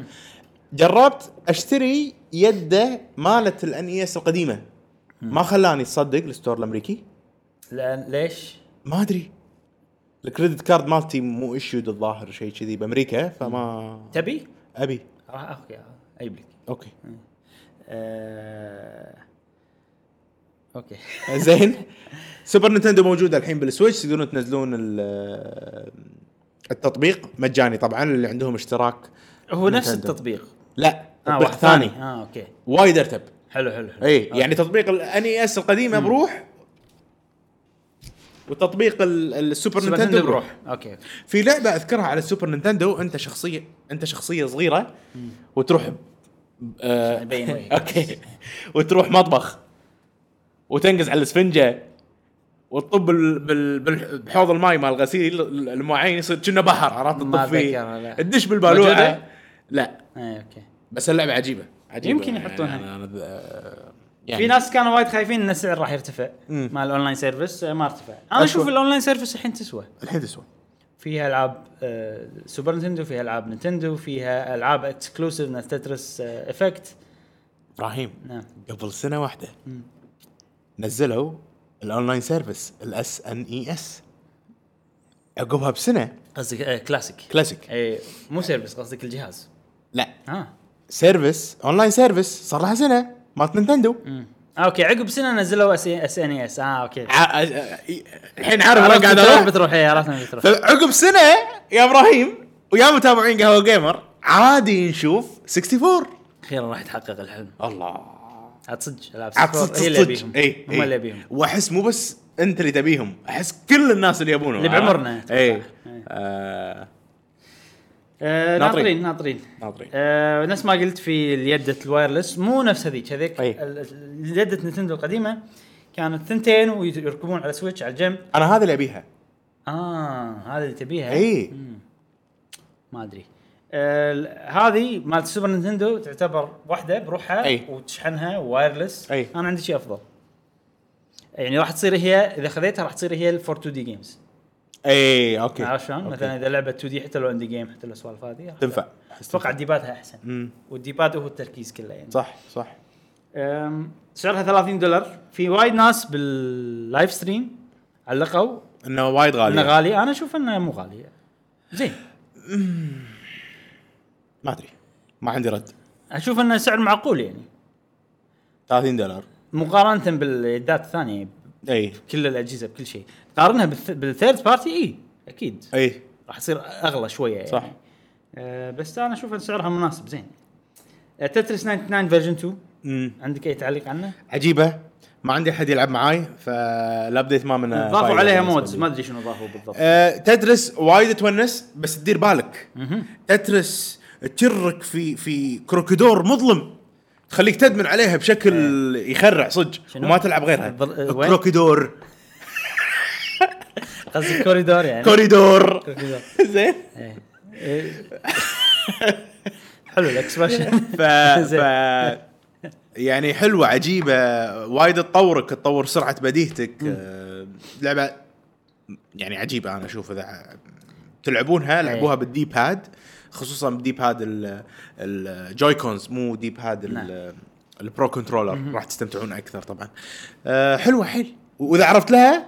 S2: جربت اشتري يده مالت الان اس القديمه ما خلاني تصدق الستور الامريكي
S1: لان ليش؟
S2: ما ادري الكريدت كارد مالتي مو ايشود الظاهر شيء كذي بامريكا فما
S1: تبي؟ آه،
S2: ابي
S1: راح اخذ إياها، اجيب لك
S2: اوكي
S1: آه... اوكي
S2: زين سوبر نينتندو موجوده الحين بالسويتش تقدرون تنزلون ال- التطبيق مجاني طبعا اللي عندهم اشتراك
S1: *laughs* هو نفس
S2: نينتندو.
S1: التطبيق
S2: لا
S1: اه
S2: تطبيق
S1: واحد
S2: ثاني
S1: ثاني اه اوكي
S2: وايد ارتب
S1: حلو حلو حلو
S2: اي يعني تطبيق الان اي اس القديمه بروح وتطبيق ال- السوبر
S1: سوبر
S2: نينتندو
S1: نينتندو
S2: بروح
S1: اوكي
S2: في لعبه اذكرها على السوبر نينتندو انت شخصيه انت شخصيه صغيره وتروح آه،
S1: يبين
S2: *laughs*
S1: وجهك.
S2: اوكي وتروح مطبخ وتنقز على الاسفنجه وتطب بال- بال- بال- بحوض الماي مال الغسيل المواعين يصير كأنه بحر عرفت
S1: ما
S2: تطب فيه
S1: أتذكرها، لا.
S2: تدش
S1: موجودة؟
S2: بالبالوعه لا
S1: اي اوكي
S2: بس اللعبه عجيبه عجيبه
S1: يمكن
S2: يعني
S1: يحطونها.
S2: أنا- أنا- آه، يعني
S1: في ناس كانوا وايد خايفين ان السعر راح يرتفع
S2: مم.
S1: مع الاونلاين سيرفيس آه، ما ارتفع انا اشوف
S2: أشوف.
S1: الاونلاين سيرفيس الحين تسوى
S2: الحين تسوى
S1: فيها العاب آه، سوبر نتندو فيها العاب نتندو فيها العاب اكسكلوسيف نفس تترس آه، افكت
S2: ابراهيم
S1: نعم
S2: قبل سنه واحده نزلوا الاونلاين سيرفيس الاس ان اي اس E عقبها بسنه
S1: قصدك آه، كلاسيك
S2: كلاسيك
S1: اي إيه، مو سيرفيس قصدك الجهاز
S2: لا
S1: ها
S2: سيرفيس اونلاين سيرفيس صار لها سنه مالت نينتندو
S1: مم. آه، اوكي عقب سنه نزلوا اس ان اس اه اوكي
S2: ع- ع- الحين عارف وين
S1: عرفت
S2: قاعد
S1: بتروح
S2: اروح
S1: بتروح اي عرفت وين بتروح
S2: فعقب سنه يا ابراهيم ويا متابعين قهوه جيمر عادي نشوف 64
S1: اخيرا راح يتحقق الحلم
S2: الله
S1: عاد صدق إيه، العاب
S2: عاد
S1: سكور
S2: صدق
S1: هي اللي
S2: صدق
S1: يبيهم
S2: اي
S1: هم اللي يبيهم
S2: واحس إيه، مو بس انت اللي تبيهم احس كل الناس اللي يبونهم
S1: اللي بعمرنا. إيه.
S2: اي
S1: إي.
S2: آه،
S1: آه، ناطرين
S2: ناطرين.
S1: ناطرين
S2: ناطرين
S1: آه نفس ما قلت في اليدة الوايرلس مو نفس هذيك هذيك
S2: أي.
S1: ال- ال- اليدة نتندو القديمه كانت ثنتين ويركبون على سويتش على الجنب
S2: انا هذا اللي إيه. ابيها
S1: اه هذا اللي تبيها
S2: إي.
S1: مم. ما ادري آه ال- هذه مالت سوبر نينتندو تعتبر واحده بروحها
S2: أي.
S1: وتشحنها وايرلس
S2: أي.
S1: انا عندي شيء افضل يعني راح تصير هي اذا خذيتها راح تصير هي الفور 2 دي جيمز
S2: اي اوكي
S1: عرفت شلون؟
S2: إيه، أوكي.
S1: مثلا اذا لعبه 2 دي حتى لو اندي جيم حتى لو سوالف هذه راح
S2: تنفع
S1: اتوقع ديباتها احسن
S2: أمم.
S1: والديباد هو التركيز كله يعني
S2: صح صح
S1: أم، سعرها 30 دولار في وايد ناس باللايف ستريم علقوا
S2: انه وايد
S1: انه
S2: غالي
S1: غالي انا اشوف انه مو غالي زين
S2: ما ادري ما عندي رد
S1: اشوف انه سعر معقول يعني
S2: 30 دولار إيه.
S1: مقارنه باليدات الثانيه
S2: اي
S1: كل الاجهزه بكل شيء قارنها بالث... بالثيرد بارتي اي اكيد
S2: اي
S1: راح تصير اغلى شويه يعني
S2: إيه، صح.
S1: أه بس انا اشوف ان سعرها مناسب زين أه، تتريس 99 فيرجن 2
S2: أمم.
S1: عندك اي تعليق عنه؟
S2: عجيبه ما عندي احد يلعب معاي فالابديت ما منه
S1: ضافوا
S2: فايدة
S1: عليها
S2: بالنسبة
S1: مودز
S2: لي.
S1: ما ادري شنو ضافوا بالضبط
S2: آه، تدرس وايد تونس بس تدير بالك تترس تشرك في في كروكودور مظلم تخليك تدمن عليها بشكل يخرع صدق
S1: إيه. شنو؟
S2: وما تلعب غيرها
S1: الضر- وين؟
S2: كروكودور
S1: قصدي كوريدور يعني
S2: *laughs* كوريدور
S1: *laughs* كوريدور
S2: زين
S1: إيه. إيه. *laughs* حلو الاكسبرشن
S2: ف... *laughs*
S1: *laughs*
S2: ف... يعني حلوه عجيبه وايد تطورك تطور سرعه بديهتك آه، لعبه يعني عجيبه انا اشوف اذا ع- تلعبونها لعبوها بالدي باد خصوصا بالدي باد ال- الجوي كونز مو دي باد ال-
S1: نعم.
S2: البرو كنترولر راح تستمتعون اكثر طبعا آه، حلوه حيل واذا عرفت لها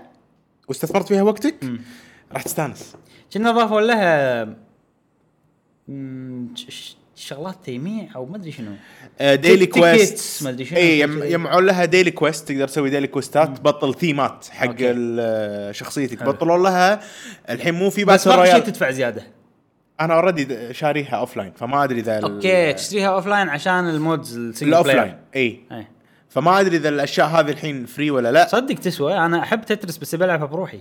S2: واستثمرت فيها وقتك راح تستانس
S1: كنا ضافوا لها مم، ش- ش- شغلات تيميع او ما ادري شنو
S2: ديلي
S1: تيكتس
S2: كويست
S1: ما أدري شنو.
S2: اي إيه، يم- يجمعون لها ديلي كويست تقدر تسوي ديلي كويستات بطل ثيمات حق
S1: أوكي.
S2: ال- آه، شخصيتك
S1: حلو.
S2: بطلوا لها الحين مو في
S1: بس
S2: باتل
S1: ما في شيء
S2: رويال
S1: تدفع زياده
S2: انا اوريدي شاريها اوف لاين فما ادري اذا ال-
S1: اوكي تشتريها اوف لاين عشان المودز السنجل
S2: الاوف
S1: بلاير.
S2: لاين اي
S1: إيه.
S2: فما ادري اذا الاشياء هذه الحين فري ولا لا
S1: صدق تسوى انا احب تترس بس بلعبها بروحي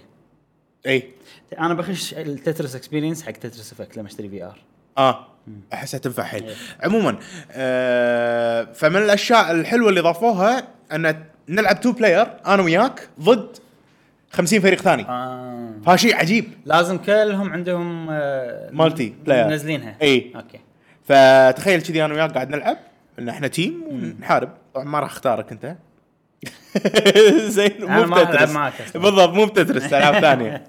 S2: اي
S1: انا بخش التترس اكسبيرينس حق تترس افكت لما اشتري في ار
S2: اه احسها تنفع حيل
S1: إيه.
S2: عموما آه فمن الاشياء الحلوه اللي ضافوها ان نلعب تو بلاير انا وياك ضد 50 فريق ثاني
S1: آه.
S2: فهذا شيء عجيب
S1: لازم كلهم عندهم آه،
S2: مالتي بلاير.
S1: منزلينها
S2: إي.
S1: اوكي
S2: فتخيل كذي انا وياك قاعد نلعب ان احنا تيم ونحارب طبعا ما راح اختارك انت *laughs* زين
S1: أنا
S2: مو
S1: ما راح ألعب
S2: بتترس
S1: معك أصلاً.
S2: بالضبط مو بتترس
S1: *laughs*
S2: العاب ثانيه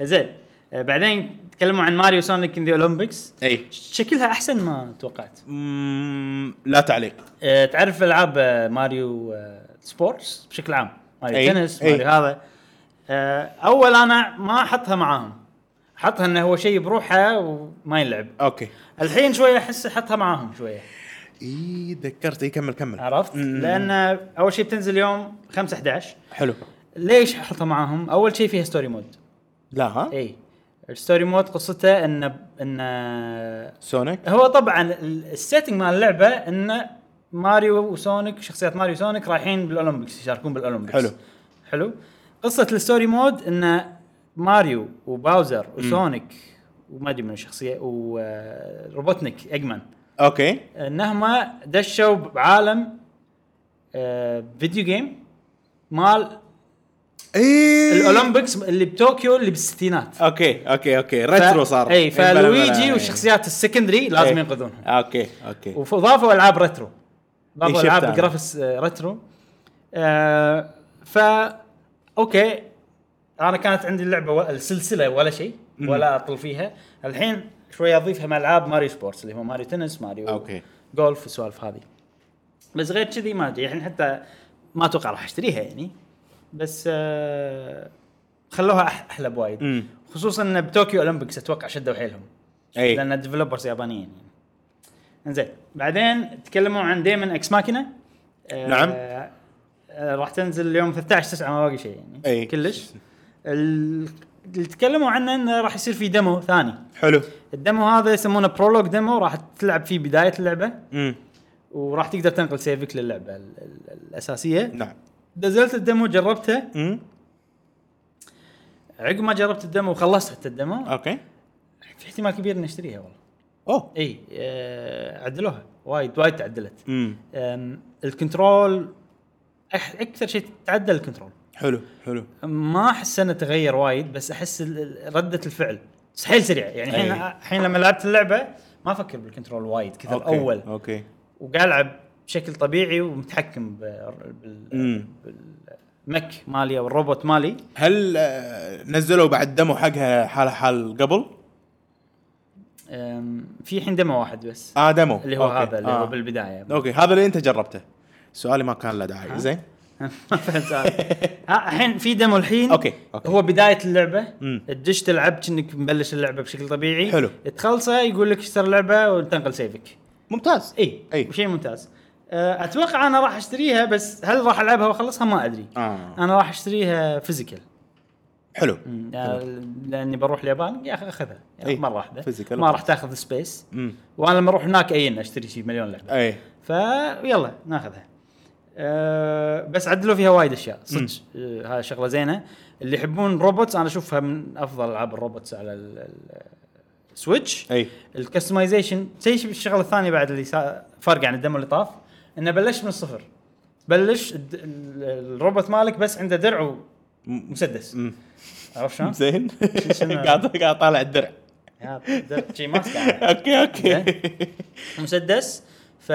S1: زين آه، بعدين تكلموا عن ماريو سونيك ان ذا اولمبيكس
S2: اي
S1: شكلها احسن ما توقعت
S2: مم، لا تعليق
S1: أه تعرف العاب آه، ماريو أه سبورتس بشكل عام ماريو
S2: أي،
S1: تنس
S2: أي.
S1: ماريو هذا أه اول انا ما احطها معاهم احطها انه هو شيء بروحه وما يلعب
S2: اوكي
S1: الحين شويه احس احطها معاهم شويه
S2: اي تذكرت اي كمل كمل
S1: عرفت
S2: مم.
S1: لان اول شيء بتنزل يوم 5 11
S2: حلو
S1: ليش احطها معاهم اول شيء فيها ستوري مود
S2: لا ها
S1: اي الستوري مود قصته ان ان
S2: سونيك
S1: هو طبعا ال- السيتنج مال اللعبه ان ماريو وسونيك شخصيات ماريو وسونيك رايحين بالاولمبيكس يشاركون بالاولمبيكس
S2: حلو.
S1: حلو قصه الستوري مود ان ماريو وباوزر وسونيك وما ادري من الشخصيه وروبوتنيك اجمان
S2: اوكي
S1: انهم دشوا بعالم آه، فيديو جيم مال
S2: اي
S1: الاولمبيكس اللي بطوكيو اللي بالستينات
S2: اوكي اوكي اوكي ريترو صار
S1: اي
S2: بلا- بلا-
S1: فلويجي
S2: إي.
S1: والشخصيات السكندري لازم
S2: إي.
S1: ينقذونهم
S2: اوكي اوكي
S1: وضافوا العاب ريترو ضافوا
S2: شفت
S1: العاب
S2: أنا.
S1: جرافيكس آه، ريترو آه، ف اوكي انا كانت عندي اللعبه و... السلسله ولا شيء ولا اطل فيها الحين شوي اضيفها مع العاب ماريو سبورتس اللي هو ماريو تنس ماريو
S2: أوكي.
S1: جولف والسوالف هذه بس غير كذي ما ادري الحين حتى ما اتوقع راح اشتريها يعني بس آه خلوها أح- احلى بوايد
S2: مم.
S1: خصوصا ان بطوكيو اولمبيكس اتوقع شدوا حيلهم
S2: اي
S1: لان الديفلوبرز يابانيين يعني انزين بعدين تكلموا عن ديمن اكس ماكينه
S2: نعم.
S1: آه راح تنزل اليوم 13 9 ما باقي شيء يعني
S2: أي.
S1: كلش ال- اللي تكلموا عنه انه راح يصير في ديمو ثاني
S2: حلو
S1: الديمو هذا يسمونه برولوج ديمو راح تلعب فيه بدايه اللعبه
S2: امم
S1: وراح تقدر تنقل سيفك للعبه ال- ال- الاساسيه
S2: نعم
S1: نزلت الديمو جربته
S2: امم
S1: عقب ما جربت الديمو وخلصت حتى الديمو
S2: اوكي
S1: في احتمال كبير اني اشتريها والله
S2: اوه
S1: اي آه عدلوها وايد وايد تعدلت
S2: امم
S1: أم، الكنترول أح- اكثر شيء تعدل الكنترول
S2: حلو حلو
S1: ما احس انه تغير وايد بس احس ال- ال- رده الفعل بس حيل سريع يعني الحين
S2: أي.
S1: الحين لما لعبت اللعبه ما افكر بالكنترول وايد كثر
S2: أوكي.
S1: اول
S2: اوكي
S1: وقاعد العب بشكل طبيعي ومتحكم ب- بال
S2: مم.
S1: بالمك مالي او الروبوت مالي
S2: هل آه، نزلوا بعد دمو حقها حال حال قبل؟
S1: أم، في حين دمه واحد بس
S2: اه دمو
S1: اللي هو
S2: أوكي.
S1: هذا اللي هو
S2: آه.
S1: بالبدايه
S2: اوكي هذا اللي انت جربته سؤالي ما كان له داعي زين
S1: ما فهمت سؤالك. ها، الحين في ديمو الحين
S2: أوكي، أوكي.
S1: هو بدايه اللعبه
S2: مم.
S1: تدش تلعب كأنك مبلش اللعبه بشكل طبيعي
S2: حلو.
S1: تخلصه يقول لك اشتري اللعبه وتنقل سيفك
S2: ممتاز
S1: اي
S2: اي
S1: شيء ممتاز أه، اتوقع انا راح اشتريها بس هل راح العبها واخلصها ما ادري
S2: آه.
S1: انا راح اشتريها فيزيكال
S2: حلو
S1: آه. لاني بروح اليابان يا اخي اخذها يعني
S2: إي،
S1: مره واحده
S2: physical.
S1: ما راح تاخذ سبيس
S2: امم
S1: وانا لما اروح هناك اين اشتري شيء مليون لعبه
S2: اي
S1: فيلا ناخذها أه بس عدلوا فيها وايد اشياء صدق أه، هاي شغله زينه اللي يحبون روبوتس انا اشوفها من افضل العاب الروبوتس على ال- ال- السويتش
S2: اي
S1: الكستمايزيشن زي شي- الشغله الثانيه بعد اللي سا- فرق عن الدم اللي طاف انه بلش من الصفر بلش الد- ال- الروبوت مالك بس عنده درع ومسدس
S2: مم.
S1: عرفت شلون؟
S2: زين
S1: شنو؟
S2: *laughs* قاعد قاعد طالع
S1: *laughs*
S2: الدرع
S1: يا درع شي ماسكه
S2: اوكي اوكي
S1: مسدس ف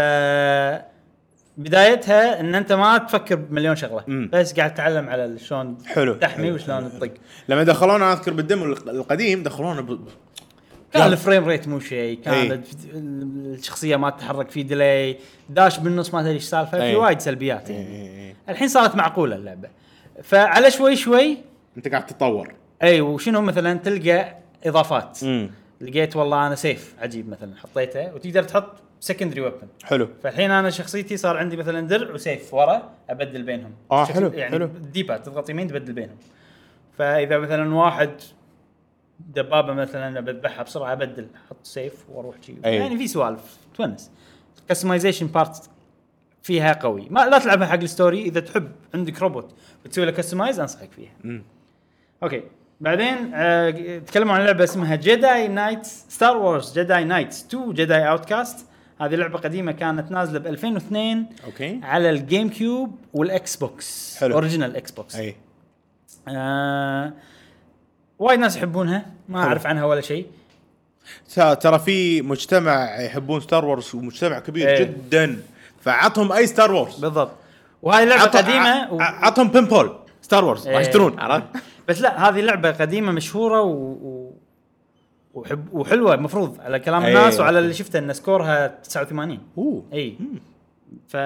S1: بدايتها ان انت ما تفكر بمليون شغله
S2: مم.
S1: بس قاعد تتعلم على شلون
S2: حلو.
S1: تحمي
S2: حلو.
S1: وشلون
S2: *laughs*
S1: تطق
S2: لما دخلونا اذكر بالدمو الق- القديم دخلونا ب...
S1: كان
S2: جامد.
S1: الفريم ريت مو شيء كان
S2: أي.
S1: الف- الشخصيه ما تتحرك في ديلي داش بالنص ما تدري ايش سالفه في
S2: أي.
S1: وايد سلبيات
S2: إي،
S1: يعني
S2: إي، إي.
S1: الحين صارت معقوله اللعبه فعلى شوي شوي
S2: انت قاعد تتطور
S1: اي وشنو مثلا تلقى اضافات
S2: امم
S1: لقيت والله انا سيف عجيب مثلا حطيته وتقدر تحط سكندري ويبن
S2: حلو
S1: فالحين انا شخصيتي صار عندي مثلا درع وسيف ورا ابدل بينهم
S2: آه،
S1: شخص-
S2: حلو،
S1: يعني
S2: حلو.
S1: الديباد تضغط يمين تبدل بينهم فاذا مثلا واحد دبابه مثلا بذبحها بسرعه ابدل احط سيف واروح شي
S2: أي.
S1: يعني في سوالف تونس كستمايزيشن بارت فيها قوي ما لا تلعبها حق الستوري اذا تحب عندك روبوت بتسوي له كستمايز انصحك فيها
S2: مم.
S1: اوكي بعدين آه تكلموا عن لعبه اسمها جداي نايتس ستار وورز جداي نايتس 2 جداي اوت كاست هذه لعبه قديمه كانت نازله ب 2002
S2: اوكي
S1: على الجيم كيوب والاكس بوكس
S2: حلو.
S1: اوريجينال اكس بوكس
S2: اي
S1: آه وايد ناس يحبونها ما
S2: حلو.
S1: اعرف عنها ولا شيء
S2: ت- ترى في مجتمع يحبون ستار وورز ومجتمع كبير
S1: إيه.
S2: جدا فعطهم اي ستار وورز
S1: بالضبط وهاي لعبه
S2: عط-
S1: قديمه
S2: ع- ع- عطهم بيمبول ستار وورز راح
S1: إيه.
S2: يشترون عرفت؟
S1: *laughs* بس لا هذه لعبه قديمه مشهوره و... و... وحب وحلوه المفروض على كلام
S2: إيه،
S1: الناس وعلى
S2: أوكي.
S1: اللي شفته ان سكورها 89
S2: اوه
S1: اي ف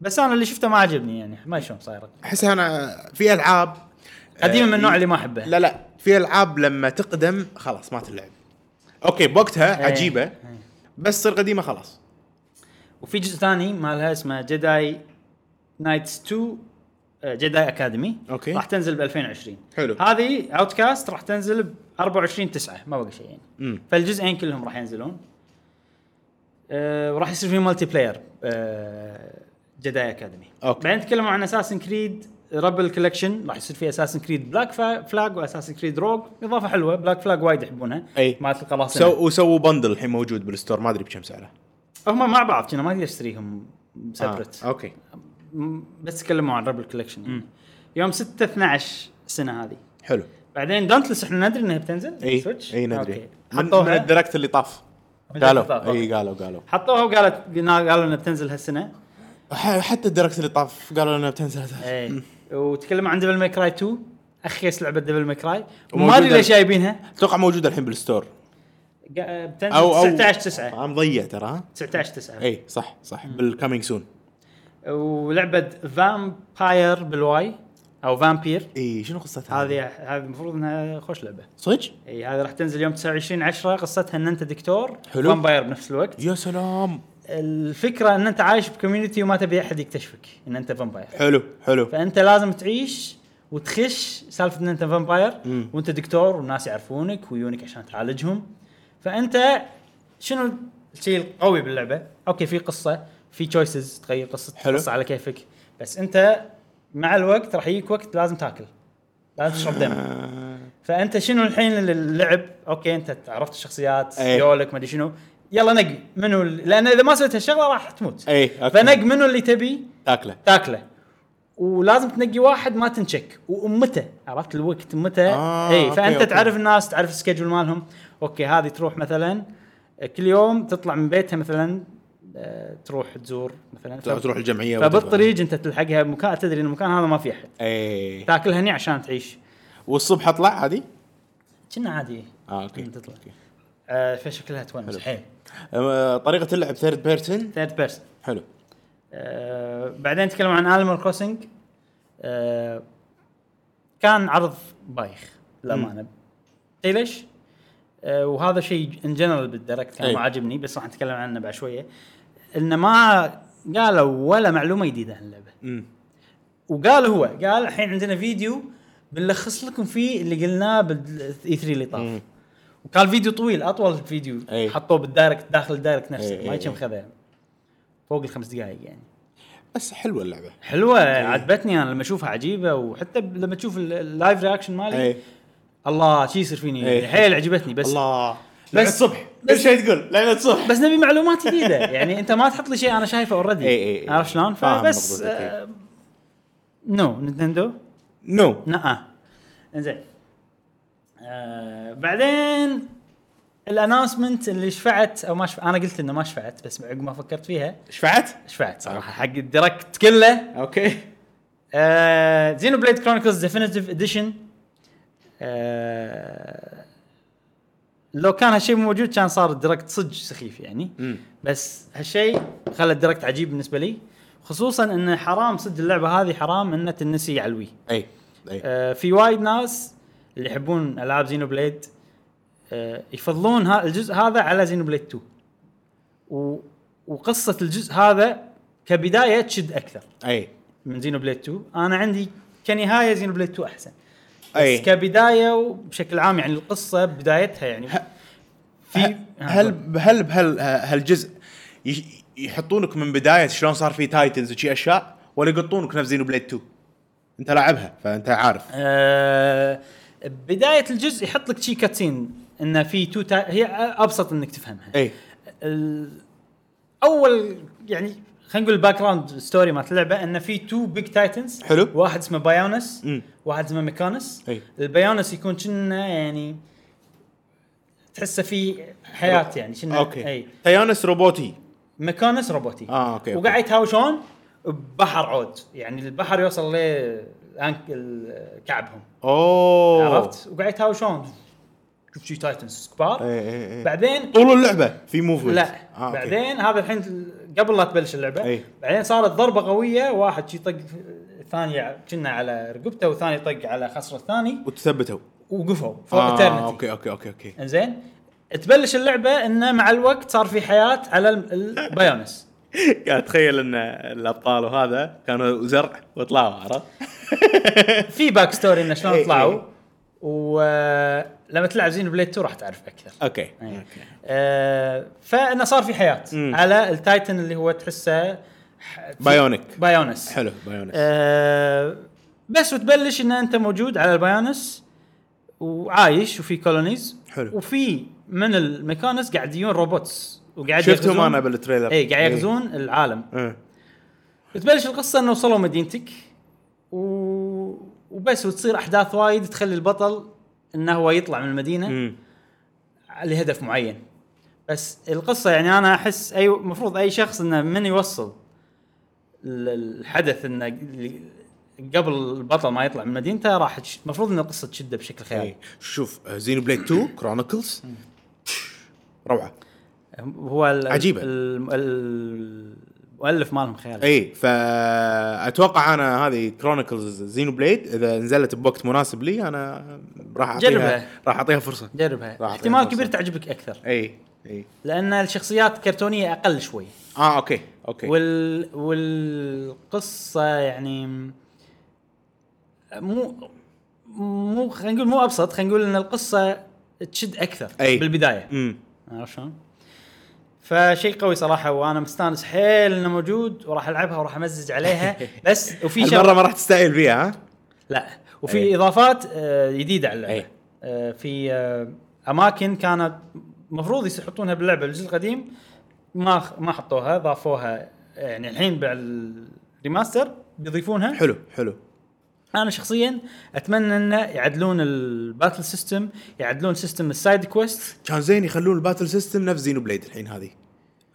S1: بس انا اللي شفته ما عجبني يعني ما شلون صايره
S2: احس انا في العاب
S1: قديمه من
S2: آه،
S1: النوع اللي ما احبه
S2: لا لا في العاب لما تقدم خلاص ما تلعب اوكي بوقتها
S1: إيه.
S2: عجيبه
S1: إيه.
S2: بس تصير قديمه خلاص
S1: وفي جزء ثاني مالها اسمه جداي نايتس 2 جداي اكاديمي
S2: أوكي.
S1: آه، راح تنزل ب 2020
S2: حلو.
S1: هذه اوت كاست راح تنزل ب 24 9 ما بقى شيء يعني
S2: امم
S1: فالجزئين كلهم راح ينزلون أه وراح يصير في مالتي بلاير أه جداي اكاديمي
S2: أوكي.
S1: بعدين تكلموا عن اساسن كريد رابل كولكشن راح يصير في اساسن كريد بلاك فلاج واساسن كريد روج اضافه حلوه بلاك فلاج وايد يحبونها
S2: أي.
S1: مالت القراصنه
S2: سو وسووا بندل الحين موجود بالستور ما ادري بكم سعره
S1: هم مع بعض كنا ما تقدر تشتريهم سبرت
S2: آه. اوكي
S1: بس تكلموا عن رابل كولكشن يعني. يوم 6 12 السنه هذه
S2: حلو
S1: بعدين دانتلس احنا ندري انها بتنزل
S2: اي
S1: سويتش؟
S2: اي ندري
S1: أوكي.
S2: من, من
S1: حطوها
S2: الدركت اللي طاف
S1: من الدركت اللي طاف،
S2: قالوا
S1: أوكي.
S2: اي قالوا قالوا
S1: حطوها وقالت قلنا- قالوا انها بتنزل هالسنه إيه.
S2: ح- حتى الدركت اللي طاف قالوا انها بتنزل هذا.
S1: ايه وتكلموا عن ديفل ماي كراي 2 اخيس لعبه ديفل ماكراي ما
S2: وموجودة-
S1: ادري ليش جايبينها
S2: اتوقع موجوده الحين بالستور
S1: إيه. قا- بتنزل
S2: او او
S1: 19 9
S2: انا مضيع ترى ها
S1: 19 9
S2: اي إيه، صح صح بالكامينج سون
S1: ولعبه فامباير بالواي او فامبير
S2: اي شنو قصتها؟
S1: هذه هذه المفروض انها خوش لعبه
S2: صدق؟
S1: اي هذه راح تنزل يوم 29 10 قصتها ان انت دكتور
S2: حلو.
S1: فامباير بنفس الوقت
S2: يا سلام
S1: الفكره ان انت عايش بكوميونتي وما تبي احد يكتشفك ان انت فامباير
S2: حلو حلو
S1: فانت لازم تعيش وتخش سالفه ان انت فامباير
S2: مم.
S1: وانت دكتور والناس يعرفونك ويونك عشان تعالجهم فانت شنو الشيء القوي باللعبه؟ اوكي في قصه في تشويسز تغير قصه
S2: حلو.
S1: قصه على كيفك بس انت مع الوقت راح يجيك وقت لازم تاكل لازم تشرب دم
S2: آه،
S1: فانت شنو الحين اللعب اوكي انت عرفت الشخصيات
S2: ايه.
S1: يولك ما ادري شنو يلا نق منو ال- لان اذا ما سويت هالشغله راح تموت
S2: اي اوكي
S1: فنق منو اللي تبي
S2: إيه، تاكله
S1: تاكله ولازم تنقي واحد ما تنشك وامته عرفت الوقت متى
S2: آه،
S1: اي
S2: أوكي،
S1: فانت
S2: أوكي.
S1: تعرف الناس تعرف السكجول مالهم اوكي هذه تروح مثلا كل يوم تطلع من بيتها مثلا آه، تروح تزور مثلا
S2: تروح- تروح الجمعيه
S1: فبالطريق انت تلحقها بمكان تدري ان المكان هذا ما في احد
S2: اي
S1: تاكل هني عشان تعيش
S2: إيه. والصبح اطلع عادي؟
S1: كنا عادي
S2: اه اوكي
S1: مم، تطلع.
S2: أوكي.
S1: آه، فشكلها تونس حيل
S2: أم- طريقه اللعب ثيرد بيرسون
S1: ثيرد بيرسون
S2: حلو
S1: آه، بعدين تكلموا عن انيمال كروسنج كان عرض بايخ للامانه تدري ليش؟ آه، وهذا شيء ان جنرال بالدركت كان
S2: أي.
S1: ما عاجبني بس راح نتكلم عنه بعد شويه انه ما قالوا ولا معلومه جديده عن اللعبه
S2: امم
S1: وقال هو قال الحين عندنا فيديو بنلخص لكم فيه اللي قلناه بالاي 3 اللي طاف
S2: مم.
S1: وكان فيديو طويل اطول فيديو
S2: أي.
S1: حطوه بالدايركت داخل الدايركت نفسه
S2: أي،
S1: ما
S2: أي،
S1: يكم
S2: أي.
S1: خذها فوق الخمس دقائق يعني
S2: بس حلوه اللعبه
S1: حلوه عجبتني انا لما اشوفها عجيبه وحتى ب- لما تشوف ال- اللايف رياكشن مالي
S2: اي
S1: الله شي يصير
S2: إيه.
S1: فيني حيل عجبتني بس
S2: الله
S1: لعبة
S2: لعبه الصبح
S1: بس-
S2: كل شيء تقول لعبه الصبح
S1: بس نبي معلومات جديده *laughs* يعني انت ما تحط لي شيء انا شايفه
S2: إيه، إيه،
S1: اوريدي
S2: إيه.
S1: عارف شلون
S2: فاهم
S1: فبس
S2: قصدك، إيه.
S1: آه، نو نينتندو
S2: نو
S1: نعم انزين آه بعدين الاناونسمنت اللي شفعت او ما شفعت انا قلت انه ما شفعت بس عقب ما فكرت فيها
S2: شفعت؟
S1: شفعت صراحه حق الدركت كله آه،
S2: اوكي
S1: زينو بليد كرونيكلز ديفينيتيف اديشن آه، لو كان هالشيء موجود كان صار الديركت صدق سخيف يعني
S2: امم
S1: بس هالشيء خلى الديركت عجيب بالنسبه لي خصوصا انه حرام صدق اللعبه هذه حرام انها تنسي علوي
S2: اي اي
S1: آه، في وايد ناس اللي يحبون العاب زينو بليد آه، يفضلون ها الجزء هذا على زينو بليد 2 و وقصه الجزء هذا كبدايه تشد اكثر
S2: اي
S1: من زينو بليد 2 انا عندي كنهايه زينو بليد 2 احسن بس
S2: اي
S1: كبدايه وبشكل عام يعني القصه بدايتها يعني في
S2: هل هل بهال هالجزء يش- يحطونك من بدايه شلون صار في تايتنز وشي اشياء ولا يقطونك نفس زينو بليد 2 انت لاعبها فانت عارف
S1: آه بدايه الجزء يحط لك شي كاتسين انه في تو تا... هي ابسط انك تفهمها
S2: اي
S1: ال- اول يعني خلينا نقول الباك جراوند ستوري مالت اللعبه ان في تو بيج تايتنز
S2: حلو.
S1: واحد اسمه بايونس
S2: مم.
S1: واحد اسمه ميكانس
S2: أي.
S1: البايونس يكون كنا يعني تحسه في حياه يعني كنا
S2: اوكي
S1: اي
S2: تيانس روبوتي
S1: ميكانس روبوتي
S2: اه اوكي أوكي.
S1: وقاعد يتهاوشون ببحر عود يعني البحر يوصل ل الأنك- ال- كعبهم
S2: اوه
S1: عرفت وقاعد يتهاوشون شوف شي تايتنز كبار
S2: اي اي اي
S1: بعدين
S2: إيه، طول اللعبه في موفمنت
S1: لا آه
S2: أوكي.
S1: بعدين هذا الحين قبل لا تبلش اللعبه
S2: أي.
S1: بعدين صارت ضربه قويه واحد شي طق ثاني كنا على رقبته وثاني طق على خصر الثاني
S2: وتثبتوا
S1: وقفوا فوق آه
S2: اه
S1: الترنتي
S2: اوكي اوكي اوكي
S1: *laughs*
S2: اوكي
S1: انزين تبلش اللعبه انه مع الوقت صار في حياه على الم- البايونس
S2: قاعد اتخيل ان الابطال وهذا كانوا زرع وطلعوا عرفت؟
S1: في باك ستوري انه شلون
S2: إي
S1: طلعوا
S2: إي.
S1: ولما تلعب زين بليد 2 راح تعرف اكثر
S2: اوكي
S1: إي. آه، فانه صار في حياه
S2: مم.
S1: على التايتن اللي هو تحسه ح-
S2: بايونيك.
S1: بايونس
S2: حلو بايونس
S1: آه، بس وتبلش ان انت موجود على البايونس وعايش وفي كولونيز
S2: حلو.
S1: وفي من الميكانس قاعد يجون روبوتس وقاعد
S2: شفتهم
S1: يغزون-
S2: انا بالتريلر
S1: اي قاعد يغزون العالم
S2: إيه.
S1: بتبلش القصه انه وصلوا مدينتك و... وبس وتصير احداث وايد تخلي البطل انه هو يطلع من المدينه
S2: امم
S1: لهدف معين بس القصه يعني انا احس اي المفروض اي شخص انه من يوصل ال- الحدث انه قبل البطل ما يطلع من مدينته راح تش- المفروض ان القصه تشده بشكل خيالي
S2: إيه. شوف زينو بليد 2 كرونيكلز روعه
S1: هو ال-
S2: عجيبة. إيه.
S1: ال- ال- المؤلف مالهم خيال
S2: اي فاتوقع انا هذه كرونيكلز زينو بليد اذا نزلت بوقت مناسب لي انا راح اعطيها
S1: جربها.
S2: راح إيه، اعطيها فرصه
S1: جربها
S2: راح
S1: احتمال
S2: أعطيها
S1: كبير
S2: فرصة.
S1: تعجبك اكثر
S2: اي اي
S1: لان الشخصيات كرتونيه اقل شوي
S2: اه اوكي اوكي
S1: وال والقصه يعني م- مو مو خلينا نقول مو ابسط خلينا نقول ان القصه تشد اكثر
S2: أي.
S1: بالبدايه
S2: امم
S1: عرفت شلون؟ فشيء قوي صراحه وانا مستانس حيل انه موجود وراح العبها وراح امزج عليها بس وفي شغله
S2: المره ما راح تستعجل فيها ها
S1: لا وفي
S2: أي.
S1: اضافات آه، جديده على اللعبه
S2: أي.
S1: آه، في آه، اماكن كانت مفروض يحطونها باللعبه الجزء القديم ما ما حطوها ضافوها يعني الحين بالريماستر بيضيفونها
S2: حلو حلو
S1: انا شخصيا اتمنى انه يعدلون الباتل سيستم يعدلون سيستم السايد كويست
S2: كان زين يخلون الباتل سيستم نفس زينو بليد الحين هذه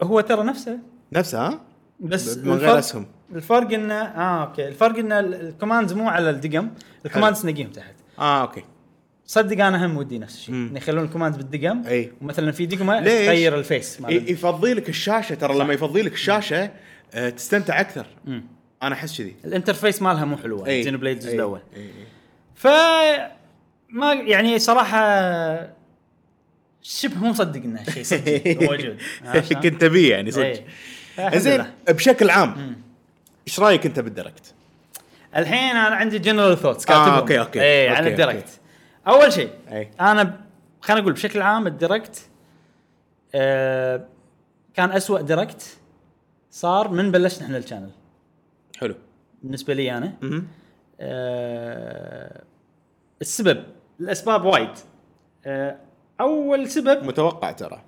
S1: هو ترى نفسه
S2: نفسها ها؟
S1: بس
S2: من غير
S1: الفرق-
S2: أسهم.
S1: الفرق انه اه اوكي الفرق انه ال- الكوماندز مو على الدقم الكوماندز نقيهم تحت
S2: اه اوكي
S1: صدق انا هم ودي نفس الشيء
S2: مم.
S1: انه يخلون الكوماند بالدقم
S2: أي.
S1: ومثلا في دقمه
S2: ليش؟
S1: تغير الفيس مال
S2: إيه. ي- يفضي لك الشاشه ترى لما يفضي لك الشاشه آه، تستمتع اكثر
S1: مم.
S2: انا احس كذي إيه.
S1: الانترفيس مالها مو حلوه
S2: أي.
S1: زينو بليد الجزء
S2: أي.
S1: الاول
S2: أي. أي.
S1: ف ما يعني صراحه شبه مو مصدق انه شيء
S2: *laughs*
S1: صدق *laughs* موجود عرفت شلون؟
S2: كنت ابيه يعني صدق
S1: أي. فالحمد
S2: زين
S1: لله.
S2: بشكل عام ايش رايك انت بالدركت؟
S1: الحين انا عندي جنرال ثوتس
S2: آه، أوكي، أوكي.
S1: اي على
S2: أوكي،
S1: الدايركت اول شيء
S2: أي.
S1: انا ب- خلينا نقول بشكل عام الدايركت آه كان أسوأ دايركت صار من بلشنا احنا الشانل
S2: حلو
S1: بالنسبه لي انا
S2: مهم.
S1: آه السبب الاسباب وايد آه اول سبب
S2: متوقع ترى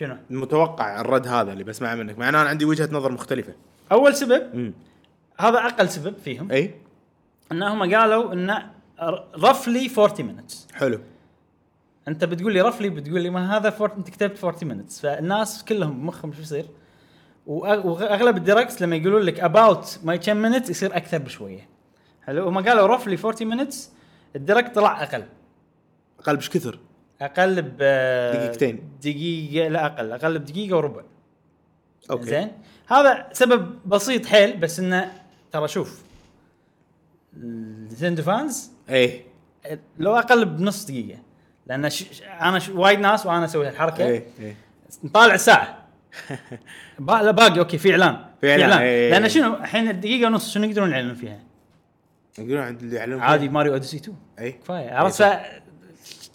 S1: شنو
S2: متوقع الرد هذا اللي بسمعه منك مع ان انا عندي وجهه نظر مختلفه
S1: اول سبب
S2: امم
S1: هذا اقل سبب فيهم
S2: اي
S1: انهم قالوا ان رفلي 40 minutes
S2: حلو
S1: انت بتقول لي رفلي بتقول لي ما هذا فورت انت كتبت 40 مينتس فالناس كلهم بمخهم شو يصير وأ- واغلب الديركت لما يقولون لك اباوت ما كم مينت يصير اكثر بشويه حلو هم قالوا رفلي 40 مينتس الديركت طلع اقل
S2: اقل بش كثر
S1: اقل ب
S2: دقيقتين.
S1: دقيقه لا اقل اقل بدقيقه وربع
S2: اوكي
S1: زين هذا سبب بسيط حيل بس انه ترى شوف نتندو فانز
S2: اي
S1: لو اقل بنص دقيقه لان ش... ش- انا ش... وايد ناس وانا اسوي هالحركه
S2: اي اي
S1: نطالع الساعه
S2: *laughs*
S1: با... لا باقي اوكي في اعلان
S2: في إعلان، إيه.
S1: لان شنو الحين الدقيقه ونص شنو يقدرون يعلنون فيها؟
S2: يقولون عند اللي يعلنون
S1: عادي ماريو اوديسي 2
S2: اي
S1: كفايه عرفت ف-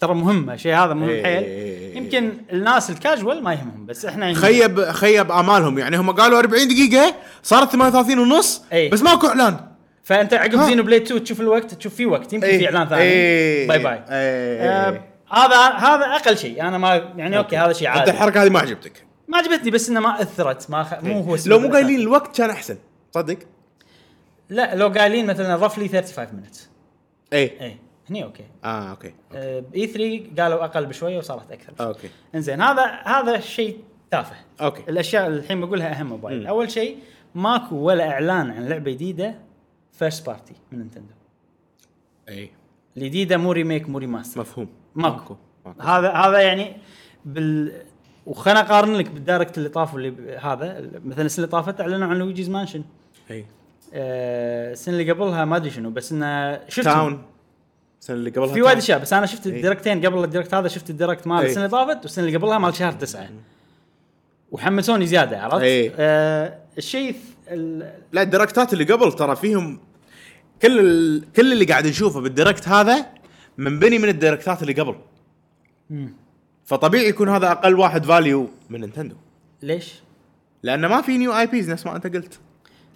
S1: ترى مهمه شيء هذا مهم
S2: إيه،
S1: حيل
S2: إيه، إيه.
S1: يمكن الناس الكاجوال ما يهمهم بس احنا يهمنا.
S2: خيب خيب امالهم يعني هم قالوا 40 دقيقه صارت 38 ونص
S1: أي.
S2: بس ماكو اعلان
S1: فانت عقب
S2: ها.
S1: زينو بليد 2 تشوف الوقت تشوف في وقت يمكن
S2: إيه.
S1: في اعلان ثاني
S2: إيه.
S1: باي باي
S2: إيه.
S1: آه، هذا هذا اقل شيء انا ما يعني اوكي هذا شيء
S2: انت
S1: عادي
S2: الحركه هذه ما عجبتك
S1: ما عجبتني بس انه ما اثرت ما خ... مو هو السبب
S2: إيه. لو مو
S1: الأساسي.
S2: قايلين الوقت كان احسن صدق
S1: لا لو قايلين مثلا رفلي 35 مينت
S2: اي
S1: اي إيه. هني اوكي
S2: اه اوكي
S1: اي 3 آه، قالوا اقل بشويه وصارت اكثر بشوية.
S2: اوكي
S1: انزين هذا هذا شيء تافه
S2: اوكي
S1: الاشياء اللي الحين بقولها اهم وايد اول شيء ماكو ولا اعلان عن لعبه جديده فيرست بارتي من نينتندو
S2: اي
S1: الجديده مو ريميك مو ريماستر
S2: إيه. مفهوم
S1: ماكو
S2: ماكو.
S1: هذا هذا يعني بال وخلنا اقارن لك بالدايركت اللي طاف واللي ب- هذا مثلا السنه اللي طافت اعلنوا عن لويجيز مانشن
S2: اي
S1: آه، السنه اللي قبلها ما ادري شنو بس انه شفت
S2: تاون السنه اللي قبلها
S1: في
S2: تاون.
S1: وايد اشياء بس انا شفت الديركتين قبل الديركت هذا شفت الديركت مال
S2: إيه.
S1: السنه اللي طافت والسنه اللي قبلها مال شهر تسعة وحمسوني زياده عرفت؟
S2: إيه.
S1: آه الشيء الث- ال-
S2: لا الديركتات اللي قبل ترى فيهم كل ال... كل اللي قاعد نشوفه بالديركت هذا منبني من الديركتات اللي قبل فطبيعي يكون هذا اقل واحد فاليو من نينتندو
S1: ليش؟
S2: لانه ما في نيو اي بيز نفس ما انت قلت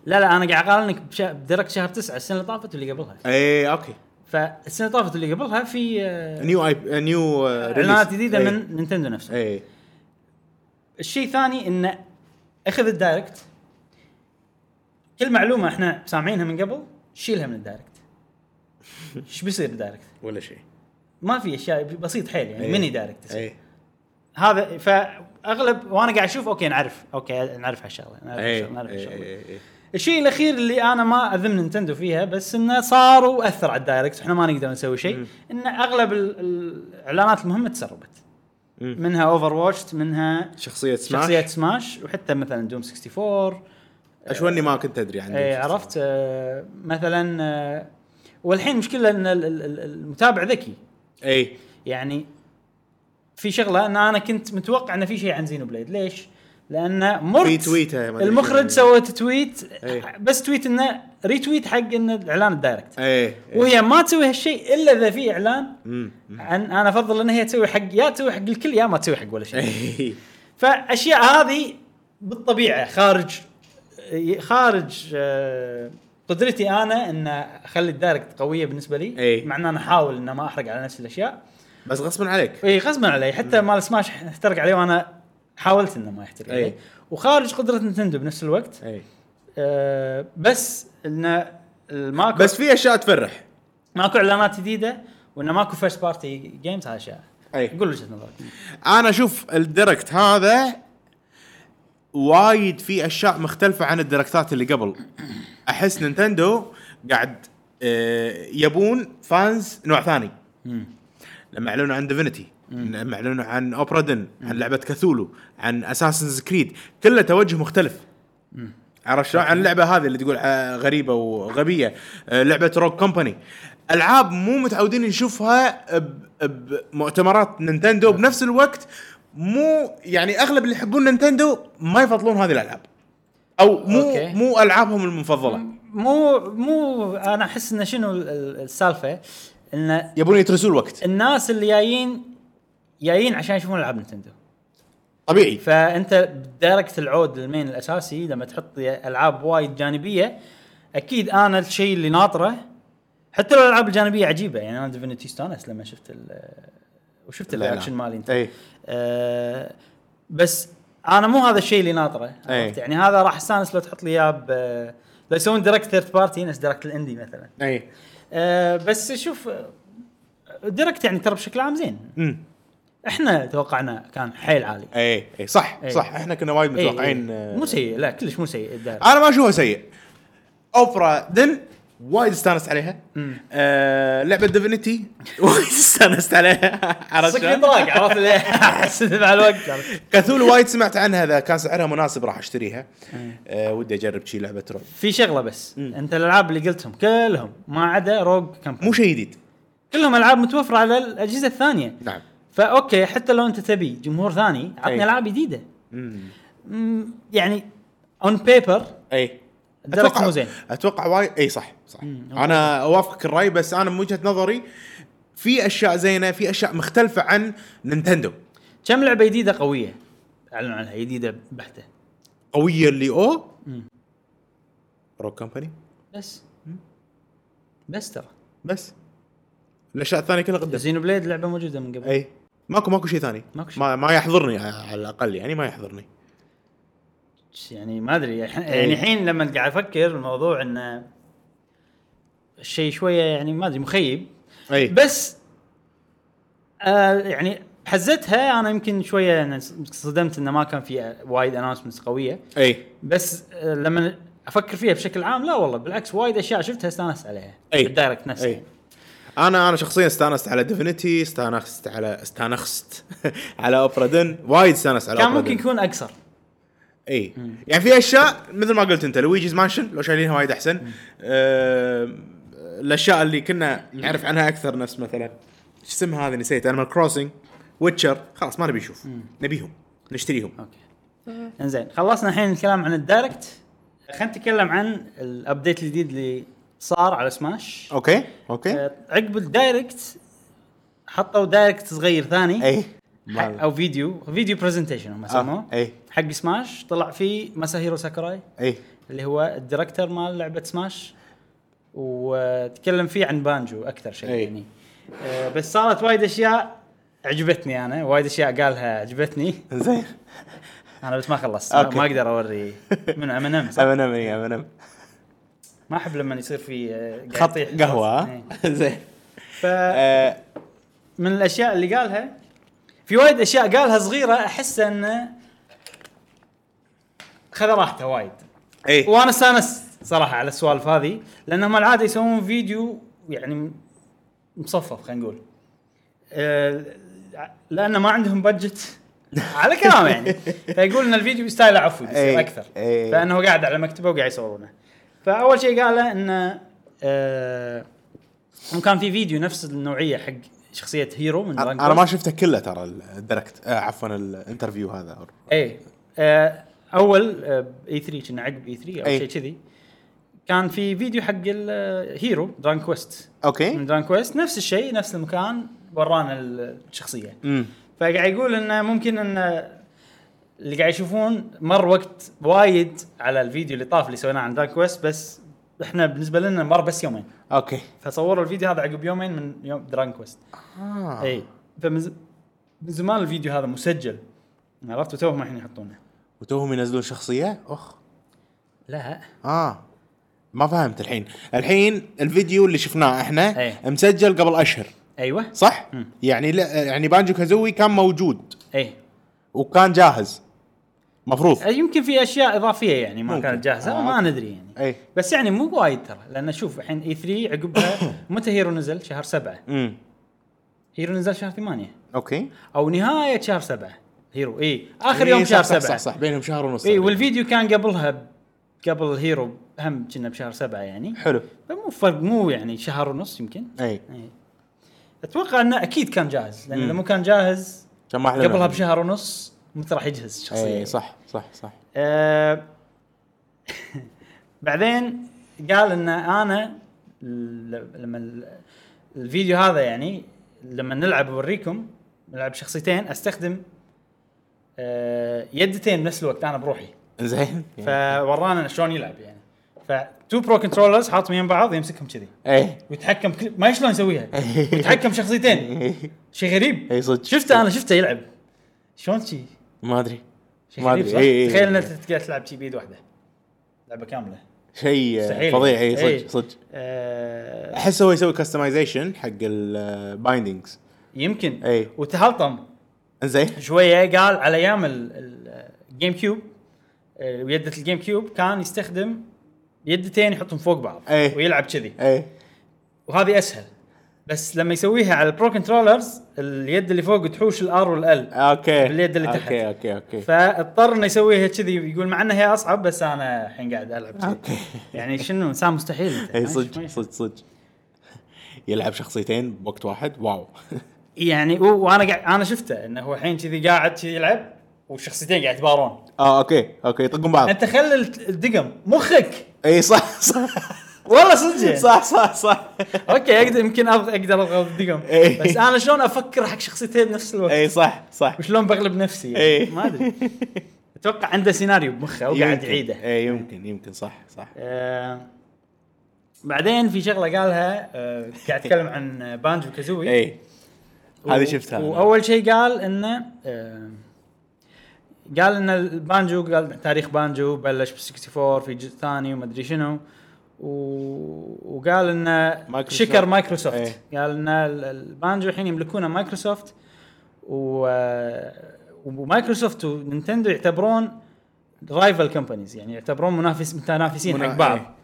S1: لا لا انا قاعد اقارنك بش- بديركت شهر تسعة السنه اللي طافت واللي قبلها
S2: اي اوكي
S1: فالسنه اللي طافت واللي قبلها في آه،
S2: نيو اي نيو آه، ريليز.
S1: اعلانات جديده
S2: إيه.
S1: من نينتندو نفسها
S2: اي
S1: الشيء الثاني انه اخذ الدايركت كل معلومه احنا سامعينها من قبل شيلها من الدايركت ايش بيصير بالدايركت؟
S2: ولا شيء
S1: ما في اشياء بسيط حيل يعني
S2: إيه.
S1: ميني دايركت يصير.
S2: اي
S1: هذا فاغلب وانا قاعد اشوف اوكي نعرف اوكي نعرف هالشغله نعرف
S2: اي
S1: هالشغله نعرف
S2: إي،
S1: هالشغله
S2: إي، إي.
S1: الشيء الاخير اللي انا ما اذم نينتندو فيها بس انه صار واثر على الدايركت احنا ما نقدر نسوي شيء ان اغلب ال- الاعلانات المهمه تسربت
S2: مم.
S1: منها اوفر واتش منها
S2: شخصيه سماش
S1: شخصيات سماش وحتى مثلا دوم 64
S2: اشوى اني ما كنت ادري عنه
S1: اي إيه، عرفت آه، مثلا آه، والحين مشكله ان ال- ال- ال- المتابع ذكي
S2: اي
S1: يعني في شغله ان انا كنت متوقع ان في شيء عن زينو بليد ليش؟ لان مرت
S2: في تويته ما أدري
S1: المخرج
S2: شنو.
S1: سوت تويت
S2: إيه.
S1: بس تويت انه ريتويت حق انه الاعلان الدايركت
S2: اي اي
S1: وهي ما تسوي هالشيء الا اذا في اعلان
S2: إيه، مم.
S1: عن انا افضل ان هي تسوي حق يا تسوي حق الكل يا ما تسوي حق ولا
S2: إيه.
S1: شيء
S2: إي.
S1: فاشياء هذه بالطبيعه خارج خارج آه، قدرتي انا ان اخلي الدايركت قويه بالنسبه لي
S2: إي.
S1: مع ان انا احاول ان ما احرق على نفسي الاشياء
S2: بس غصبا عليك
S1: اي غصبا إيه، علي حتى مال سماش احترق عليه وانا حاولت انه ما يحترق
S2: إي.
S1: علي وخارج قدره نتندو بنفس الوقت
S2: اي
S1: آه بس انه ماكو
S2: بس في اشياء تفرح
S1: ماكو اعلانات جديده وانه ماكو فيرست بارتي جيمز هذا اشياء
S2: اي
S1: قول وجهه نظرك
S2: انا اشوف الديركت هذا وايد في اشياء مختلفه عن الديركتات اللي قبل احس نينتندو قاعد آه، يبون فانز نوع ثاني لما اعلنوا عن ديفينيتي لما اعلنوا عن اوبرا دن عن لعبه كاثولو عن اساسنز كريد كله توجه مختلف عرفت شلون؟ عن اللعبه هذه اللي تقول آه، غريبه وغبيه آه، لعبه روك كومباني العاب مو متعودين نشوفها ب- بمؤتمرات نينتندو بنفس الوقت مو يعني اغلب اللي يحبون نينتندو ما يفضلون هذه الالعاب او مو
S1: أوكي.
S2: مو العابهم المفضله
S1: مو مو انا احس انه شنو ال- ال- السالفه ان
S2: يبون يترسون الوقت
S1: الناس اللي جايين جايين عشان يشوفون العاب نتندو
S2: طبيعي
S1: فانت بدايركت العود للمين الاساسي لما تحط العاب وايد جانبيه اكيد انا الشيء اللي ناطره حتى لو الالعاب الجانبيه عجيبه يعني انا ديفينيتي استانس لما شفت ال وشفت
S2: لا، إيه. لا.
S1: الرياكشن مالي انت
S2: اي
S1: أه بس انا مو هذا الشيء اللي ناطره
S2: أي.
S1: عرفت؟ يعني هذا راح استانس لو تحط لي اياه ب- لو يسوون دايركت ثيرد بارتي نفس دايركت الاندي مثلا
S2: اي
S1: أه بس شوف دايركت يعني ترى بشكل عام زين
S2: امم
S1: احنا توقعنا كان حيل عالي
S2: اي اي إيه. صح
S1: إي.
S2: أي. صح احنا كنا وايد
S1: إيه،
S2: متوقعين
S1: إيه.
S2: آه،
S1: مو سيء لا كلش مو سيء الدايركت
S2: انا ما اشوفها سيء اوبرا دن وايد استانست عليها
S1: مم.
S2: آه لعبه ديفينيتي *laughs* وايد استانست عليها *laughs* عرفت
S1: صك
S2: شلون؟
S1: طراق
S2: *laughs*
S1: عرفت ليه؟ احس إنه مع الوقت عرفت؟
S2: كاثولو وايد سمعت عنها اذا كان سعرها مناسب راح اشتريها
S1: إيه.
S2: آه ودي اجرب شي لعبه رعب
S1: في شغله بس انت الالعاب اللي قلتهم كلهم ما عدا روج كمباني
S2: مو شيء جديد
S1: كلهم العاب متوفره على الاجهزه الثانيه
S2: نعم
S1: فاوكي حتى لو انت تبي جمهور ثاني عطني
S2: أي.
S1: العاب جديده
S2: مم.
S1: مم، يعني اون بيبر
S2: اي
S1: درجة مو زين
S2: اتوقع وايد اي صح صح
S1: مم.
S2: انا اوافقك الراي بس انا من وجهه نظري في اشياء زينه في اشياء مختلفه عن نينتندو
S1: كم لعبه جديده قويه اعلنوا عنها جديده بحته
S2: قويه اللي او
S1: مم.
S2: روك كمباني
S1: بس بس ترى
S2: بس الاشياء الثانيه كلها قدام
S1: زينو بليد لعبه موجوده من قبل
S2: اي ماكو ماكو شيء ثاني
S1: ماكو شيء.
S2: ما, ما يحضرني على الاقل يعني ما يحضرني
S1: يعني ما ادري الحين- يعني الحين لما قاعد افكر الموضوع انه الشيء شويه يعني ما ادري مخيب
S2: اي
S1: بس آه يعني حزتها انا يمكن شويه أنا صدمت انه ما كان في وايد اناونسمنتس قويه
S2: اي
S1: بس آه، لما افكر فيها بشكل عام لا والله بالعكس وايد اشياء شفتها استانست عليها
S2: أي.
S1: بالدايركت نفسه
S2: أي. انا انا شخصيا استانست على ديفينيتي استانست على استانست *laughs* على اوبرا دن وايد استانست على
S1: كان
S2: أوبرا
S1: ممكن
S2: دن.
S1: يكون اقصر
S2: اي يعني في اشياء مثل ما قلت انت لويجيز مانشن لو شايلينها وايد احسن آم، الاشياء اللي كنا نعرف عنها اكثر نفس مثلا شو اسمها هذه نسيت انيمال كروسنج ويتشر خلاص ما نبي نشوف نبيهم نشتريهم
S1: آه. اوكي انزين خلصنا الحين الكلام عن الدايركت خلينا نتكلم عن الابديت الجديد اللي صار على سماش
S2: اوكي اوكي
S1: آه، عقب الدايركت حطوا دايركت صغير ثاني
S2: اي
S1: ح- او فيديو فيديو برزنتيشن
S2: آه.
S1: هم سموه
S2: أي.
S1: حق سماش طلع فيه ماساهيرو ساكوراي
S2: اي
S1: اللي هو الديركتور مال لعبه سماش وتكلم فيه عن بانجو اكثر شيء
S2: أي.
S1: يعني آه، بس صارت وايد اشياء عجبتني انا وايد اشياء قالها عجبتني
S2: زين
S1: انا بس ما خلصت ما-
S2: أوكي.
S1: ما اقدر
S2: *laughs*
S1: اوري من ام ام
S2: ام ام ام ام
S1: ما احب لما يصير في آه، قاعد
S2: خط
S1: يعني يطيح.
S2: قهوه
S1: إيه.
S2: ها؟ *laughs* زين *laughs*
S1: ف-
S2: آه،
S1: من الاشياء اللي قالها في وايد اشياء قالها صغيره احس انه خذ راحته وايد
S2: اي إيه.
S1: وانا استانست صراحه على السوالف هذه لانهم العاده يسوون فيديو يعني مصفف خلينا نقول آه، لان ما عندهم بادجت على كلام يعني فيقول ان الفيديو يستاهل عفو يصير
S2: إي،
S1: اكثر
S2: إي.
S1: فانه قاعد على مكتبه وقاعد يصورونه فاول شيء قاله انه آه، هم كان في فيديو نفس النوعيه حق شخصيه هيرو من Dragon
S2: انا
S1: Quest.
S2: ما شفته كله ترى الدركت آه عفوا الانترفيو هذا
S1: ايه آه، اول اي 3 كنا عقب اي 3 او
S2: إيه.
S1: شيء كذي كان في فيديو حق آه، الهيرو دران كويست من
S2: اوكي
S1: دران كويست نفس الشيء نفس المكان ورانا الشخصيه
S2: امم
S1: فقاعد يقول انه ممكن ان اللي قاعد يشوفون مر وقت وايد على الفيديو اللي طاف اللي سويناه عن دران كويست بس احنا بالنسبه لنا مر بس يومين
S2: اوكي
S1: فصوروا الفيديو هذا عقب يومين من يوم دران كويست
S2: آه.
S1: اي فمن ز- من زمان الفيديو هذا مسجل عرفت وتوهم الحين يحطونه
S2: وتوهم ينزلون شخصيه اخ
S1: لا
S2: اه ما فهمت الحين الحين الفيديو اللي شفناه احنا
S1: إيه.
S2: مسجل قبل اشهر
S1: ايوه
S2: صح
S1: مم.
S2: يعني لا يعني بانجو كازوي كان موجود
S1: اي
S2: وكان جاهز مفروض
S1: يمكن في اشياء اضافيه يعني ما
S2: ممكن.
S1: كانت جاهزه
S2: آه،
S1: ما
S2: أوكي.
S1: ندري يعني
S2: اي
S1: بس يعني مو وايد ترى لان شوف الحين اي 3 عقبها
S2: *coughs*
S1: متى هيرو نزل شهر سبعة
S2: امم
S1: هيرو نزل شهر ثمانية
S2: اوكي
S1: او نهايه شهر سبعة هيرو اي اخر
S2: إي،
S1: يوم
S2: إيه، صح،
S1: شهر
S2: صح،
S1: سبعة إيه،
S2: صح صح بينهم شهر ونص
S1: اي
S2: تقريباً.
S1: والفيديو كان قبلها ب- قبل هيرو هم كنا بشهر سبعة يعني
S2: حلو إيه.
S1: فمو فرق مو يعني شهر ونص يمكن
S2: اي
S1: اي اتوقع انه اكيد كان جاهز لان
S2: مم.
S1: اذا مو كان جاهز
S2: كان ما أعلنوا
S1: قبلها
S2: عنه.
S1: بشهر ونص متى راح يجهز الشخصيه
S2: اي صح صح صح
S1: آه، *laughs* بعدين قال ان انا ل- لما ال- الفيديو هذا يعني لما نلعب اوريكم نلعب شخصيتين استخدم آه، يدتين بنفس الوقت انا بروحي
S2: زين
S1: فورانا شلون يلعب يعني فتو برو كنترولرز حاطهم يم بعض يمسكهم كذي
S2: اي
S1: ويتحكم كل- ما شلون يسويها ويتحكم شخصيتين شيء غريب
S2: اي إيه. صدق
S1: شفته انا شفته يلعب شلون شي
S2: ما ادري
S1: شيء
S2: ما
S1: غريب
S2: أدري.
S1: صح؟
S2: إيه، إي إي.
S1: تخيل انك تقدر تلعب شي بيد واحده لعبه كامله
S2: شيء
S1: مستحيل. إيه.
S2: فظيع اي
S1: إي.
S2: صدق صدق
S1: آه
S2: احس هو يسوي كستمايزيشن حق البايندنجز
S1: يمكن
S2: إي.
S1: وتهلطم
S2: زين
S1: شويه قال على ايام ال- ال- الجيم كيوب آه، ويدة الجيم كيوب كان يستخدم يدتين يحطهم فوق بعض
S2: إي.
S1: ويلعب كذي
S2: اي
S1: وهذه اسهل بس لما يسويها على البرو كنترولرز اليد اللي فوق تحوش الار والال
S2: اوكي
S1: باليد اللي تحت.
S2: اوكي اوكي اوكي
S1: فاضطر انه يسويها كذي يقول مع انها هي اصعب بس انا الحين قاعد العب كذي
S2: أوكي.
S1: يعني شنو انسان مستحيل أنت.
S2: اي
S1: ما- ما
S2: إيه، صدق
S1: يحب.
S2: صدق صدق يلعب شخصيتين بوقت واحد واو *laughs*
S1: يعني و- وانا قاعد انا شفته انه هو الحين كذي قاعد كذي يلعب والشخصيتين قاعد يتبارون
S2: اه اوكي اوكي يطقون بعض
S1: انت خلي الت- الدقم مخك
S2: اي صح صح
S1: والله صدق يعني.
S2: *laughs* صح صح صح
S1: اوكي اقدر يمكن أضغ- اقدر اضغط الدقم
S2: *laughs* إيه.
S1: بس انا شلون افكر حق شخصيتين بنفس الوقت
S2: اي إيه، صح صح
S1: وشلون بغلب نفسي يعني.
S2: إيه.
S1: ما ادري اتوقع عنده سيناريو بمخه وقاعد
S2: يمكن.
S1: يعيده
S2: اي يمكن يمكن صح صح
S1: آه، بعدين في شغله قالها آه، قاعد اتكلم عن بانجو كازوي
S2: اي إيه. هذه
S1: و-
S2: شفتها أنا.
S1: واول شيء قال انه آه، قال ان البانجو قال تاريخ بانجو بلش ب 64 في جزء ثاني وما ادري شنو و- وقال انه
S2: مايكروسوفت.
S1: شكر مايكروسوفت
S2: إيه.
S1: قال ان ال- البانجو الحين يملكونه مايكروسوفت و آه، ومايكروسوفت ونينتندو يعتبرون رايفل كومبانيز يعني يعتبرون منافس متنافسين
S2: منا-
S1: حق بعض
S2: إيه.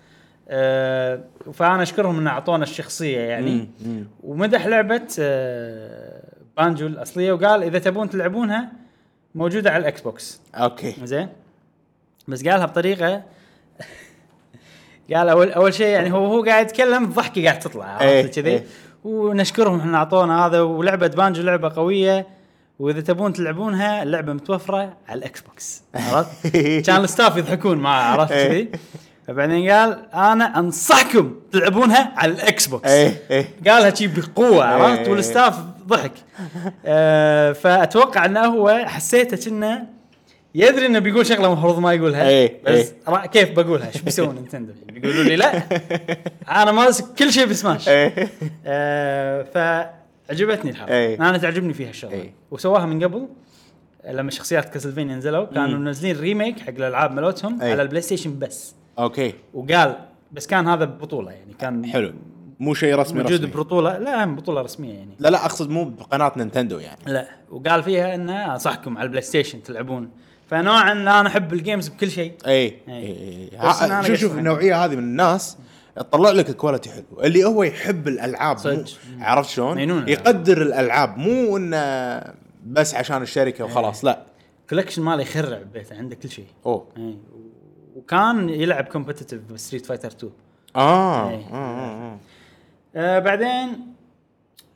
S1: آه فانا اشكرهم ان اعطونا الشخصيه يعني
S2: مم، مم.
S1: ومدح لعبه آه، بانجو الاصليه وقال اذا تبون تلعبونها موجوده على الاكس بوكس
S2: اوكي
S1: زين بس قالها بطريقه *laughs* قال اول اول شيء يعني هو هو قاعد يتكلم الضحكه قاعد تطلع
S2: إيه،
S1: عرفت كذي
S2: إيه.
S1: ونشكرهم احنا اعطونا هذا ولعبه بانجو لعبه قويه واذا تبون تلعبونها اللعبه متوفره على الاكس بوكس عرفت؟
S2: *laughs*
S1: كان الستاف يضحكون معه عرفت كذي؟
S2: إيه.
S1: فبعدين قال انا انصحكم تلعبونها على الاكس بوكس
S2: ايه *laughs* ايه
S1: قالها شي بقوه عرفت
S2: إيه.
S1: والستاف ضحك آه فاتوقع انه هو حسيته كأنه يدري انه بيقول شغله المفروض ما يقولها
S2: إيه،
S1: بس
S2: إيه.
S1: را- كيف بقولها ايش بيسوون نينتندو بيقولوا لي لا انا ماسك كل شيء بسماش
S2: ايه
S1: آه فعجبتني الحركه
S2: إيه.
S1: انا تعجبني فيها الشغله
S2: إيه.
S1: وسواها من قبل لما شخصيات كاسلفينيا نزلوا كانوا منزلين ريميك حق الالعاب مالتهم
S2: إيه.
S1: على البلاي ستيشن بس
S2: اوكي
S1: وقال بس كان هذا ببطوله يعني كان
S2: حلو مو شيء رسمي
S1: موجود
S2: رسمي
S1: ببطوله لا هم بطوله رسميه يعني
S2: لا لا اقصد مو بقناه نينتندو يعني
S1: لا وقال فيها انه انصحكم على البلاي ستيشن تلعبون فنوعا لا انا احب الجيمز بكل شيء
S2: اي
S1: إي.
S2: اي
S1: إيه. بس إن أنا
S2: إيه، ها- شوف شوف
S1: قصة.
S2: النوعيه هذه من الناس تطلع لك كواليتي حلو اللي هو يحب الالعاب مو
S1: صدق.
S2: عرفت شلون؟
S1: مجنون.
S2: يقدر الالعاب مو انه بس عشان الشركه وخلاص
S1: إيه.
S2: لا
S1: كولكشن مالي يخرع ببيته عنده كل شيء
S2: اوه
S1: إي. و- وكان يلعب كومبتتف بستريت فايتر 2
S2: اه
S1: إي.
S2: آه، آه، آه.
S1: آه بعدين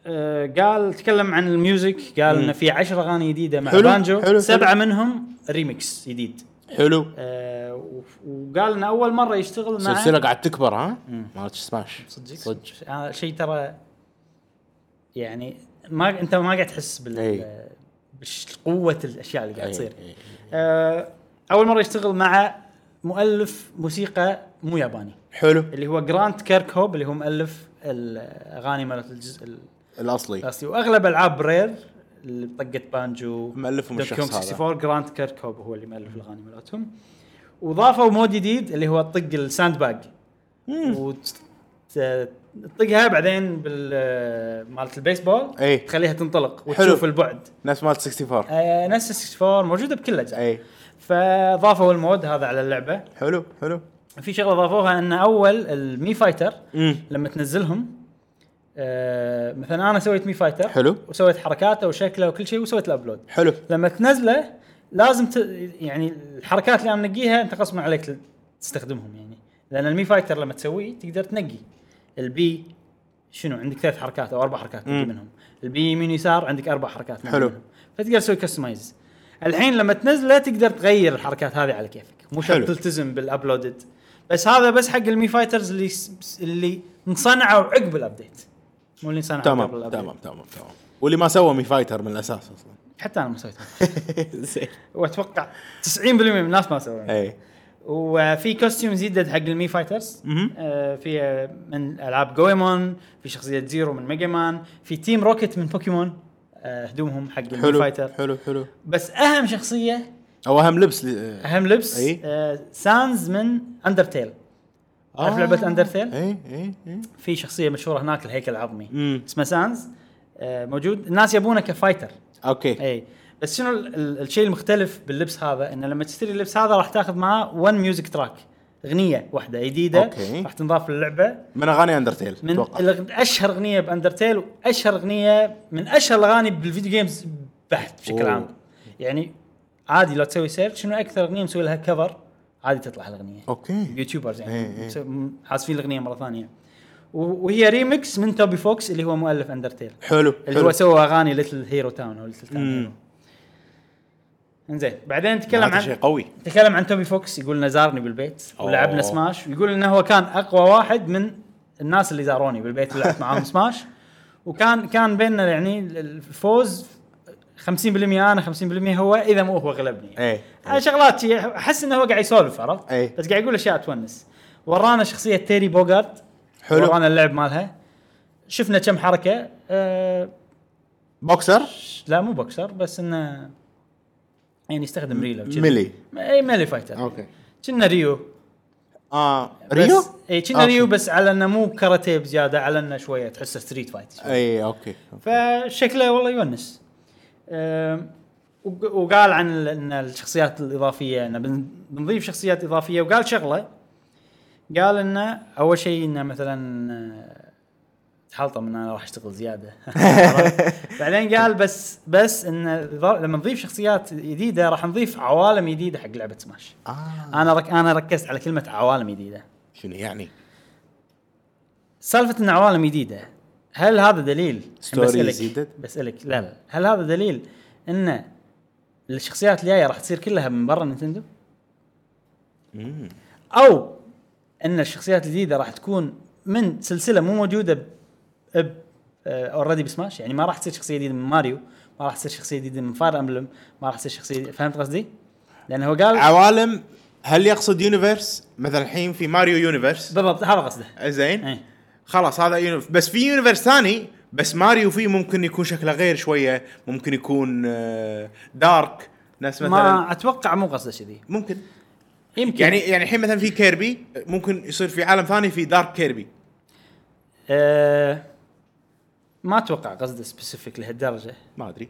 S1: آه قال تكلم عن الميوزك قال انه في 10 اغاني جديده مع
S2: حلو،
S1: بانجو
S2: حلو،
S1: سبعه منهم ريمكس جديد
S2: حلو
S1: آه و- وقال انه اول مره يشتغل مع
S2: السلسله قاعد تكبر ها مالت سماش
S1: صدق
S2: صدق
S1: صدق آه شيء ترى يعني ما انت ما قاعد تحس بال
S2: إي.
S1: بش- قوه الاشياء اللي قاعد
S2: إي،
S1: تصير
S2: إي.
S1: آه اول مره يشتغل مع مؤلف موسيقى مو ياباني
S2: حلو
S1: اللي هو جرانت كيركهوب اللي هو مؤلف الاغاني مالت الجزء
S2: الاصلي
S1: الاساسي واغلب العاب رير اللي طقت بانجو
S2: مؤلفهم
S1: دوكي
S2: الشخص
S1: كونغ
S2: هذا.
S1: 64 جراند كيركوب هو اللي مؤلف الاغاني مالتهم وضافوا مود جديد اللي هو طق الساند باج وتطقها بعدين بال آه، مالت البيسبول
S2: إي.
S1: تخليها تنطلق
S2: حلو.
S1: وتشوف البعد
S2: إيه، نفس مالت 64
S1: آه نفس 64 موجوده بكل الاجزاء
S2: اي
S1: فضافوا المود هذا على اللعبه
S2: إيه. حلو حلو
S1: في شغله ضافوها ان اول المي فايتر
S2: امم
S1: لما تنزلهم آه مثلا انا سويت مي فايتر
S2: حلو.
S1: وسويت حركاته وشكله وكل شيء وسويت الابلود
S2: حلو
S1: لما تنزله لازم ت... يعني الحركات اللي انا منقيها انت غصبا عليك ل- تستخدمهم يعني لان المي فايتر لما تسويه تقدر تنقي البي شنو عندك ثلاث حركات او اربع حركات تنقي
S2: مم.
S1: منهم البي يمين يسار عندك اربع حركات تنقي
S2: حلو.
S1: منهم. فتقدر تسوي كستمايز الحين لما تنزله تقدر تغير الحركات هذه على كيفك مو شرط
S2: حلو.
S1: تلتزم بالابلودد بس هذا بس حق المي فايترز اللي س- اللي انصنعوا عقب الابديت مو اللي انصنعوا قبل
S2: تمام
S1: الابديت
S2: تمام تمام تمام واللي ما سوى مي فايتر من الاساس
S1: *laughs*
S2: اصلا
S1: حتى انا ما سويته
S2: زين
S1: واتوقع 90% من الناس ما سووا
S2: اي
S1: وفي كوستيوم جديد حق المي فايترز
S2: مهم.
S1: آه، في آه، من العاب جويمون في شخصيه زيرو من ميجا مان في تيم روكيت من بوكيمون آه، هدومهم حق المي
S2: حلو
S1: فايتر
S2: حلو حلو
S1: بس اهم شخصيه
S2: او اهم لبس ل...
S1: اهم لبس
S2: أي.
S1: آه، سانز من اندرتيل
S2: آه.
S1: عارف لعبة Undertale؟
S2: اي اي اي
S1: في شخصيه مشهوره هناك الهيكل العظمي
S2: امم
S1: اسمه سانز آه، موجود الناس يبونه كفايتر
S2: اوكي
S1: اي إيه. بس شنو ال- ال- الشيء المختلف باللبس هذا انه لما تشتري اللبس هذا راح تاخذ معاه 1 ميوزك تراك اغنيه واحده جديده
S2: أوكي.
S1: راح تنضاف للعبة
S2: من اغاني اندرتيل
S1: من
S2: اتوقع
S1: الأغ- اشهر اغنيه باندرتيل واشهر اغنيه من اشهر الاغاني بالفيديو جيمز بحت بشكل
S2: أوه.
S1: عام يعني عادي لو تسوي سيرش شنو اكثر اغنيه مسوي لها كفر عادي تطلع الاغنيه
S2: اوكي
S1: يوتيوبرز
S2: إيه،
S1: يعني
S2: إيه.
S1: مسو- م- عازفين الاغنيه مره ثانيه و- وهي ريمكس من توبي فوكس اللي هو مؤلف اندرتيل
S2: حلو
S1: اللي هو
S2: حلو.
S1: سوى اغاني ليتل هيرو تاون او ليتل تاون
S2: مم.
S1: هيرو انزين بعدين تكلم
S2: معناته
S1: عن
S2: شيء قوي
S1: تكلم عن توبي فوكس يقول انه زارني بالبيت ولعبنا
S2: أوه.
S1: سماش ويقول انه هو كان اقوى واحد من الناس اللي زاروني بالبيت
S2: *laughs*
S1: ولعبت معاهم سماش وكان كان بيننا يعني الفوز 50% انا 50% هو اذا مو هو غلبني
S2: اي
S1: هاي شغلات شي احس انه هو قاعد يسولف عرفت
S2: إيه.
S1: بس قاعد يقول اشياء تونس ورانا شخصيه تيري بوغارت
S2: حلو.
S1: ورانا اللعب مالها شفنا كم حركه أه
S2: بوكسر
S1: لا مو بوكسر بس انه يعني يستخدم ريلو كذي.
S2: ميلي
S1: اي ميلي فايتر
S2: اوكي
S1: كنا ريو
S2: اه ريو
S1: بس- اي كنا
S2: أوكي.
S1: ريو بس على انه مو كاراتيه بزياده على انه شويه تحسه ستريت فايت
S2: اي اوكي
S1: فشكله والله يونس أم، وق- وقال عن ال- ان الشخصيات الاضافيه انه بن- بنضيف شخصيات اضافيه وقال شغله قال انه اول شيء انه مثلا أه، تحلطم ان انا راح اشتغل زياده بعدين قال بس بس ان الإضا- لما نضيف شخصيات جديده راح نضيف عوالم جديده حق لعبه سماش
S2: اه
S1: انا رك انا ركزت على كلمه عوالم جديده
S2: شنو يعني؟
S1: سالفه ان عوالم جديده هل هذا دليل
S2: Stories
S1: بسالك
S2: جديد؟
S1: بسالك لا لا هل هذا دليل ان الشخصيات الجايه راح تصير كلها من برا نينتندو
S2: مم.
S1: او ان الشخصيات الجديده راح تكون من سلسله مو موجوده ب, ب... اوريدي بسماش يعني ما راح تصير شخصيه جديده من ماريو ما راح تصير شخصيه جديده من فاير امبلم ما راح تصير شخصيه جديدة. فهمت قصدي؟ لانه هو قال
S2: عوالم هل يقصد يونيفرس؟ مثلا الحين في ماريو يونيفرس
S1: بالضبط هذا قصده
S2: زين
S1: إيه.
S2: خلاص هذا يونيفرس بس في يونيفرس ثاني بس ماريو فيه ممكن يكون شكله غير شويه ممكن يكون آه، دارك ناس مثلا
S1: ما اتوقع مو قصده كذي
S2: ممكن
S1: يمكن
S2: يعني يعني الحين مثلا في كيربي ممكن يصير في عالم ثاني في دارك كيربي
S1: آه، ما اتوقع قصده سبيسيفيك لهالدرجه
S2: ما ادري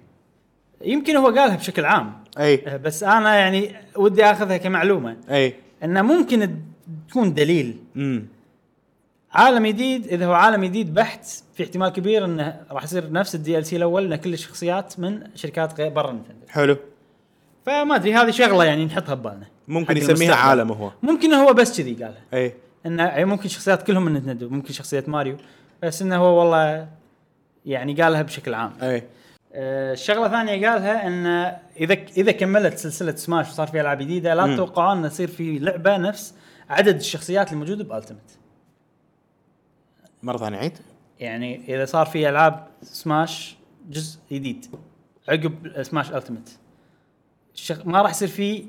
S1: يمكن هو قالها بشكل عام
S2: اي
S1: آه، بس انا يعني ودي اخذها كمعلومه
S2: اي
S1: انه ممكن تكون دليل
S2: امم
S1: عالم جديد اذا هو عالم جديد بحت في احتمال كبير انه راح يصير نفس الدي ال سي الاول ان كل الشخصيات من شركات غير برا نينتندو
S2: حلو
S1: فما ادري هذه شغله يعني نحطها ببالنا
S2: ممكن
S1: حق
S2: يسميها
S1: المستقبل.
S2: عالم هو
S1: ممكن هو بس كذي قالها
S2: اي
S1: انه ممكن شخصيات كلهم من نينتندو ممكن شخصيه ماريو بس انه هو والله يعني قالها بشكل عام
S2: اي
S1: آه، الشغله الثانيه قالها ان اذا اذا كملت سلسله سماش وصار في العاب جديده لا تتوقعوا ان يصير في لعبه نفس عدد الشخصيات الموجوده بالتمت
S2: مره ثانيه عيد
S1: يعني اذا صار في العاب سماش جزء جديد عقب سماش التمت الشخ... ما راح يصير في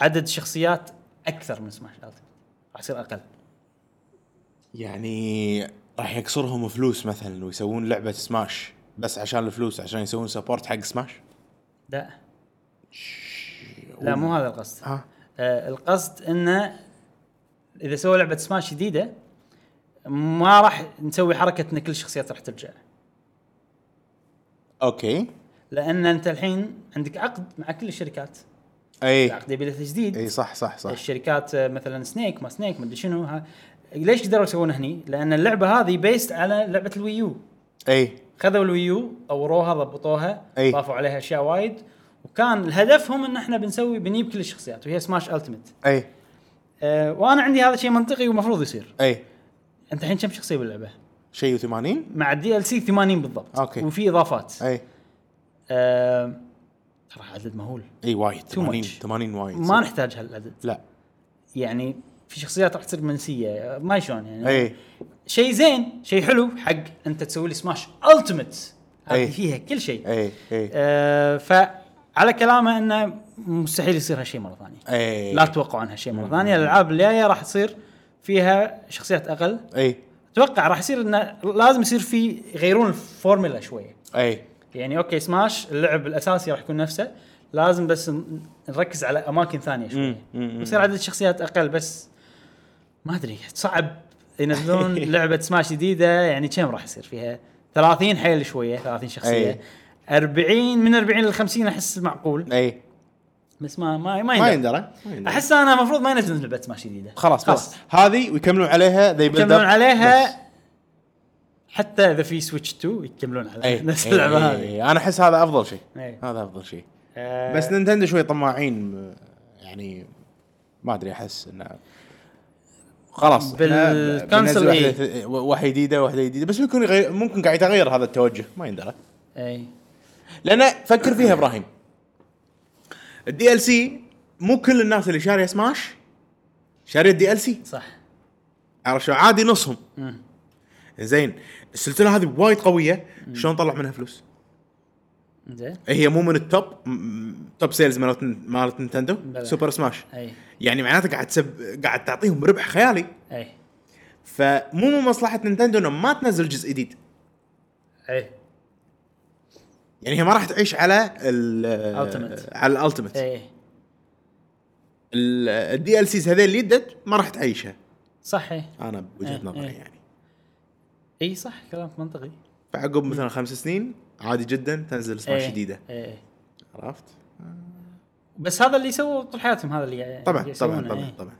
S1: عدد شخصيات اكثر من سماش التمت راح يصير اقل
S2: يعني راح يكسرهم فلوس مثلا ويسوون لعبه سماش بس عشان الفلوس عشان يسوون سبورت حق سماش
S1: لا لا مو هذا القصد
S2: ها
S1: آه، القصد انه اذا سووا لعبه سماش جديده ما راح نسوي حركه ان كل الشخصيات راح ترجع
S2: اوكي
S1: لان انت الحين عندك عقد مع كل الشركات
S2: اي
S1: العقد يبي له تجديد
S2: اي صح صح صح
S1: الشركات آه، مثلا سنيك ما سنيك ما ادري شنو ها ليش قدروا يسوون هني؟ لان اللعبه هذه بيست على لعبه الويو
S2: اي
S1: خذوا الويو اوروها ضبطوها
S2: أي.
S1: ضافوا عليها اشياء وايد وكان هدفهم ان احنا بنسوي بنجيب كل الشخصيات وهي سماش التيمت
S2: اي
S1: أه وانا عندي هذا شيء منطقي ومفروض يصير
S2: اي
S1: انت الحين كم شخصيه باللعبه؟
S2: إيه. شيء و80
S1: مع الدي ال سي 80 بالضبط
S2: أوكي.
S1: وفي اضافات
S2: اي
S1: آه، ترى عدد مهول
S2: اي إيه، وايد 80
S1: much.
S2: 80 وايد
S1: ما نحتاج هالعدد
S2: لا
S1: يعني في شخصيات راح تصير منسيه آه، ما شلون يعني
S2: اي
S1: شيء زين شيء حلو حق انت تسوي لي سماش التيمت
S2: أي.
S1: هذه فيها كل شيء
S2: اي اي
S1: آه فعلى كلامه انه مستحيل يصير هالشيء مره ثانيه
S2: اي
S1: لا تتوقعوا عن هالشيء مره ثانيه الالعاب الجايه راح تصير فيها شخصيات اقل
S2: اي
S1: اتوقع راح يصير انه لازم يصير في يغيرون الفورمولا شويه
S2: اي
S1: يعني اوكي سماش اللعب الاساسي راح يكون نفسه لازم بس ن- نركز على اماكن ثانيه شوي يصير عدد الشخصيات اقل بس ما ادري صعب ينزلون
S2: *laughs*
S1: لعبه سماش جديده يعني كم راح يصير فيها 30 حيل شويه 30 شخصيه
S2: أي.
S1: 40 من 40 ل 50 احس معقول
S2: اي
S1: بس ما ما ما
S2: إيه.
S1: يندرى.
S2: ما يندرى ما يندرى.
S1: احس انا المفروض ما ينزلون لعبه سماش جديده
S2: خلاص خلاص هذه ويكملون عليها ذي
S1: يكملون عليها حتى اذا في سويتش 2 يكملون على
S2: اي
S1: *laughs* نفس اللعبه
S2: أي-
S1: هذه إيه.
S2: أي. انا احس إيه. هذا افضل شيء
S1: أي.
S2: هذا افضل شيء
S1: آه،
S2: بس نينتندو شوي طماعين آه، يعني ما ادري احس انه خلاص إحنا
S1: بال-
S2: بننزل
S1: كنسل إيه.
S2: واحدة- واحده جديده واحده جديده بس يكون غير ممكن قاعد يتغير هذا التوجه ما يندرى
S1: اي
S2: لان فكر فيها ابراهيم الدي ال سي مو كل الناس اللي شاريه سماش شاريه الدي ال سي
S1: صح
S2: عرفت شو عادي نصهم
S1: مم.
S2: زين السلسله هذه وايد قويه شلون طلع منها فلوس؟
S1: زين
S2: هي مو من التوب م- م- توب سيلز مالت مالت نينتندو
S1: بلى.
S2: سوبر سماش
S1: اي
S2: يعني معناته قاعد تسب... قاعد تعطيهم ربح خيالي
S1: اي
S2: فمو من مصلحه نينتندو انه ما تنزل جزء جديد
S1: اي
S2: يعني هي ما راح تعيش على ال
S1: Ultimate. إيه.
S2: على الالتيمت
S1: اي
S2: الدي ال سيز هذول اللي دت ما راح تعيشها
S1: صح اي
S2: انا بوجهه
S1: إيه،
S2: نظري
S1: إيه.
S2: يعني
S1: اي صح كلامك منطقي
S2: فعقب مثلا خمس سنين عادي جدا تنزل سماش
S1: إيه.
S2: جديده
S1: إيه، اي
S2: عرفت؟
S1: بس هذا اللي سووه طول حياتهم هذا اللي يعني
S2: طبعا طبعا
S1: يسوونه،
S2: طبعا
S1: إيه.
S2: طبعا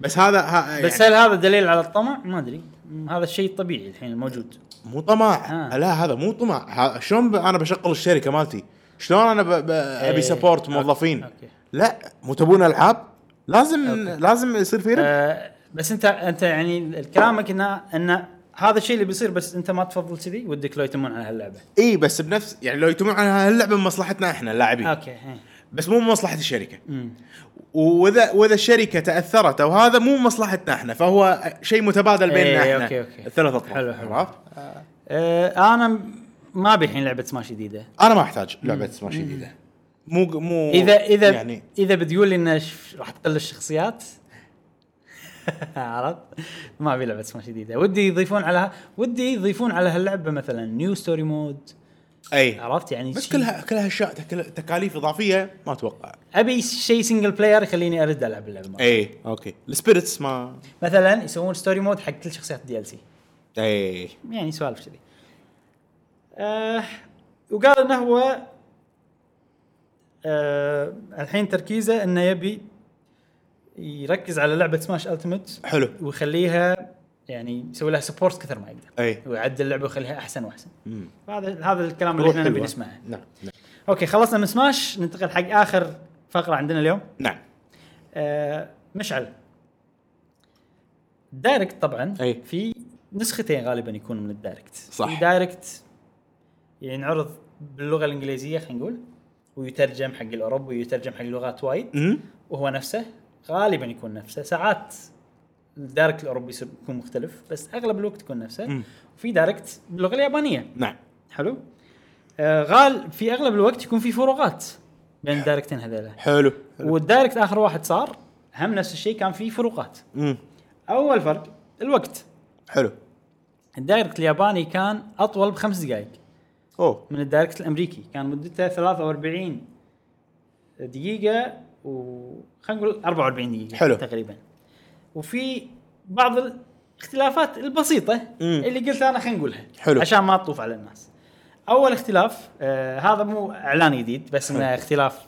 S2: بس هذا ها يعني
S1: بس هل هذا دليل على الطمع؟ ما ادري مم، هذا الشيء الطبيعي الحين الموجود
S2: مو طمع
S1: آه.
S2: لا هذا مو طمع ها- شلون ب... انا بشغل الشركه مالتي شلون انا ب... ب... ابي سبورت موظفين
S1: إيه. أوكي.
S2: لا مو تبون العاب لازم لازم يصير في ربح
S1: آه بس انت انت يعني كلامك انه ان هذا الشيء اللي بيصير بس انت ما تفضل كذي ودك لو يتمون على هاللعبه
S2: اي بس بنفس يعني لو يتمون على هاللعبه من مصلحتنا احنا اللاعبين
S1: اوكي إيه.
S2: بس مو من مصلحه الشركه
S1: مم.
S2: واذا واذا الشركه تاثرت او هذا مو من مصلحتنا احنا فهو شيء متبادل
S1: إيه،
S2: بيننا احنا
S1: أوكي، أوكي.
S2: الثلاث اطراف
S1: حلو، حلو.
S2: عرفت؟
S1: آه انا م- ما ابي الحين لعبه سماش جديده
S2: انا ما احتاج لعبه سماش جديده مو مو
S1: اذا اذا
S2: يعني
S1: يعني اذا بتقول لي انه ش- راح تقل الشخصيات *laughs* عرفت؟ ما ابي لعبه سماش جديده، ودي يضيفون على ودي يضيفون على هاللعبه مثلا نيو ستوري مود،
S2: اي
S1: عرفت يعني
S2: إيه. بس
S1: شي-
S2: كلها كلها اشياء تكل- تكاليف اضافيه ما اتوقع
S1: ابي شيء سنجل بلاير يخليني ارد العب اللعبه مرة.
S2: اي اوكي السبيرتس إيه، ما
S1: مثلا يسوون ستوري مود حق كل شخصيات الدي ال سي،
S2: اي
S1: يعني سوالف كذي. آه وقال انه هو آه الحين تركيزه انه يبي يركز على لعبه سماش التيمت
S2: حلو
S1: ويخليها يعني يسوي لها سبورت كثر ما يقدر
S2: اي
S1: ويعدل اللعبه ويخليها احسن واحسن
S2: إيه. مم.
S1: هذا هذا الكلام اللي
S2: روح
S1: احنا نبي
S2: حلوة.
S1: نسمعه
S2: نعم نعم
S1: اوكي خلصنا من سماش ننتقل حق اخر فقره عندنا اليوم
S2: نعم
S1: آه مشعل دايركت طبعا
S4: أي.
S1: في نسختين غالبا يكون من الدايركت
S4: صح.
S1: في دايركت ينعرض باللغه الانجليزيه خلينا نقول ويترجم حق الاوروبي ويترجم حق لغات وايد
S2: مم.
S1: وهو نفسه غالبا يكون نفسه ساعات الدايركت الاوروبي يصير- يكون مختلف بس اغلب الوقت يكون نفسه
S2: مم.
S1: وفي دايركت باللغه اليابانيه
S2: نعم
S1: حلو آه غال في اغلب الوقت يكون في فروقات بين الدايركتين هذيلا
S2: حلو
S1: والدايركت اخر واحد صار هم نفس الشيء كان في فروقات
S2: مم.
S1: اول فرق الوقت
S2: حلو
S1: الدايركت الياباني كان اطول بخمس دقائق
S2: اوه
S1: من الدايركت الامريكي كان مدته 43 دقيقه و خلينا نقول 44 دقيقه
S2: حلو.
S1: تقريبا وفي بعض الاختلافات البسيطه اللي قلت انا خلينا نقولها
S2: حلو.
S1: عشان ما تطوف على الناس اول اختلاف آه هذا مو اعلان جديد بس انه اختلاف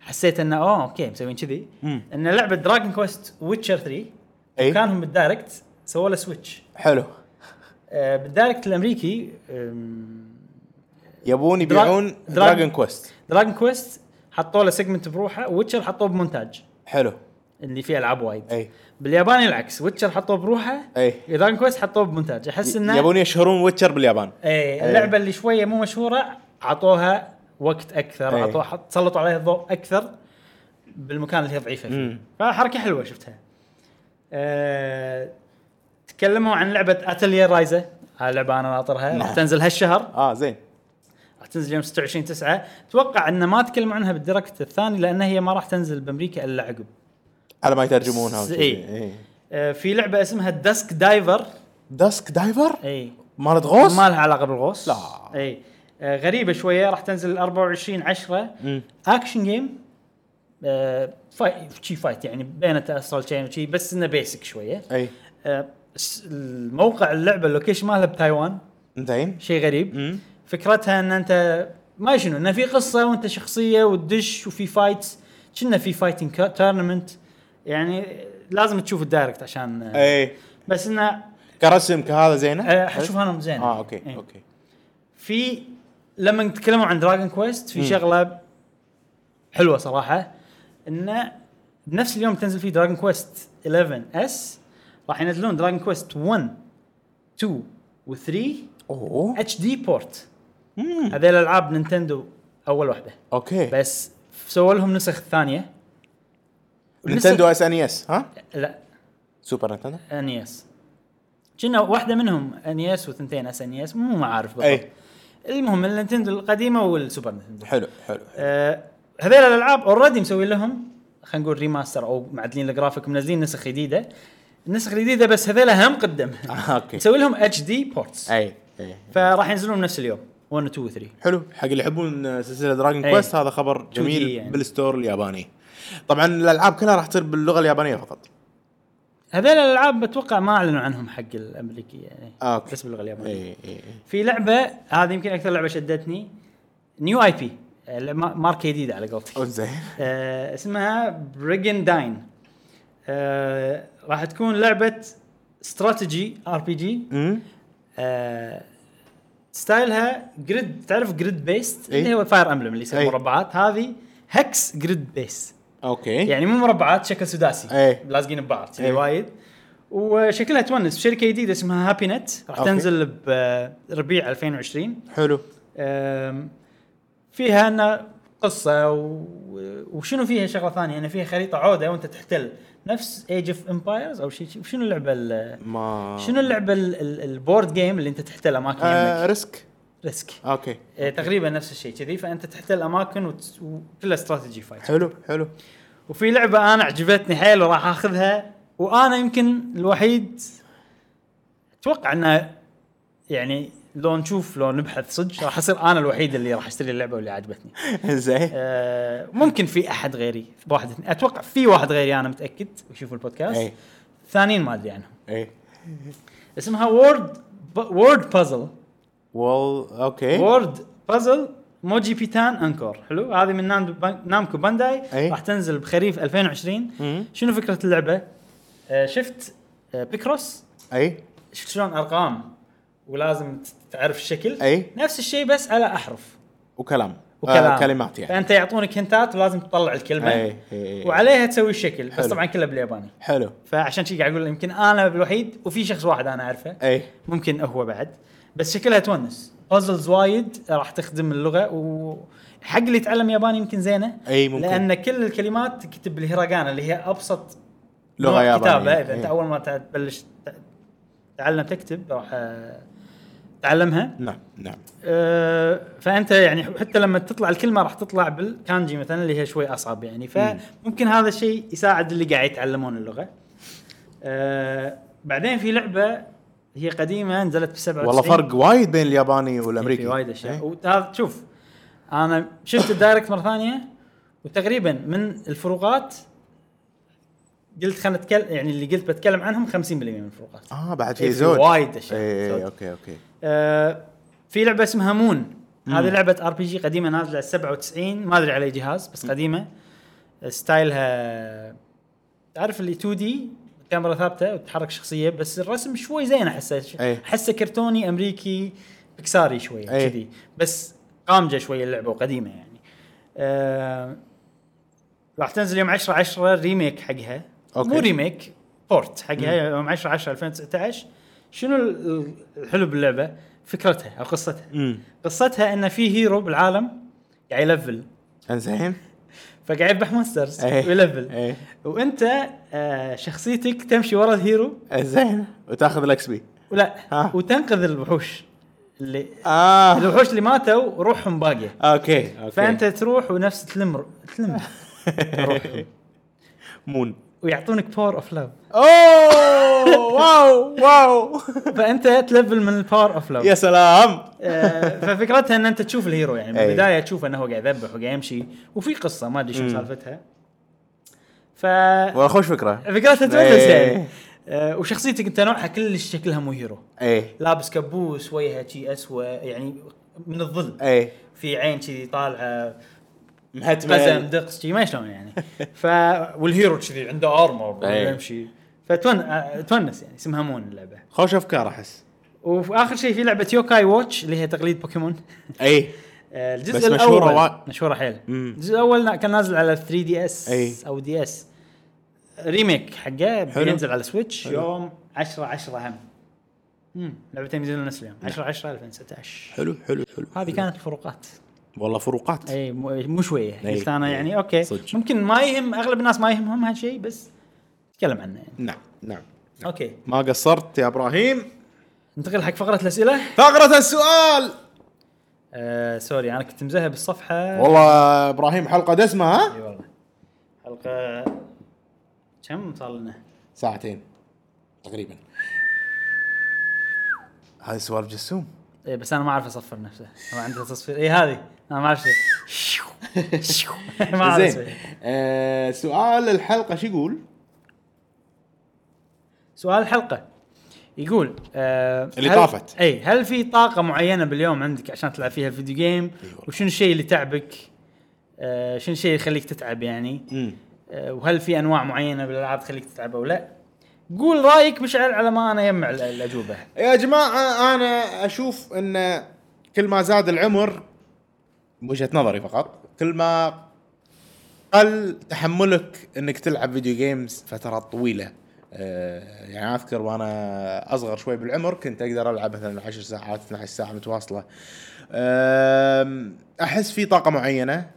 S1: حسيت انه اوه اوكي مسوين كذي
S2: مم. إيه.
S1: ان لعبه دراجون كويست ويتشر 3
S2: أي.
S1: كانهم بالدايركت سووا له سويتش
S2: حلو
S1: آه بالدايركت الامريكي آم،
S2: يبون
S1: درا-
S2: يبيعون
S1: درا-
S2: دراجون كويست
S1: دراجون كويست حطوا له سيجمنت بروحه ويتشر حطوه بمونتاج
S2: حلو
S1: اللي فيه العاب وايد
S2: اي
S1: بالياباني العكس ويتشر حطوه بروحه
S2: اي
S1: دراجون كويست حطوه بمونتاج احس انه
S2: إيه. يبون يشهرون ويتشر باليابان
S1: ايه اللعبه اللي شويه مو مشهوره عطوها وقت اكثر
S2: إيه.
S1: عطوها حط- سلطوا عليها الضوء اكثر بالمكان اللي هي ضعيفه فيه
S2: مم.
S1: فحركه حلوه شفتها أه... تكلموا عن لعبه اتلير رايزه لعبه انا ناطرها
S2: نعم.
S1: راح تنزل هالشهر
S2: اه زين
S1: راح تنزل يوم 26 9 اتوقع ان ما تكلموا عنها بالديركت الثاني لان هي ما راح تنزل بامريكا الا عقب
S2: على ما إيه. يترجمونها
S1: س-
S2: وشي.
S1: إي.
S2: إي.
S1: أه... في لعبه اسمها داسك دايفر
S2: داسك دايفر
S1: اي
S2: مالت غوص
S1: ما لها علاقه بالغوص
S2: لا.
S1: اي آه، غريبه شويه راح تنزل 24 10
S2: مم.
S1: اكشن جيم آه، فاي شي فايت يعني بين تاسرال تشين وشي بس انه بيسك شويه
S2: اي
S1: آه، س- الموقع اللعبه اللوكيشن مالها بتايوان
S2: زين
S1: شيء غريب
S2: مم.
S1: فكرتها ان انت ما شنو انه في قصه وانت شخصيه وتدش وفي فايت كنا في فايتنج تورنمنت يعني لازم تشوف الدايركت عشان آه،
S2: اي
S1: بس انه
S2: إيه. كرسم كهذا زينه
S1: آه، حشوفها انا زين
S2: اه اوكي
S1: إيه.
S2: اوكي
S1: في لما نتكلموا عن دراجون كويست في شغله حلوه صراحه انه بنفس اليوم تنزل فيه دراجون كويست 11 اس راح ينزلون دراجون كويست 1 2 و3
S2: اوه
S1: اتش دي بورت
S2: مم.
S1: هذيل العاب نينتندو اول واحده
S2: اوكي
S1: بس سووا لهم نسخ ثانيه
S2: نينتندو اس ان اس ها
S1: لا E
S2: سوبر نينتندو
S1: ان اس كنا واحده منهم ان اس وثنتين اس ان اس مو ما عارف بالضبط
S2: اي
S1: المهم النينتندو القديمه والسوبر نينتندو
S2: إيه. حلو حلو حلو.
S1: آه، هذيل الالعاب اوريدي مسوي لهم خلينا نقول ريماستر او معدلين الجرافيك ومنزلين نسخ جديده النسخ الجديده بس هذيل هم قدم
S2: آه، اوكي
S1: مسوي لهم اتش دي بورتس
S2: اي اي
S1: فراح ينزلون نفس اليوم 1 2 3
S2: حلو حق اللي يحبون سلسله دراجون
S1: إيه.
S2: كويست هذا خبر
S1: 2D
S2: جميل
S1: يعني.
S2: بالستور الياباني طبعا الالعاب كلها راح تصير باللغه اليابانيه فقط
S1: هذيل الالعاب بتوقع ما اعلنوا عنهم حق الامريكي يعني
S2: آه، أوكي.
S1: بس باللغه اليابانيه
S2: اي اي إي.
S1: في لعبه هذه يمكن اكثر لعبه شدتني نيو اي بي ماركه جديده على قولتك
S2: أوه، زين
S1: آه اسمها بريجنداين آه راح تكون لعبه استراتيجي ار بي جي
S2: مم.
S1: آه، ستايلها جريد تعرف جريد بيست
S2: إي.
S1: اللي هو فاير امبلم اللي يسوي
S2: إي.
S1: مربعات هذه هكس جريد بيس
S2: اوكي
S1: يعني مو مربعات شكل سداسي
S2: إي.
S1: ملازقين ببعض يعني
S2: إي.
S1: وايد وشكلها تونس شركه جديده اسمها هابي نت راح
S2: أوكي.
S1: تنزل بربيع 2020
S2: حلو
S1: أم، فيها ان قصه و- وشنو فيها شغله ثانيه ان فيها خريطه عوده وانت تحتل نفس ايج اوف امبايرز او شيء شنو اللعبه ال-
S2: ما
S1: شنو يعني؟ اللعبه ال- ال- البورد جيم اللي انت تحتل اماكن
S2: آه
S1: يمك؟
S2: ريسك
S1: ريسك
S2: اوكي
S1: آه، تقريبا نفس الشيء كذي فانت تحتل اماكن وت- وكلها استراتيجي فايت
S2: حلو حلو
S1: وفي لعبه انا عجبتني حيل وراح اخذها وانا يمكن الوحيد اتوقع انه يعني لو نشوف لو نبحث صدق راح اصير انا الوحيد اللي راح اشتري اللعبه واللي عجبتني
S2: *laughs* زين
S1: آه، ممكن في احد غيري واحد اثنين. اتوقع في واحد غيري انا متاكد ويشوف البودكاست
S2: إي.
S1: الثانيين ما ادري عنهم
S2: اي
S1: اسمها وورد وورد بازل
S2: وول اوكي
S1: وورد بازل مو جي بي تان انكور حلو هذه من نام- بان- نامكو بانداي
S2: أي.
S1: راح تنزل بخريف 2020
S2: إيه. مم.
S1: شنو فكره اللعبه؟ آه، شفت آه، بيكروس
S2: اي
S1: شفت شلون ارقام ولازم ت- تعرف الشكل
S2: أي.
S1: نفس الشيء بس على احرف
S2: إيه. وكلام
S1: وكلام
S2: آه كلمات يعني
S1: فانت يعطونك هنتات ولازم تطلع الكلمه
S2: أي، أي، أي.
S1: وعليها تسوي الشكل بس
S2: حلو.
S1: طبعا كله بالياباني
S2: حلو
S1: فعشان شي قاعد اقول يمكن انا الوحيد وفي شخص واحد انا اعرفه
S2: اي
S1: ممكن هو بعد بس شكلها تونس بازلز وايد راح تخدم اللغه وحق اللي يتعلم ياباني يمكن زينه
S2: أي، إيه، ممكن.
S1: لان كل الكلمات تكتب بالهيراغانا اللي هي ابسط
S2: لغة
S1: نوع إيه،
S2: يابانية. إيه.
S1: كتابه اذا انت
S2: أي.
S1: اول ما تع- تبلش تع- تعلم تكتب راح آه، تعلمها
S2: نعم نعم
S1: آه، فانت يعني حتى لما تطلع الكلمه راح تطلع بالكانجي مثلا اللي هي شوي اصعب يعني فممكن هذا الشيء يساعد اللي قاعد يتعلمون اللغه. آه، بعدين في لعبه هي قديمه نزلت ب 97
S2: والله فرق وايد بين الياباني
S1: في
S2: والامريكي
S1: وايد اشياء
S2: إيه.
S1: وهذا شوف انا شفت الدايركت مره ثانيه وتقريبا من الفروقات قلت خلينا نتكلم يعني اللي قلت بتكلم عنهم 50% من الفروقات
S2: اه بعد
S1: إيه،
S2: في
S1: في
S2: زود إيه،
S1: وايد أشياء.
S2: اي
S1: زود.
S2: إي، اوكي اوكي
S1: آه، في لعبه اسمها مون هذه لعبه ار بي جي قديمه نازله 97 ما ادري على أي جهاز بس قديمه ستايلها تعرف اللي 2 دي كاميرا ثابته وتتحرك شخصيه بس الرسم شوي زين احسه
S2: أي.
S1: احسه كرتوني امريكي بكساري شوي
S2: أي.
S1: كذي بس قامجه شوي اللعبه وقديمه يعني آه، راح تنزل يوم 10 10 ريميك حقها
S2: أوكي.
S1: مو ريميك بورت حقها يوم 10 10 2019 شنو ال- ال- الحلو باللعبه؟ فكرتها او قصتها
S2: امم
S1: قصتها ان في هيرو بالعالم قاعد يلفل *laughs*
S2: انزين
S1: فقاعد يذبح مونسترز
S2: إيه.
S1: ويلفل
S2: اي
S1: وانت آه، شخصيتك تمشي ورا الهيرو
S2: انزين وتاخذ الاكس
S1: *laughs*
S2: بي
S1: ولا
S2: ها.
S1: وتنقذ الوحوش اللي
S2: اه
S1: الوحوش اللي ماتوا روحهم باقيه
S2: اوكي اوكي
S1: فانت تروح ونفس تلم
S2: *laughs*
S1: تلم روحهم
S2: مون
S1: ويعطونك باور اوف لاف
S2: اوه واو واو
S1: فانت تلفل من الباور اوف لاف
S2: يا سلام
S1: آه، ففكرتها ان انت تشوف الهيرو يعني
S2: أي.
S1: بالبدايه تشوف انه هو قاعد يذبح وقاعد يمشي وفي قصه ما ادري شو
S2: مم.
S1: سالفتها ف
S2: والله خوش فكره
S1: فكرتها تونس
S2: إيه.
S1: يعني آه، وشخصيتك انت نوعها كلش شكلها مو هيرو
S2: اي
S1: لابس كبوس وجهه شي اسود يعني من الظل
S2: اي
S1: في عين كذي طالعه قزم
S2: مهتمه
S1: دقس شي ما شلون يعني ف والهيرو كذي عنده ارمر
S2: أي.
S1: ويمشي فتون آه، تونس يعني اسمها مون اللعبه
S2: خوش افكار احس
S1: واخر شيء في لعبه يوكاي واتش اللي هي تقليد بوكيمون
S2: اي
S1: آه، الجزء
S2: بس
S1: الاول
S2: مشهورة
S1: مشهوره
S2: وا-
S1: مشهوره حيل
S2: مم.
S1: الجزء الاول نا- كان نازل على 3 دي اس
S2: أي.
S1: او دي اس ريميك حقه
S2: حلو.
S1: بينزل على سويتش يوم 10 10 هم مم. لعبتين بينزلون نفس اليوم 10 10 2019
S2: حلو حلو حلو
S1: هذه كانت الفروقات
S2: والله فروقات
S1: اي مو مو شويه
S2: أي.
S1: قلت انا
S2: أي.
S1: يعني اوكي
S2: صدق.
S1: ممكن ما يهم اغلب الناس ما يهمهم هالشيء بس نتكلم عنه يعني
S2: نعم نعم
S1: اوكي
S2: ما قصرت يا ابراهيم
S1: ننتقل حق فقره الاسئله
S2: فقرة السؤال
S1: آه سوري انا كنت مزهب الصفحه
S2: والله ابراهيم حلقة دسمة ها
S1: اي والله حلقه كم صار لنا؟
S2: ساعتين تقريبا هذا سوالف جسوم
S1: اي إيه، بس انا ما اعرف اصفر نفسه هو عنده تصفير اي هذه انا ما اعرف شيء. *laughs* ما اعرف
S2: زين
S1: أسوي.
S2: آه، سؤال الحلقة شو يقول؟
S1: سؤال الحلقه يقول آه
S2: اللي
S1: هل-
S2: طافت.
S1: اي هل في طاقه معينه باليوم عندك عشان تلعب فيها الفيديو جيم
S2: والله.
S1: وشنو الشيء اللي تعبك آه شنو الشيء اللي يخليك تتعب يعني
S2: امم
S1: آه وهل في انواع معينه بالالعاب تخليك تتعب او لا قول رايك مشعل على ما انا اجمع ال- الاجوبه
S2: يا جماعة أنا أشوف أن كل ما زاد العمر وجهة نظري فقط كل ما قل تحملك أنك تلعب فيديو جيمز فترات طويلة أه، يعني أذكر وأنا أصغر شوي بالعمر كنت أقدر ألعب مثلا 10 ساعات 12 ساعة متواصلة أم، أحس في طاقة معينة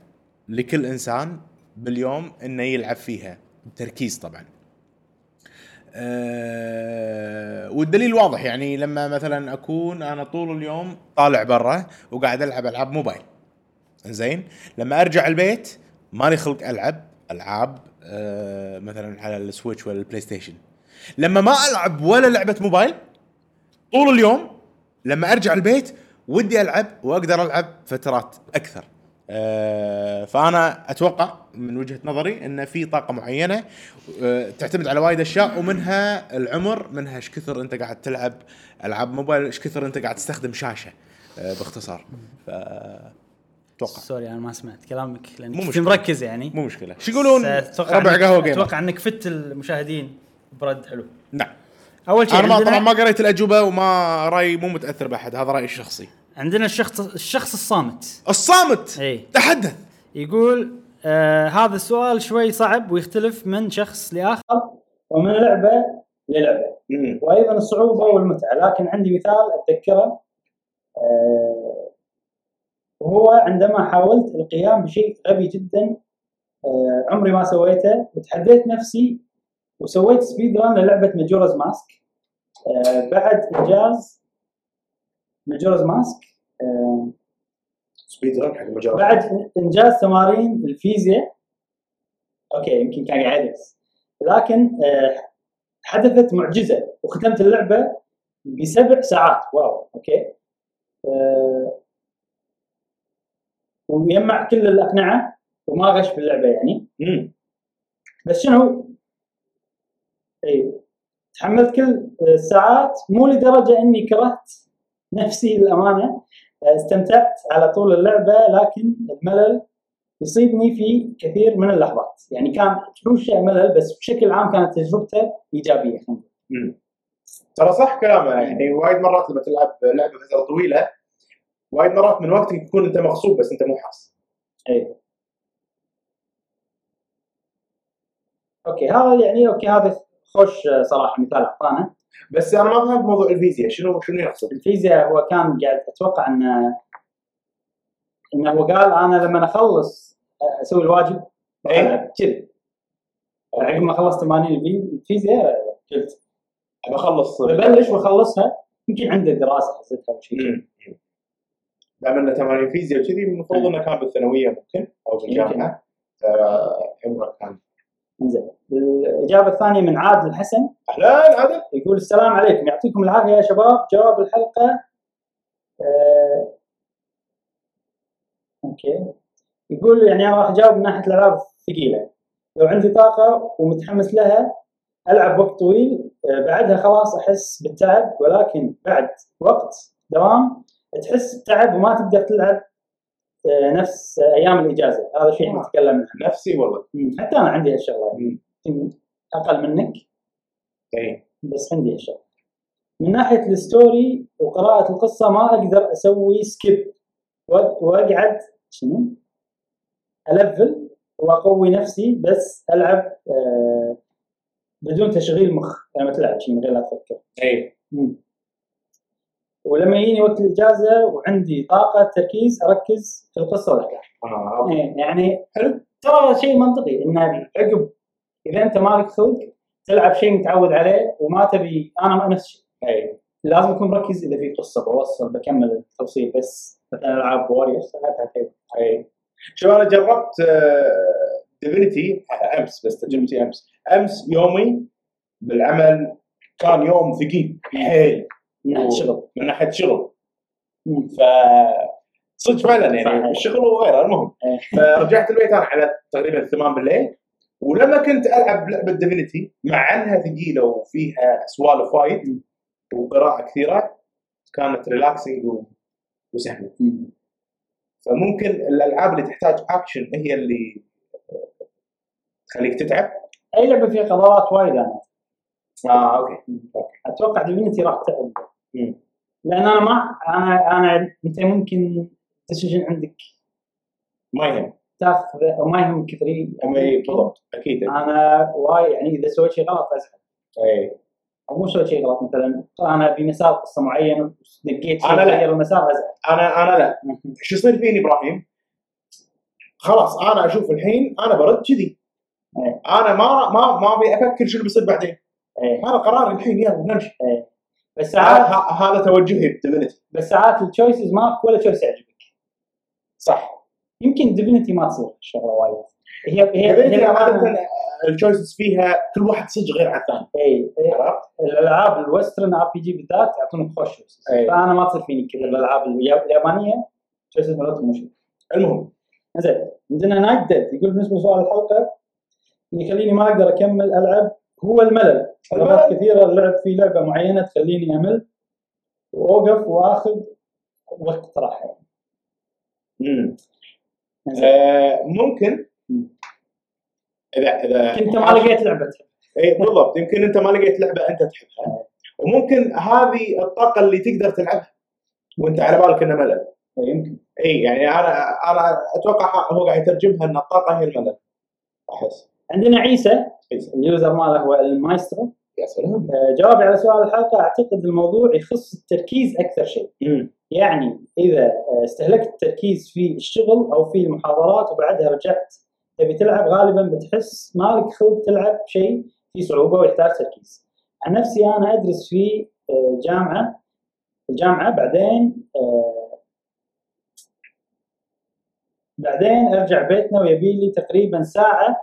S2: لكل إنسان باليوم أنه يلعب فيها بتركيز طبعاً أه والدليل واضح يعني لما مثلا اكون انا طول اليوم طالع برا وقاعد العب العاب موبايل زين لما ارجع البيت مالي خلق العب العاب أه مثلا على السويتش ولا البلاي ستيشن لما ما العب ولا لعبه موبايل طول اليوم لما ارجع البيت ودي العب واقدر العب فترات اكثر أه فانا اتوقع من وجهه نظري ان في طاقه معينه أه تعتمد على وايد اشياء ومنها العمر منها ايش كثر انت قاعد تلعب آه، العاب موبايل ايش كثر انت قاعد تستخدم شاشه أه باختصار ف
S5: اتوقع
S1: سوري انا ما سمعت كلامك لان
S5: مو
S1: كنت
S5: مشكلة.
S1: مركز يعني
S5: مو مشكله شو يقولون ربع
S1: إنك-
S5: قهوه جيمر
S1: اتوقع انك فت المشاهدين برد حلو
S5: نعم
S1: اول شيء
S5: انا ما
S1: عندنا,
S5: طبعا ما قريت الاجوبه وما رايي مو متاثر باحد هذا رايي الشخصي
S1: عندنا الشخص الشخص الصامت
S5: الصامت
S1: اي
S5: تحدث
S1: يقول آه هذا السؤال شوي صعب ويختلف من شخص لاخر ومن لعبه للعبه وايضا الصعوبه والمتعه لكن عندي مثال اتذكره آه، هو عندما حاولت القيام بشيء غبي جدا آه، عمري ما سويته وتحديت نفسي وسويت سبيد ران للعبه ماجورز ماسك آه، بعد انجاز ماجورز ماسك آه،
S2: سبيد رن حق مجال
S1: بعد انجاز تمارين الفيزياء اوكي يمكن كان قاعد يدرس لكن آه، حدثت معجزه وختمت اللعبه بسبع ساعات واو اوكي آه، ومجمع كل الاقنعه وما غش باللعبه يعني بس شنو؟ اي تحملت كل الساعات مو لدرجه اني كرهت نفسي للامانه استمتعت على طول اللعبه لكن الملل يصيبني في كثير من اللحظات يعني كان تحوشه ملل بس بشكل عام كانت تجربته ايجابيه خلينا نقول.
S2: ترى صح كلامه يعني وايد مرات لما تلعب لعبه فتره طويله وايد مرات من وقتك يكون انت مغصوب بس انت مو حاس
S1: اي اوكي هذا يعني اوكي هذا خوش آه، صراحه مثال اعطانا
S2: بس انا ما فهمت موضوع الفيزياء شنو شنو يقصد؟
S1: الفيزياء هو كان قاعد اتوقع انه انه هو قال انا لما اخلص اسوي الواجب
S2: إيه.
S1: كذي يعني عقب ما خلصت تمارين الفي- الفيزياء قلت
S2: بخلص
S1: ببلش واخلصها يمكن عنده دراسه حسيتها او شيء
S2: مم. دام انه تمارين فيزياء وكذي المفروض انه كان بالثانويه ممكن او بالجامعه آه، عمره كان
S1: انزين الاجابه الثانيه من عادل الحسن
S2: اهلا عادل
S1: يقول السلام عليكم يعطيكم العافيه يا شباب جواب الحلقه آه اوكي يقول يعني انا راح اجاوب من ناحيه الالعاب الثقيله لو عندي طاقه ومتحمس لها العب وقت طويل آه بعدها خلاص احس بالتعب ولكن بعد وقت دوام تحس بتعب وما تقدر تلعب آه نفس آه، ايام الاجازه هذا شيء احنا نتكلم عنه
S2: نفسي والله
S1: مم، حتى انا عندي هالشغله يعني يمكن اقل منك
S2: اي
S1: بس عندي اشياء من ناحيه الستوري وقراءه القصه ما اقدر اسوي سكيب واقعد شنو الفل واقوي نفسي بس العب آه بدون تشغيل مخ لما تلعب شيء من غير لا تفكر
S2: اي
S1: مم. ولما يجيني وقت الاجازه وعندي طاقه تركيز اركز في القصه والحكايه
S2: اه اوكي
S1: إيه، يعني حلو ترى شيء منطقي انه عقب اذا انت مالك خلق تلعب شيء متعود عليه وما تبي انا ما نفس الشيء
S2: اي
S1: لازم اكون مركز اذا في قصه بوصل بكمل التوصيل بس مثلا العاب واريوس لعبتها كذا
S2: اي إيه. شوف انا جربت ديفينيتي امس بس تجربتي امس امس يومي بالعمل كان يوم ثقيل حيل
S1: إيه. من ناحيه
S2: أوه.
S1: الشغل
S2: من ناحيه شغل
S1: مم.
S2: ف صدق فعلا
S1: صحيح.
S2: يعني الشغل وغيره المهم
S1: إيه.
S2: فرجعت البيت انا على تقريبا 8 بالليل ولما كنت العب لعبه ديفينيتي مع انها ثقيله وفيها سوالف وايد وقراءه كثيره كانت ريلاكسنج وسهله
S1: مم.
S2: فممكن الالعاب اللي تحتاج اكشن هي اللي تخليك تتعب
S1: اي لعبه فيها قرارات وايد انا آه،
S2: اه اوكي
S1: اتوقع ديفينيتي راح تعب
S2: مم.
S1: لان انا ما انا انا انت ممكن ديسيجن عندك
S2: ما يهم
S1: تاخذ وما يهم كثري
S2: أما إيه، بالضبط اكيد
S1: آه. انا واي يعني اذا سويت شيء غلط ازعل
S2: اي
S1: او مو سويت شيء غلط مثلا انا بمسار قصه معينه دقيت شيء
S2: أنا لا.
S1: غير المسار ازعل
S2: انا انا لا شو يصير فيني ابراهيم؟ خلاص انا اشوف الحين انا برد كذي
S1: إيه.
S2: انا ما ما ما ابي افكر شو اللي بيصير بعدين
S1: إيه. آه.
S2: هذا قراري الحين يلا نمشي
S1: بس
S2: ه-
S1: ساعات
S2: ه- هذا توجهي بديفينيتي
S1: بس ساعات التشويسز ماك ولا تشويس يعجبك صح يمكن ديفينيتي ما تصير شغله وايد هي هي
S2: ديفينيتي عاده
S1: الآن-
S2: الشويسز فيها كل واحد صدق غير عن الثاني
S1: اي إي.
S2: عرفت؟
S1: الالعاب الويسترن ار بي جي بالذات يعطونك خوش choices.
S2: إي.
S1: فانا ما تصير فيني كذا الالعاب اليا- اليابانيه تشويسز مالتهم مو شيء
S2: المهم
S1: زين عندنا نايت ديد يقول بالنسبه لسؤال الحلقه اللي يخليني ما اقدر اكمل العب هو الملل
S2: الملل.
S1: مرات كثيره اللعب في لعبه معينه تخليني امل واوقف واخذ وقت راحه
S2: مم. آه، ممكن اذا اذا
S6: انت ما لقيت لعبه
S2: اي إيه، بالضبط يمكن انت ما لقيت لعبه انت تحبها وممكن هذه الطاقه اللي تقدر تلعبها وانت على بالك انه ملل
S1: يمكن
S2: اي يعني انا انا اتوقع هو قاعد يترجمها ان الطاقه هي الملل احس
S1: عندنا عيسى
S2: عيسى.
S1: اليوزر ماله هو المايسترو
S2: يا سلام
S1: آه، جوابي على سؤال الحلقه اعتقد الموضوع يخص التركيز اكثر شيء
S2: مم.
S1: يعني اذا آه، استهلكت التركيز في الشغل او في المحاضرات وبعدها رجعت تبي تلعب غالبا بتحس مالك خلق تلعب شيء فيه صعوبه ويحتاج تركيز. عن نفسي انا ادرس في آه، جامعه الجامعه بعدين آه، بعدين ارجع بيتنا ويبي لي تقريبا ساعه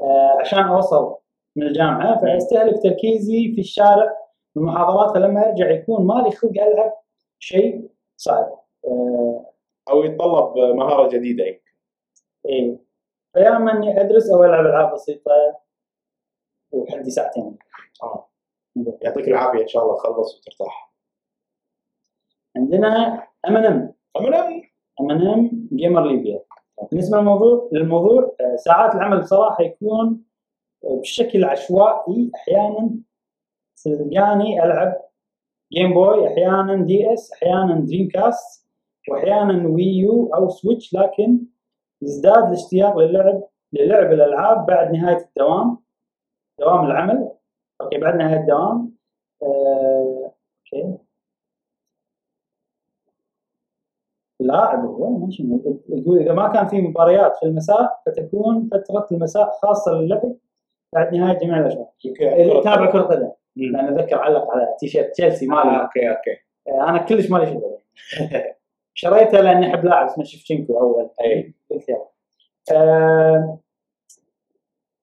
S1: آه، عشان اوصل من الجامعه فاستهلك تركيزي في الشارع والمحاضرات فلما ارجع يكون مالي خلق العب شيء صعب آه،
S2: او يتطلب إيه. مهاره جديده يمكن
S1: ايه فياما اني ادرس او العب العاب بسيطه وحدي ساعتين
S2: آه. يعطيك العافيه ان شاء الله تخلص وترتاح
S1: عندنا ام ان ام
S2: امنا
S1: ام ان ام جيمر ليبيا بالنسبه للموضوع للموضوع آه، ساعات العمل بصراحه يكون آه، بشكل عشوائي احيانا تلقاني العب جيم بوي احيانا دي اس احيانا دريم كاست واحيانا وي يو او سويتش لكن يزداد الاشتياق للعب للعب الالعاب بعد نهايه الدوام دوام العمل اوكي بعد نهايه الدوام آه، اوكي لاعب هو ماشي يقول اذا ما كان في مباريات في المساء فتكون فتره المساء خاصه للعب بعد نهايه جميع الاشغال
S2: يمكن
S1: اللي يتابع كره قدم
S2: مم.
S1: لان اتذكر علق على تيشيرت تشيلسي
S2: آه،
S1: مالي
S2: اوكي اوكي
S1: آه، انا كلش مالي شغل *laughs* شريته لاني احب لاعب اسمه شفتشنكو اول
S2: أي.
S1: قلت يلا آه،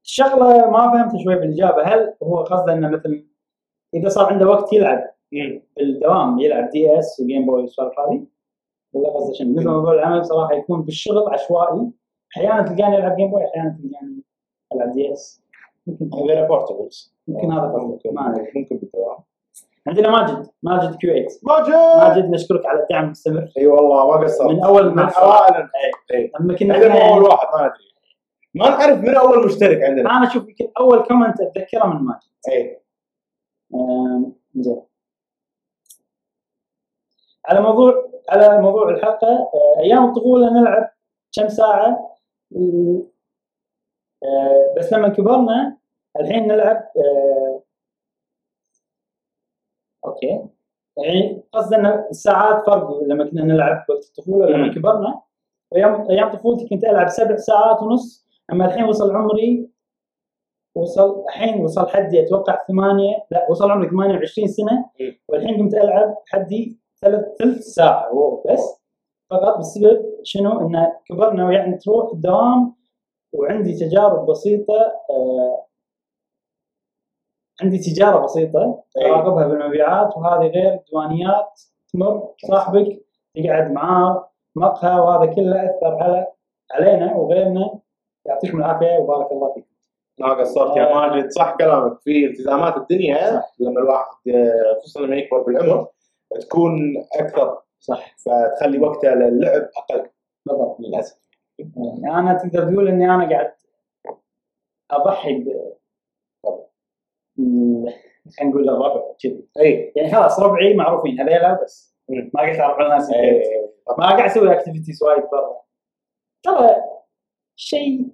S1: الشغله ما فهمت شوي بالاجابه هل هو قصده انه مثل اذا صار عنده وقت يلعب
S2: مم.
S1: بالدوام يلعب دي اس وجيم بوي والسوالف هذه ولا قصده شنو؟ بالنسبه لموضوع العمل بصراحه يكون بالشغل عشوائي احيانا تلقاني العب جيم بوي احيانا تلقاني العب دي اس يمكن
S2: هذول بورتبلز
S1: يمكن هذا قصده
S2: آه، ممكن
S1: ما أدري.
S2: ممكن بالدوام
S1: عندنا ماجد ماجد كيو 8
S2: ماجد
S1: ماجد نشكرك على الدعم المستمر
S2: اي أيوة والله ما قصرت
S1: من أول إيه.
S2: من إيه.
S1: ما-
S2: اوائل اي اي
S1: لما كنا
S2: احنا مو اول
S1: احنا
S2: واحد ما ندري ما نعرف من اول مشترك عندنا
S1: انا اشوف يمكن اول كومنت اتذكره من ماجد
S2: اي
S1: أم، زين على موضوع على موضوع الحلقه أه، ايام الطفوله نلعب كم ساعه ال- أه، بس لما كبرنا الحين نلعب أه، اوكي يعني قصدي ان الساعات فرق لما كنا نلعب وقت الطفوله لما
S2: مم.
S1: كبرنا ايام ايام طفولتي كنت العب سبع ساعات ونص اما الحين وصل عمري وصل الحين وصل حدي اتوقع ثمانية لا وصل عمري 28 سنه
S2: مم.
S1: والحين قمت العب حدي ثلاث ثلث ساعه واو، بس فقط بسبب شنو انه كبرنا ويعني تروح الدوام وعندي تجارب بسيطه آه عندي تجاره بسيطه
S2: أي.
S1: اراقبها بالمبيعات وهذه غير الديوانيات تمر صاحبك تقعد معاه مقهى وهذا كله اثر على علينا وغيرنا يعطيكم العافيه وبارك الله فيكم.
S2: ما قصرت
S1: آه.
S2: يا ماجد صح كلامك في التزامات الدنيا لما الواحد آه، خصوصا لما يكبر بالعمر تكون اكثر
S1: صح
S2: فتخلي وقته للعب اقل
S1: بالضبط
S2: للاسف
S1: يعني انا تقدر تقول اني انا قاعد اضحي ب م- خلينا نقول الربع كذي
S2: اي
S1: يعني خلاص ربعي معروفين هذيلا بس
S2: مم.
S1: ما قاعد اتعرف على ناس
S2: إي.
S1: جديدة. ما قاعد اسوي اكتيفيتيز وايد برا ترى شيء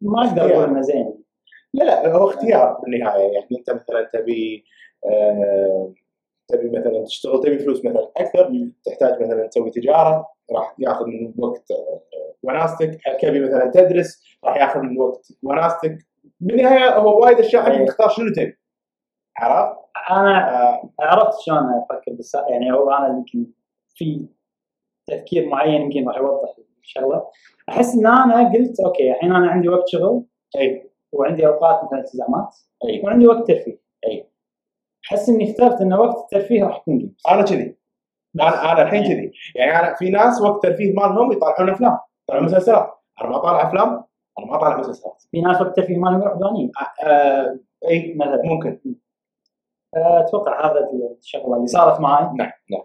S1: ما اقدر اقول انه زين
S2: لا لا هو اختيار بالنهايه يعني انت مثلا تبي آه، تبي مثلا تشتغل تبي فلوس مثلا اكثر تحتاج مثلا تسوي تجاره راح ياخذ من وقت آه، وناستك تبي مثلا تدرس راح ياخذ من وقت وناستك بالنهايه هو وايد اشياء
S1: إيه.
S2: عشان تختار شنو تبي عرفت؟
S1: انا
S2: آه،
S1: عرفت شلون افكر بس يعني او انا يمكن في تفكير معين يمكن راح يوضح الشغله احس ان انا قلت اوكي الحين انا عندي وقت شغل
S2: اي
S1: وعندي اوقات مثلا التزامات
S2: أي.
S1: وعندي وقت ترفيه
S2: أي.
S1: احس اني اخترت ان وقت الترفيه راح يكون جيمز
S2: انا كذي انا انا الحين كذي يعني انا في ناس وقت الترفيه مالهم يطالعون افلام يطالعون مسلسلات انا ما طالع افلام انا ما طالع مسلسلات
S1: في ناس وقت الترفيه ما لهم عدوانيين
S2: آه، اي
S1: مثلا
S2: ممكن
S1: آه، فاتوقع هذا الشغله اللي صارت معي
S2: نعم نعم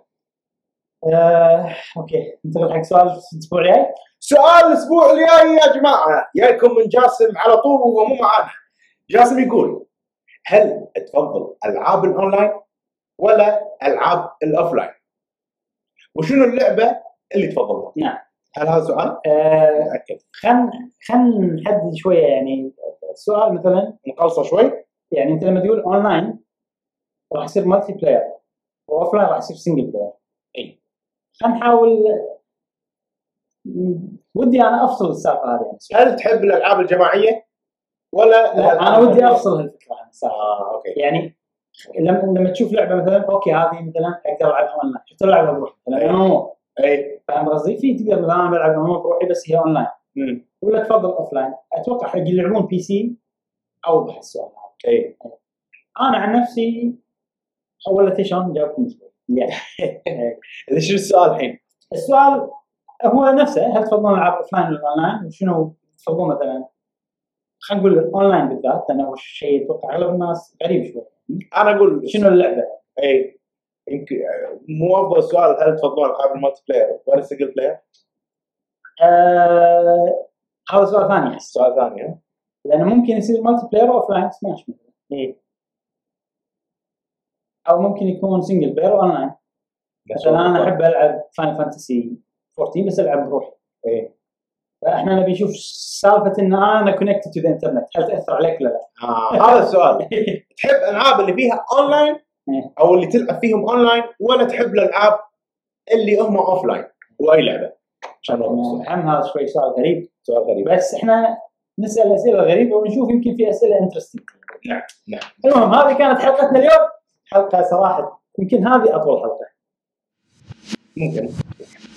S1: آه، اوكي ننتقل حق سؤال الاسبوع الجاي
S2: سؤال الاسبوع الجاي يا جماعه جايكم من جاسم على طول وهو مو معانا جاسم يقول هل تفضل العاب الاونلاين ولا العاب الاوفلاين؟ وشنو اللعبه اللي تفضلها؟
S1: نعم.
S2: هل هذا سؤال؟
S1: آه،
S2: أكيد.
S1: خل خل نحدد شويه يعني السؤال مثلا
S2: مقلصه شوي
S1: يعني انت لما تقول اونلاين راح يصير مالتي بلاير واوفلاين راح يصير سنجل بلاير اي خلينا نحاول م- ودي انا افصل السالفه هذه يعني شوي.
S2: هل تحب الالعاب الجماعيه ولا
S1: لا انا
S2: الألعاب-
S1: ودي افصل هالفكره عن السالفه
S2: اه اوكي
S1: يعني لما لما تشوف لعبه مثلا اوكي هذه مثلا اقدر العبها اونلاين حتى لو العبها بروحي مثلا MMO.
S2: اي
S1: فاهم قصدي؟ في تقدر مثلا انا بلعب MMO بروحي بس هي اونلاين
S2: مم.
S1: ولا تفضل اوفلاين اتوقع حق اللي يلعبون بي سي اوضح السؤال هذا
S2: اي
S1: انا عن نفسي اول تيشان جاوبكم الأسبوع. يعني
S2: إذا شنو السؤال الحين؟
S1: السؤال هو نفسه هل تفضلون العاب اوفلاين ولا اونلاين وشنو تفضلون مثلا خلينا نقول الاونلاين بالذات لانه هو الشيء اتوقع اغلب الناس غريب شوي
S2: انا اقول
S1: شنو اللعبه؟
S2: اي إيه. يمكن آه، مو افضل سؤال هل تفضلون العاب المالتي بلاير ولا السنجل بلاير؟
S1: آه، هذا سؤال ثاني احس
S2: سؤال ثاني ها؟
S1: لانه ممكن يصير مالتي بلاير اوفلاين سماش مثلا او إيه. ممكن يكون سنجل بلاير اونلاين مثلا انا احب العب فاين فانتسي 14 بس العب بروحي
S2: إيه.
S1: فاحنا نبي نشوف سالفه ان انا كونكتد تو ذا انترنت هل تاثر عليك ولا لا؟
S2: آه، هذا السؤال تحب العاب اللي فيها اونلاين
S1: إيه.
S2: او اللي تلعب فيهم اونلاين ولا تحب الالعاب اللي هم اوفلاين واي لعبه عشان نوضح السؤال.
S1: هم هذا شوي سؤال غريب
S2: سؤال غريب
S1: بس احنا نسال اسئله غريبه ونشوف يمكن في اسئله انترستنج
S2: نعم نعم
S1: المهم هذه كانت حلقتنا اليوم حلقه صراحه يمكن هذه اطول حلقه
S2: ممكن